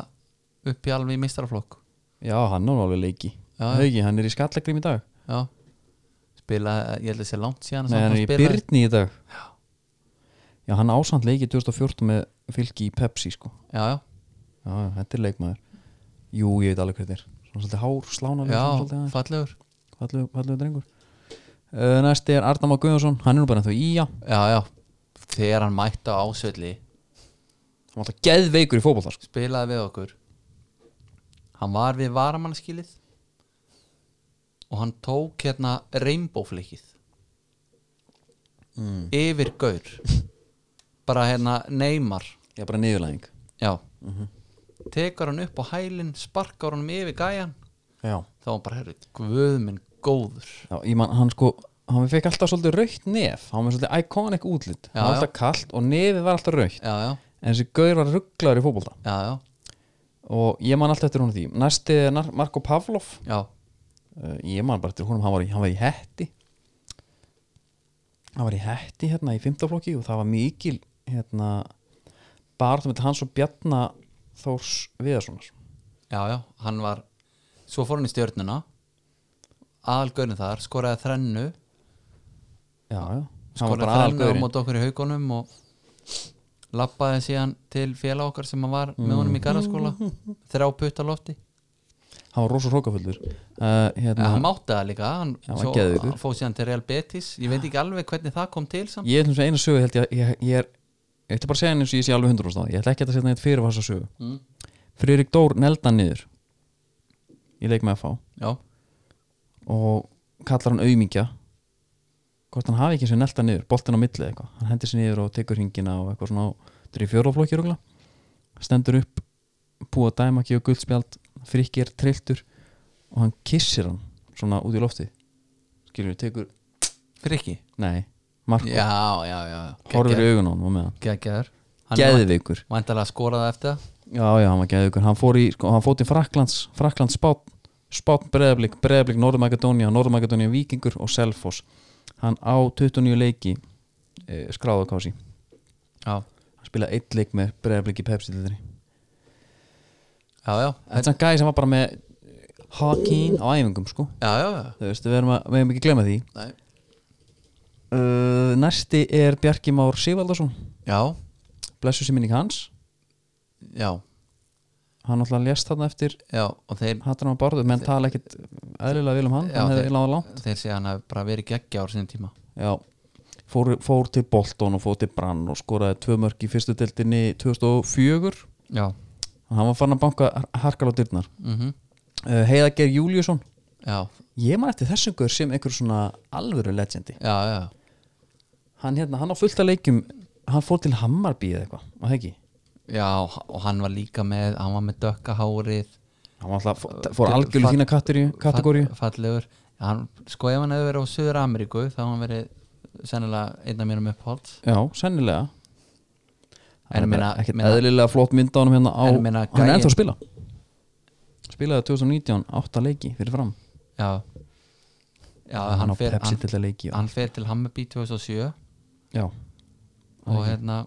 Speaker 3: upp í alveg mistaraflokk
Speaker 2: já, hann var alveg leiki
Speaker 3: Já, já.
Speaker 2: Hauki, hann er í skallagrim í dag
Speaker 3: já, spilaði, ég held að sé langt síðan
Speaker 2: Nei,
Speaker 3: samt
Speaker 2: hann er í
Speaker 3: spilaði.
Speaker 2: Byrni í dag já, hann ásand leiki 2014 með Fylki í Pepsi sko
Speaker 3: já, já,
Speaker 2: já, já, þetta er leikmaður jú, ég veit alveg hvað þetta er svona svolítið hár, slána
Speaker 3: já, fallegur
Speaker 2: fallegur fallegu drengur uh, næsti er Arnamá Guðjónsson hann er nú bara ennþá í já
Speaker 3: já, já, þegar hann mætti á ásvelli
Speaker 2: hann var alltaf geðveikur í fótbolta sko.
Speaker 3: spilaði við okkur hann var við varamannskilið og hann tók hérna reynbóflikið
Speaker 2: Mm.
Speaker 3: yfir
Speaker 2: [laughs]
Speaker 3: gaur bara hérna neymar
Speaker 2: já, bara niðurlæðing
Speaker 3: já
Speaker 2: Mhm.
Speaker 3: tekur hann upp á hælinn sparkar hann yfir gæjan
Speaker 2: já.
Speaker 3: þá var hann bara, herri, guð minn góður
Speaker 2: já, ég man, hann sko hann fekk alltaf svolítið raukt nef hann var svolítið iconic útlit
Speaker 3: Já,
Speaker 2: hann var alltaf kallt og nefið var alltaf raukt
Speaker 3: já, já,
Speaker 2: en þessi gaur var rugglaður í fótbolta
Speaker 3: já, já,
Speaker 2: og ég man alltaf eftir honum því næsti er Nar- Marko Pavlov
Speaker 3: já,
Speaker 2: uh, ég man bara eftir honum, hann var, í- hann var í hetti hann var í hetti hérna í fymtaflokki og það var mikil hérna bara það með hans og Bjarnar Þórs Viðarssonar
Speaker 3: já, já hann var, svo fór hann í stjörnuna aðalgaurin þar skoraði þrennu
Speaker 2: já, já, hann var
Speaker 3: skoraði
Speaker 2: bara
Speaker 3: þrennu á
Speaker 2: aðalgöðurinn
Speaker 3: mót okkur í haugunum og lappaði síðan til félag okkar sem hann var
Speaker 2: Mm.
Speaker 3: með honum
Speaker 2: [laughs]
Speaker 3: í garðaskóla þrjá putta lofti
Speaker 2: hann var rosa hrókafullur uh,
Speaker 3: en hann
Speaker 2: hérna,
Speaker 3: mátti það líka hann,
Speaker 2: Já, hann
Speaker 3: svo,
Speaker 2: geðveikur.
Speaker 3: hann fóð síðan til Real Betis ég veit ekki alveg hvernig það kom til samt
Speaker 2: ég ætlum sem eina sögu held ég, ég, ég er ég ætla bara að segja henni eins og ég sé alveg hundur á ég ætla ekki að setja neitt fyrir þessa sögu mm. Friðrik Dór nelda hann niður í leik með að fá
Speaker 3: já,
Speaker 2: og kallar hann auðmingja hvort hann hafi ekki sem nelda niður boltinn á milli eða eitthvað, hann hendir sér niður og tekur hringina og eitthvað svona, þetta er í fjóraflokki rúgla stendur upp búa dæma ekki og guldspjald frikki er trilltur og hann kissir hann svona út í lofti skilur við, tekur,
Speaker 3: Frikki
Speaker 2: nei, Marko
Speaker 3: já, já, já,
Speaker 2: horfir í augun á hann og með hann
Speaker 3: geggjaður
Speaker 2: geðveikur,
Speaker 3: vandalega skoraði eftir það
Speaker 2: já já hann var geðveikur hann fór í, sko, hann fór til Fraklands Fraklands spát, spát breðablik breðablik Norður-Makedónia, Norður-Makedónia vikingur og Selfoss, hann á 29 leiki e, skráðu kási,
Speaker 3: já,
Speaker 2: hann spilaði eitt leik með breðablik í pepsi til þeirri
Speaker 3: já, já,
Speaker 2: þetta er hann gæði sem var bara með hakín á æfingum sko
Speaker 3: já, já, já.
Speaker 2: þú veist, við erum að, við erum ekki að glemma því
Speaker 3: Nei.
Speaker 2: uh, næsti er Bjarki Már Sigvaldarsson
Speaker 3: já,
Speaker 2: blessu sem minning hans,
Speaker 3: já,
Speaker 2: hann alltaf lést þarna eftir
Speaker 3: já og þeir,
Speaker 2: hattur hann á barðu, menn tala ekkit eðlilega vel um hann,
Speaker 3: Já,
Speaker 2: hann
Speaker 3: þeir-
Speaker 2: hefði láða langt
Speaker 3: þeir segja hann hafi bara verið geggjaður sinni tíma
Speaker 2: Já, fór, fór til Bolton og fór til Brann og skoraði tvö mörk í fyrstu deildinni 2004
Speaker 3: já,
Speaker 2: hann var fann að banka harkal á dyrnar
Speaker 3: mm
Speaker 2: uh, Heiðager Júliusson
Speaker 3: já,
Speaker 2: ég man eftir þessum guður sem einhver svona alvöru legendi
Speaker 3: já, já,
Speaker 2: hann, hérna, hann á fullta leikjum hann fór til Hammarby eða eitthvað, var það ekki
Speaker 3: já og hann var líka með, hann var með dökka hárið
Speaker 2: hann var alltaf, fór, fór algjörlega þína kategoríu- kategoríu
Speaker 3: fall, fallegur hann, sko ef hann hefði verið á Suður Ameríku þá hefði hann verið sennilega einn af mínum uppáhalds
Speaker 2: já, sennilega
Speaker 3: En
Speaker 2: hann er
Speaker 3: meina-
Speaker 2: meina, ekkert
Speaker 3: meina-
Speaker 2: eðlilega flott mynd á hann hérna á,
Speaker 3: En
Speaker 2: hann
Speaker 3: meina,
Speaker 2: er
Speaker 3: gæinn-
Speaker 2: ennþá að spila spilaði 2019 átta leiki fyrir fram
Speaker 3: já, já
Speaker 2: hann
Speaker 3: hann,
Speaker 2: á
Speaker 3: fer,
Speaker 2: Pepsi
Speaker 3: hann,
Speaker 2: til að leiki og-
Speaker 3: hann fer til Hammarby 2007
Speaker 2: já,
Speaker 3: og hérna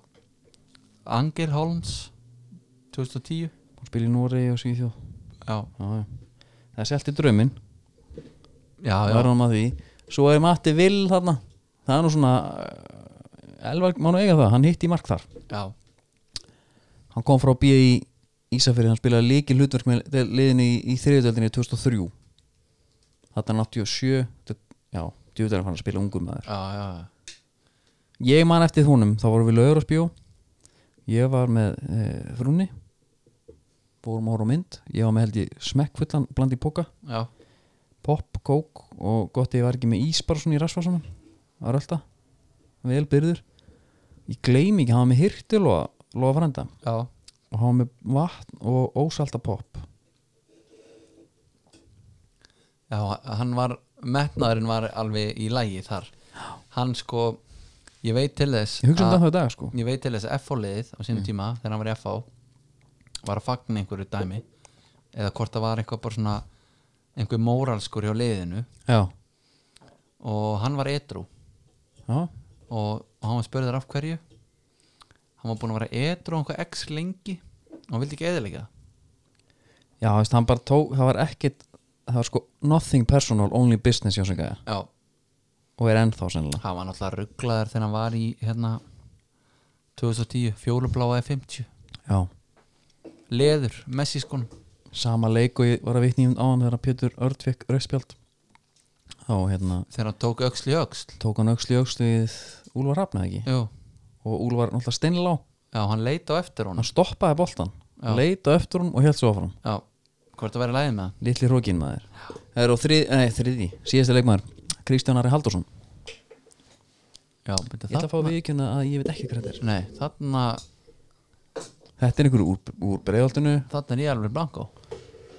Speaker 3: Angel Holmes 2010
Speaker 2: hann spila í Noregi og Svíþjóð
Speaker 3: já,
Speaker 2: já, já. það er selt í draumin
Speaker 3: já,
Speaker 2: það
Speaker 3: já,
Speaker 2: er hann að því svo er Matti Vill þarna það er nú svona eh, Elvar má nú eiga það, hann hitti í mark þar
Speaker 3: já,
Speaker 2: hann kom frá B.I. Ísafyrir hann spilaði líki hlutverk með del- liðinu í, í þriðutöldinni 2003 þetta er 87 þetta- já, djúðar fann að spila ungum maður
Speaker 3: já, já, já.
Speaker 2: ég man eftir húnum, þá vorum við lögur að spjó ég var með e, frunni vorum að horfa á mynd ég var með held ég smekkfullan bland í póka
Speaker 3: já.
Speaker 2: pop, kók og gott ef ég var ekki með ís bara svona í rassvarsanum að rölda, vel byrður ég gleym ekki, hann var með hirtil og lofa frænda
Speaker 3: já.
Speaker 2: og hann var með vatn og ósalta pop
Speaker 3: Já, hann var metnaðurinn var alveg í lægi þar hann sko ég veit til þess
Speaker 2: Ég hugsa um
Speaker 3: að-
Speaker 2: það þá í dag sko Mm.
Speaker 3: ég veit til þess að FH-liðið á sínum tíma þegar hann var í FH var að fagna einhverju dæmi eða hvort það var eitthvað bara svona einhver móralskur hjá liðinu
Speaker 2: Já,
Speaker 3: og hann var edru
Speaker 2: já,
Speaker 3: og, og hann var spurður af hverju hann var búin að vera edru einhver x lengi og hann vildi ekki eðilega
Speaker 2: já veist, hann bara tók, það var ekkit það var sko nothing personal, only business hjá sem gæja
Speaker 3: já,
Speaker 2: og er ennþá sennilega
Speaker 3: hann var náttúrulega rugglaður þegar hann var í hérna 2010, fjólubláaði 50
Speaker 2: Já,
Speaker 3: leður, messi skon
Speaker 2: sama leik og ég var að vitni um áðan þegar Pétur Örd fekk rauðspjald þá hérna
Speaker 3: þegar hann tók öxl í öxl
Speaker 2: tók hann öxl í öxl við Úlfar Rafna ekki
Speaker 3: Jú,
Speaker 2: og Úlfar náttúrulega steinlá
Speaker 3: já, hann leita á eftir honum
Speaker 2: hann stoppaði boltan,
Speaker 3: Já.
Speaker 2: leita eftir honum og held svo áfram
Speaker 3: Já, hvort að vera læðið með það
Speaker 2: litli hrókin maður það er á þrið, nei, þriði, síðasta leikmaður Kristján Ari Haldursson
Speaker 3: Já, beti,
Speaker 2: ég ætla að fá viðkjöna að ég veit ekki hvað þetta er
Speaker 3: Nei, þarna,
Speaker 2: þetta er einhverju úr, úr breiðaltinu
Speaker 3: þarna er ég alveg blanko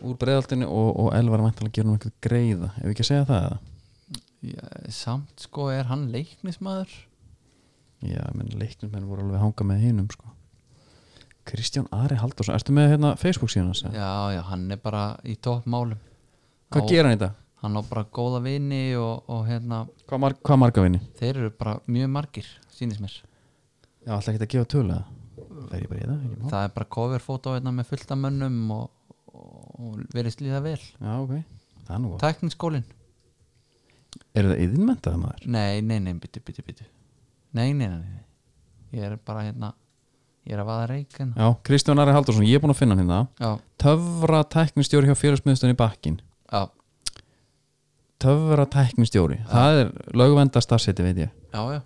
Speaker 2: úr breiðaltinu og, og Elvar mæntalega gera um eitthvað greiða ef ekki að segja það eða?
Speaker 3: já, Samt sko er hann leiknismæður
Speaker 2: já, ég menn leiknum menn voru alveg að hanga með hinum sko. Kristján Ari Haldursson ertu með hérna Facebook síðan hans? eða?
Speaker 3: Já, já, hann er bara í toppmálum
Speaker 2: hvað
Speaker 3: Á-
Speaker 2: gera hann í dag?
Speaker 3: Hann á bara góða vini og, og hérna
Speaker 2: hvað, mar hvað marga vinni?
Speaker 3: Þeir eru bara mjög margir, sýnist mér
Speaker 2: já, alltaf ekki að gefa tölu eða? fer ég bara í það? ekki mál?
Speaker 3: Það er bara coverfótó hérna með fullta mönnum og, og, og verið slíða vel
Speaker 2: já, ok, það er nú gott
Speaker 3: Tækniskólin?
Speaker 2: eru það yðinmentaði maður?
Speaker 3: Nei, nei, nei, byttu, byttu, byttu Nei, nei, nei, nei Ég er bara hérna Ég er að vaða reik hérna
Speaker 2: já, Kristján Ari Haldursson, ég er búin að finna hann hérna
Speaker 3: Já,
Speaker 2: töfra tæknistjóri hjá félagsmiðstunni bakkin
Speaker 3: já,
Speaker 2: töfra tæknistjóri, það er lögvenda starfseti veit ég,
Speaker 3: já, já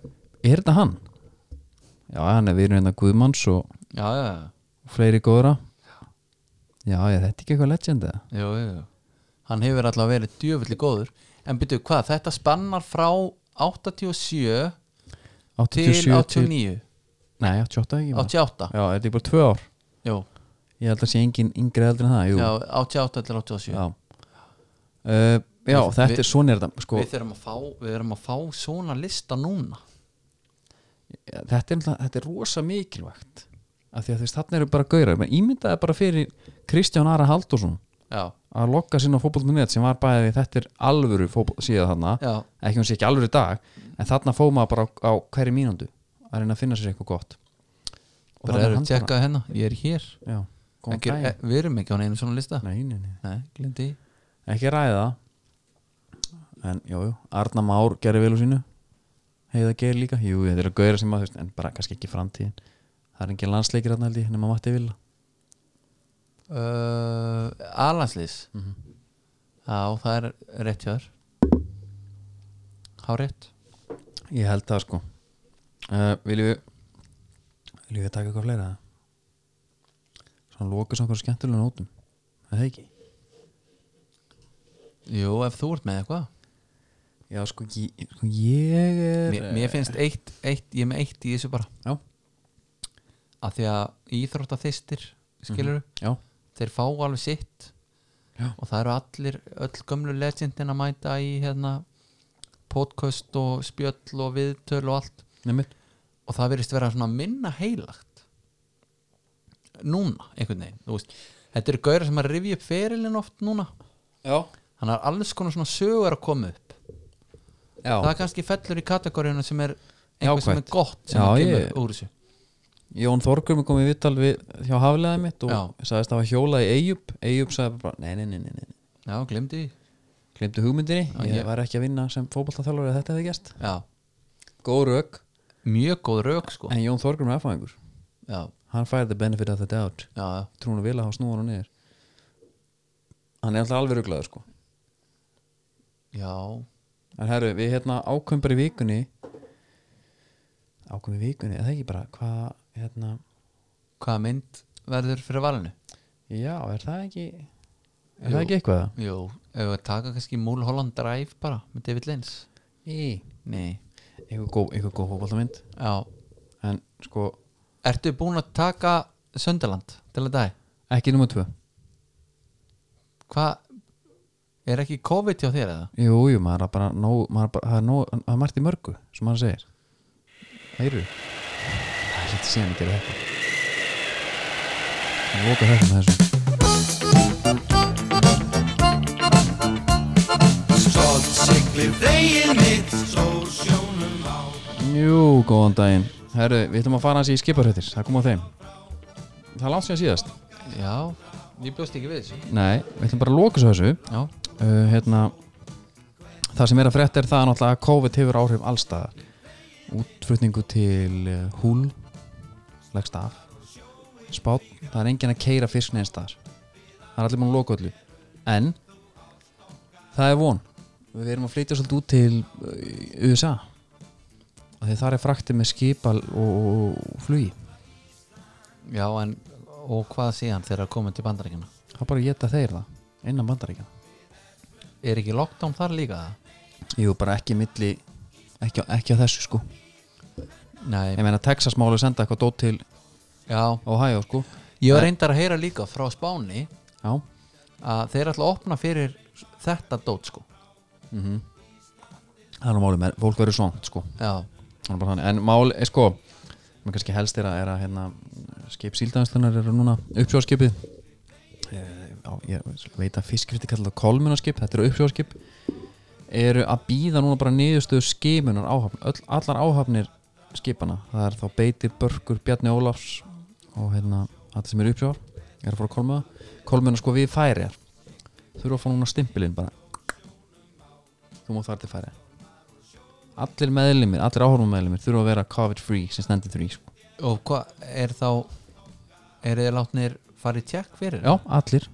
Speaker 2: er þetta hann? já, hann er við erum hérna Guðmanns og
Speaker 3: já, já, já.
Speaker 2: fleiri góðra já, er þetta ekki eitthvað legend eða?
Speaker 3: Jú, jú, jú. hann hefur allavega verið djöfulli góður en byrju hvað, þetta spannar frá 87 til
Speaker 2: 87
Speaker 3: 89
Speaker 2: nei, 88 ekki maður.
Speaker 3: 88,
Speaker 2: já, er þetta ekki bara tvö ár
Speaker 3: jú,
Speaker 2: ég held að sé engin yngri heldur en það, jú
Speaker 3: já, 88 til 87
Speaker 2: já, uh, já
Speaker 3: Við-
Speaker 2: þetta
Speaker 3: við-
Speaker 2: er svona er þetta sko,
Speaker 3: við þurfum að fá við þurfum að fá svona lista núna
Speaker 2: þetta er, náttúrulega- þetta er rosa mikilvægt af því að þú veist, þarna eru bara gaurar Men ímyndaði bara fyrir Kristján Ara Haldursson
Speaker 3: já,
Speaker 2: að lokka sinna á fótbollmunniðet sem var bæði þetta er alvöru fótboll síðan þarna
Speaker 3: já,
Speaker 2: ekki hún sé ekki alvöru í dag en þarna fóð maður bara á, á hverju mínúndu að reyna að finna sér eitthvað gott og
Speaker 3: bara erum tjekkað hérna ég er hér,
Speaker 2: já, góðan
Speaker 3: ekki,
Speaker 2: daginn.
Speaker 3: e, við erum ekki á neinu svona lista,
Speaker 2: nei, nei, nei.
Speaker 3: nei, glindi
Speaker 2: ekki ræða en jú, jú, Arna Már gerir vel úr sínu heiða gerir líka, jú, þetta eru gauðra sem að þú veist, en bara kannski ekki framtíðin það er engin landsleikir þarna held ég, nema Matti Villa
Speaker 3: uh, Alanslís
Speaker 2: Mhm.
Speaker 3: já, það er rétt hjá þér há rétt
Speaker 2: ég held það sko uh, viljum við viljum við taka eitthvað fleira svona lókast okkur skemmtilega nótum er það ekki
Speaker 3: jú, ef þú ert með eitthvað
Speaker 2: já sko ég, sko, ég er
Speaker 3: mér, mér finnst eitt, eitt, ég er með eitt í þessu bara
Speaker 2: já,
Speaker 3: að því að íþróttaþistir skilur
Speaker 2: já,
Speaker 3: þeir fá alveg sitt
Speaker 2: Mhm. Já.
Speaker 3: og það eru allir, öll gömlu legendin að mæta í hérna podcast og spjöll og viðtöl og allt
Speaker 2: nefnir
Speaker 3: og það verðist vera svona minna heilagt núna, einhvern veginn þú veist, þetta eru gauðar sem að rifja upp ferilinn oft núna
Speaker 2: já,
Speaker 3: þannig að alls konar svona sögur að koma upp
Speaker 2: já.
Speaker 3: það er kannski fellur í kategóriuna sem er einhver sem er
Speaker 2: Jákvætt.
Speaker 3: gott sem
Speaker 2: Já,
Speaker 3: að kemur
Speaker 2: ég-
Speaker 3: úr þessu
Speaker 2: Jón Þorgrum kom í vittal við hjá haflegaði mitt og
Speaker 3: Já.
Speaker 2: sagðist að hafa hjólað í Eyjup Eyjup sagði bara, nei, nei, nei, nei, nei.
Speaker 3: já, glemdi,
Speaker 2: glemdu hugmyndinni,
Speaker 3: Já,
Speaker 2: ég,
Speaker 3: ég-
Speaker 2: var ekki að vinna sem fótboltaþjálfur að þetta hefði gæst
Speaker 3: já
Speaker 2: góð rök,
Speaker 3: mjög góð rauk sko
Speaker 2: en Jón Þorgrum er erfæðingur
Speaker 3: já,
Speaker 2: hann fær the benefit of the doubt
Speaker 3: já, já,
Speaker 2: trúinu vil að hafa snúan og niður hann er alltaf alveg rugglaður sko
Speaker 3: já
Speaker 2: en herru, við hérna ákveðum bara í vikunni ákveðum í vikunni eða ekki bara, hvað hérna,
Speaker 3: hvaða mynd verður fyrir valinu?
Speaker 2: já, er það ekki er það ekki eitthvað?
Speaker 3: Jú, ef við taka kannski Mulholland Drive bara með David Lynch
Speaker 2: Í,
Speaker 3: Nei,
Speaker 2: eitthvað góð, eitthvað góð fótboltamind
Speaker 3: já
Speaker 2: en sko,
Speaker 3: Ertu búin að taka Söndaland til að dag?
Speaker 2: ekki nummer tvö
Speaker 3: Hvað, Er ekki COVID hjá þér eða?
Speaker 2: Jú, jú, maður er bara, nóg, maður er bara það, er nóg, það er margt í mörgu, sem maður segir Heyrðu Það er lítið síðan að gera þetta Það er loka þetta með þessu Jú, góðan daginn Herru, við ætlum að fara hans í skiparhættir Það kom á þeim Það er langt síðan síðast
Speaker 3: Já, ég bjóst ekki við þessu
Speaker 2: Nei, við ætlum bara að loka svo þessu
Speaker 3: Já,
Speaker 2: uh, hérna, það sem er að frétta er það að náttúrulega að COVID hefur áhrif allstaðar útflutningu til uh, húl leggst af spát, það er enginn að keira fisk neins staðar það er allir búin að loka öllu en það er von við erum að flytja svolítið út til uh, USA og því þar er fraktið með skipal og, og, og flugi
Speaker 3: já en og hvað síðan þegar að koma til bandaríkina?
Speaker 2: það bara geta þeir það innan bandaríkjana
Speaker 3: Er ekki lockdown þar líka það?
Speaker 2: jú, bara ekki milli ekki, á- ekki á þessu sko
Speaker 3: Nei,
Speaker 2: ég meina Texas máli senda eitthvað dót til
Speaker 3: já
Speaker 2: Ohio sko
Speaker 3: Ég var reyndar að heyra líka frá Spáni
Speaker 2: já,
Speaker 3: að þeir ætla að opna fyrir þetta dót sko
Speaker 2: það er nú máli með fólk verður svongt sko
Speaker 3: Já,
Speaker 2: Það er bara þannig. en máli, eh, sko mér kannski helst er að, er að hérna, skip síldænslunar eru núna uppsjóðskipið ég veit að fiskfyrti kallar það kolmunarskip þetta eru uppsjóðskip eru að býða núna bara niðurstöðu skimunar áhafn, öll, allar áhafnir skipana, það er þá Beitir, Börkur, Bjarni Ólafs og hérna allir sem eru uppsjóðar, eru að fara að kolmuna kolmuna sko við færiðar þurfa að fá núna stimpilinn bara þú mátt fara til færiðar allir meðlumir, allir áhorfum meðlumir þurfa að vera COVID free sem stendur þrý sko.
Speaker 3: og hvað er þá er þið látnir farið tjekk fyrir?
Speaker 2: já, allir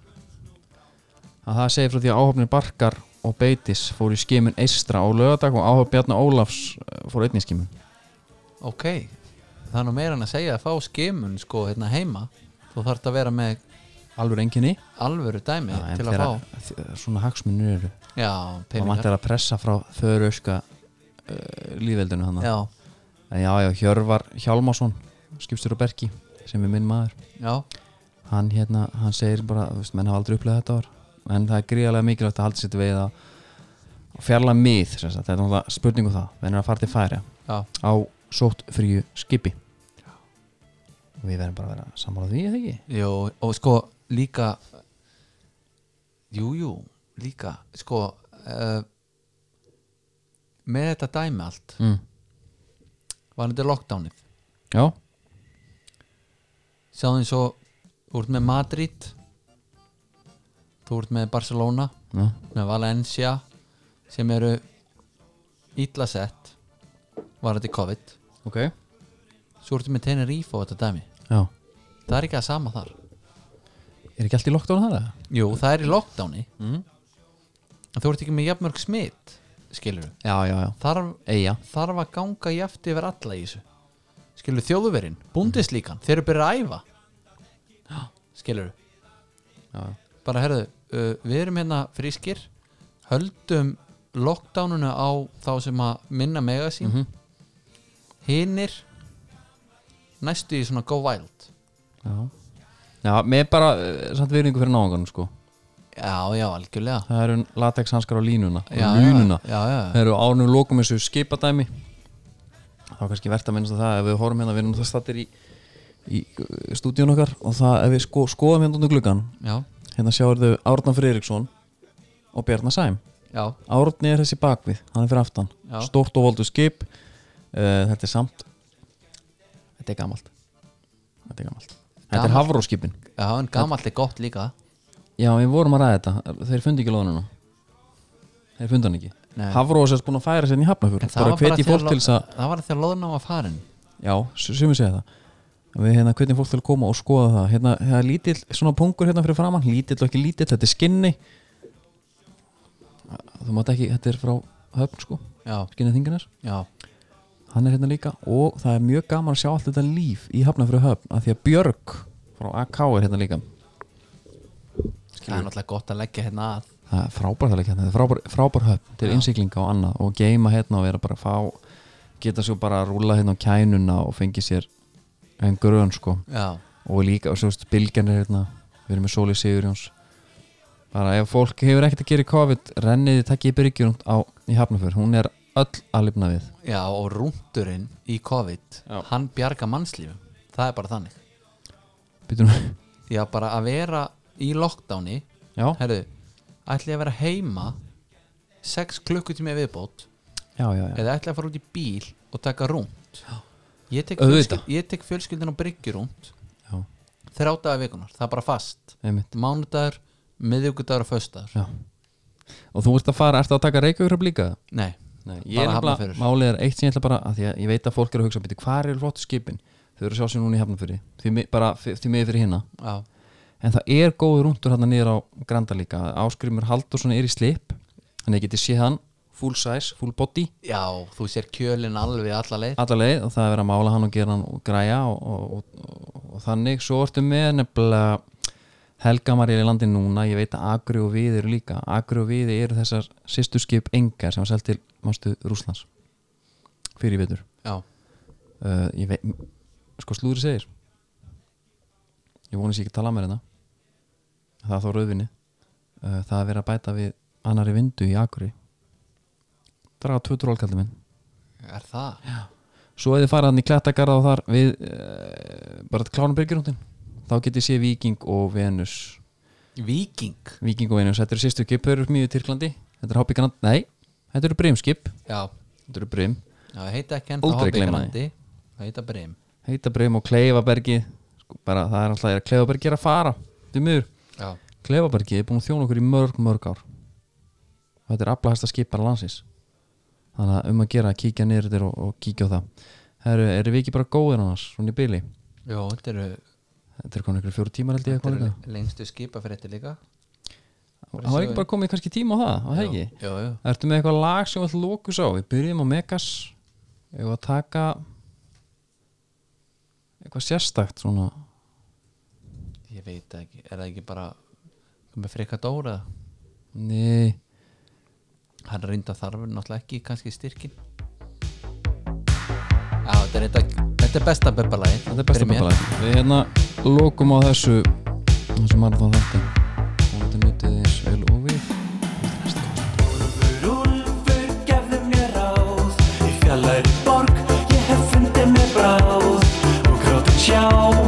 Speaker 2: að það segir frá því að áhorfnir Barkar og Beitis fóru í skimun Eistra á lögadag og áhorf Bjarni Ólafs eh, fóru einnig skimun
Speaker 3: Ok, það er nú meira en að segja að fá skimun sko hérna heima þú þarft að vera með
Speaker 2: alveg enginni
Speaker 3: alvöru dæmi til að fá
Speaker 2: svona hagsmunir eru
Speaker 3: Já,
Speaker 2: og
Speaker 3: peningar
Speaker 2: vantar að pressa frá þöru öska lífveldinu hann
Speaker 3: Já,
Speaker 2: en já, já, Hjörvar Hjálmarsson skipstur og berki sem er minn maður
Speaker 3: já,
Speaker 2: hann hérna, hann segir bara þú veist, menn hafa aldrei upplegað þetta ár en það er gríðarlega mikilvægt að halda sér til veið að fjarla mið, sem sagt. þetta er náttúrulega spurningu það, menn er að fara til færi
Speaker 3: já
Speaker 2: á sótt fríu skipi og við verðum bara að vera sammála því eða ekki
Speaker 3: Jó, og sko líka Jú, jú, líka sko uh, með þetta dæmi allt
Speaker 2: mm.
Speaker 3: var þetta lockdownið
Speaker 2: já,
Speaker 3: sjáðu eins og þú ert með Madrid þú ert með Barcelona
Speaker 2: já,
Speaker 3: með Valencia sem eru illa sett var þetta í COVID
Speaker 2: ok já,
Speaker 3: svo ertu með Tenerife og þetta dæmi það er ekki að sama þar
Speaker 2: er ekki allt í lockdown þar eða?
Speaker 3: Jú, það er í lockdowni mm. þú ert ekki með jafnmörg smitt skilur
Speaker 2: já, já, já,
Speaker 3: þarf,
Speaker 2: eiga
Speaker 3: þarf að ganga jaft yfir alla í þessu skilur þjóðuverinn, búndislíkan þeir eru byrjað að æfa skilur
Speaker 2: Já.
Speaker 3: bara herðu, uh, við erum hérna frískir höldum lockdownuna á þá sem að minna mega sín
Speaker 2: Mhm.
Speaker 3: mm hinnir næstu í svona go wild
Speaker 2: já, já með bara eh, samt virðingu fyrir náðungarnum sko
Speaker 3: já, já, algjörlega
Speaker 2: það eru latex hanskar á línuna á
Speaker 3: já,
Speaker 2: línuna
Speaker 3: já, já, já.
Speaker 2: Það eru ánum lokum þessu skipadæmi þá er kannski verðt að minnast að það ef við horfum hérna, við erum það stattir í, í stúdíun okkar og það ef við sko, skoðum hérna undir gluggan
Speaker 3: já,
Speaker 2: hérna sjáur þau Árna Friðriksson og Bjarnar Sæm
Speaker 3: já,
Speaker 2: Árni er þessi bakvið, hann er fyrir aftan
Speaker 3: Já.
Speaker 2: stort og voldu skip uh, þetta er samt þetta er gamalt þetta er gamalt Þetta er
Speaker 3: Gamalt.
Speaker 2: hafróskipin
Speaker 3: já, en gamalt er gott líka
Speaker 2: Já, við vorum að ræða þetta, þeir fundi ekki loðununa Þeir fundi hann ekki
Speaker 3: Nei.
Speaker 2: Hafró er sérst búin að færa sérn í hafnafjör
Speaker 3: En það
Speaker 2: bara
Speaker 3: var bara
Speaker 2: hvetji
Speaker 3: þegar
Speaker 2: fólk til þess að
Speaker 3: lo- það var þegar loðna var farin
Speaker 2: Já, sem við segja það Við hérna hvernig fólk til að koma og skoða það Hérna, hérna lítill, svona pungur hérna fyrir framann Lítill og ekki lítill, þetta er skinni Þú mátt ekki, þetta er frá höfn sko
Speaker 3: já,
Speaker 2: Skinni þinginar,
Speaker 3: já,
Speaker 2: hann er hérna líka Og það er mjög gaman að sjá allt þetta líf í hafna fyrir höfn Af því að Björg frá AK er hérna líka
Speaker 3: það er náttúrulega gott að leggja hérna að
Speaker 2: Það er frábært alveg hérna, þetta er frábær, frábær höfn til innsiklinga og annað og geima hérna og vera bara að fá geta svo bara að rúla hérna á kænuna og fengi sér en grön sko
Speaker 3: já,
Speaker 2: og líka, og svo veist, bylgjan er hérna við erum með Sóli Sigurjóns bara ef fólk hefur ekkert að gera í COVID renniði takkið byrgjurund á í hafnafjör hún er öll að lifna við
Speaker 3: Já, og rúndurinn í COVID
Speaker 2: Já.
Speaker 3: hann bjarga mannslífum það er bara þannig
Speaker 2: Býtum,
Speaker 3: Já, bara að vera í lockdowni
Speaker 2: já,
Speaker 3: herðu, ætli ég að vera heima 6 klukkutími viðbót
Speaker 2: já, já, já.
Speaker 3: eða ætli að fara út í bíl og taka rúnd ég tek,
Speaker 2: Auðvitað.
Speaker 3: fjölskyld, ég tek fjölskyldin og bryggju rúnd
Speaker 2: Já.
Speaker 3: þrjá dagar vikunar, það er bara fast
Speaker 2: einmitt
Speaker 3: mánudagur, miðvíkudagur og föstudagur
Speaker 2: já. og þú ert að fara, ertu að taka reykjaugröf líka?
Speaker 3: Nei,
Speaker 2: Nei, ég er nefnilega,
Speaker 3: Hafnarfjörður.
Speaker 2: málið er eitt sem ég ætla bara að því að ég veit að fólk eru að hugsa, beti, hvar eru flottu skipin þau eru að sjá sér núna í hafnafyrir því, mi- bara f- því miður fyrir hinna
Speaker 3: Já,
Speaker 2: en það er góður rúndur hann niður á Granda líka Áskrimur Haldursson er í slip þannig að getið séð hann full size, full body
Speaker 3: já þú sér kjölin alveg alla leið
Speaker 2: alla leið og það er verið að mála hann og gera hann og græja og, og, og, og, þannig svo ertu með nefnilega Helga Maríl í landi núna ég veit að Agri og Við eru líka Agri og Við eru þessar sýsturskip engar sem var selt til mástu Rúslands fyrir í vetur
Speaker 3: Já,
Speaker 2: uh, ég veit, sko slúðri segir ég vonið sér ekki að tala mér hérna það er þá rauðvinni uh, það er verið að bæta við annari vindu í Akuri draga tvö trólkallum minn
Speaker 3: er það? Já.
Speaker 2: svo ef þið farið hann í klettagarða og þar við uh, bara klárum byrgjurúndin þá getið sé Viking og Venus
Speaker 3: Víking
Speaker 2: Viking og Venus, þetta eru sérstu skip, þau eru mjög í Tyrklandi þetta eru Hábyggarnand, nei, þetta eru Brimskip
Speaker 3: Já,
Speaker 2: þetta eru Brim,
Speaker 3: já ég heita ekki ennþá
Speaker 2: Aldrei gleyma
Speaker 3: Hobbigrandi. Það heita Brim
Speaker 2: heita Brim og Kleifabergi sko, bara það er alltaf Kleifabergi er að fara, þau mjög
Speaker 3: Já,
Speaker 2: Klefabergi er búin að þjóna okkur í mörg, mörg ár og þetta er aflahasta skipar landsins þannig að um að gera að kíkja niður þetta og, og kíkja á það Heru, erum við ekki bara góðir annars, svona í byli
Speaker 3: já þetta eru
Speaker 2: þetta er komin ykkur fjóru tímar held ég
Speaker 3: þetta
Speaker 2: eitthvað
Speaker 3: eru
Speaker 2: líka
Speaker 3: lengstu skipa fyrir þetta líka
Speaker 2: það var ekki bara komið kannski tíma á það, var það
Speaker 3: Jú,
Speaker 2: ekki
Speaker 3: jú, jú.
Speaker 2: ertu með eitthvað lag sem við lókus á við byrjum á Megas eða að taka eitthvað sérstakt svona
Speaker 3: Ég veit það ekki, er það ekki bara með freka dóra
Speaker 2: nei,
Speaker 3: hann reynda þarfur náttúrulega ekki kannski styrkin Já, þetta er, þetta, þetta er besta bebbalagi
Speaker 2: þetta er besta bæta við hérna lókum á þessu þessu marathon þetta og þetta nutið eins vel og við
Speaker 7: Úlfur, gefðu mér ráð Í fjallæri borg, ég hef fundið mér bráð Og grátum sjáað,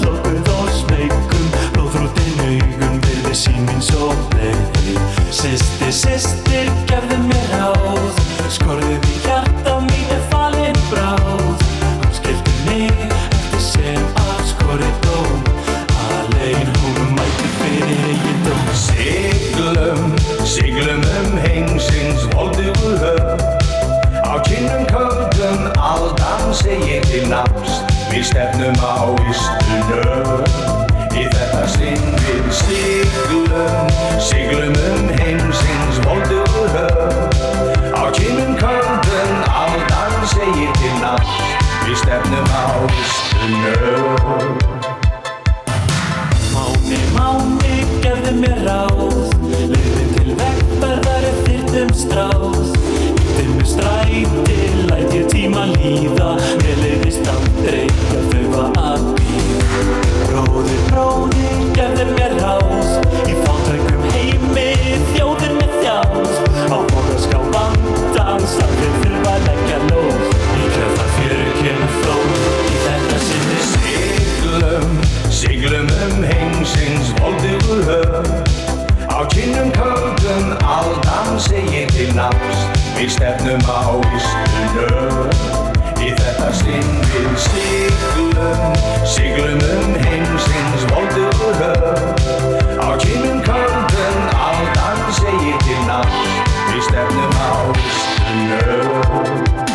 Speaker 7: hlókuð og smeykum Blóðrútin augun, byrði símin svo blei Systir, systir, gefðu mér ráð Skorðið í hjarta mín er falin bráð Hún skildi mig eftir sem að skorið dóm Alein hún mætti fyrir eigin dóm
Speaker 8: Siglum, siglum um heimsins voldugu höf Á kynnum köldum aldan segir til nafns Við stefnum á ystu nöf Í þetta sinn við siglum, siglum um heimsins voldugu höf Á kynnum köldum aldan segir til nafns Við stefnum á ystu nöf
Speaker 7: Máni, máni, gefðu mér ráð Leiðin til vegferðar er þyrnum stráð Ítti með stræti, læt ég tíma líða Mér leiðist aldrei að þaufa að býða Bróðir, bróðir, gefðu mér ráð Í fátækum heimi, þjóðir með þjáð Á borðaská vandans, allir þurfa að leggja lóð Í kjöfðar fyrir kemur flóð Í þetta sinni sig
Speaker 8: Siglum, siglum um heimsins voldugu höf Á kynnum köldum aldan segir til nafns Við stefnum á ystu nöf Í þetta sinn við siglum, siglum um heimsins voldugu höf Á kynnum köldum aldan segir til nafns Við stefnum á ystu nöf um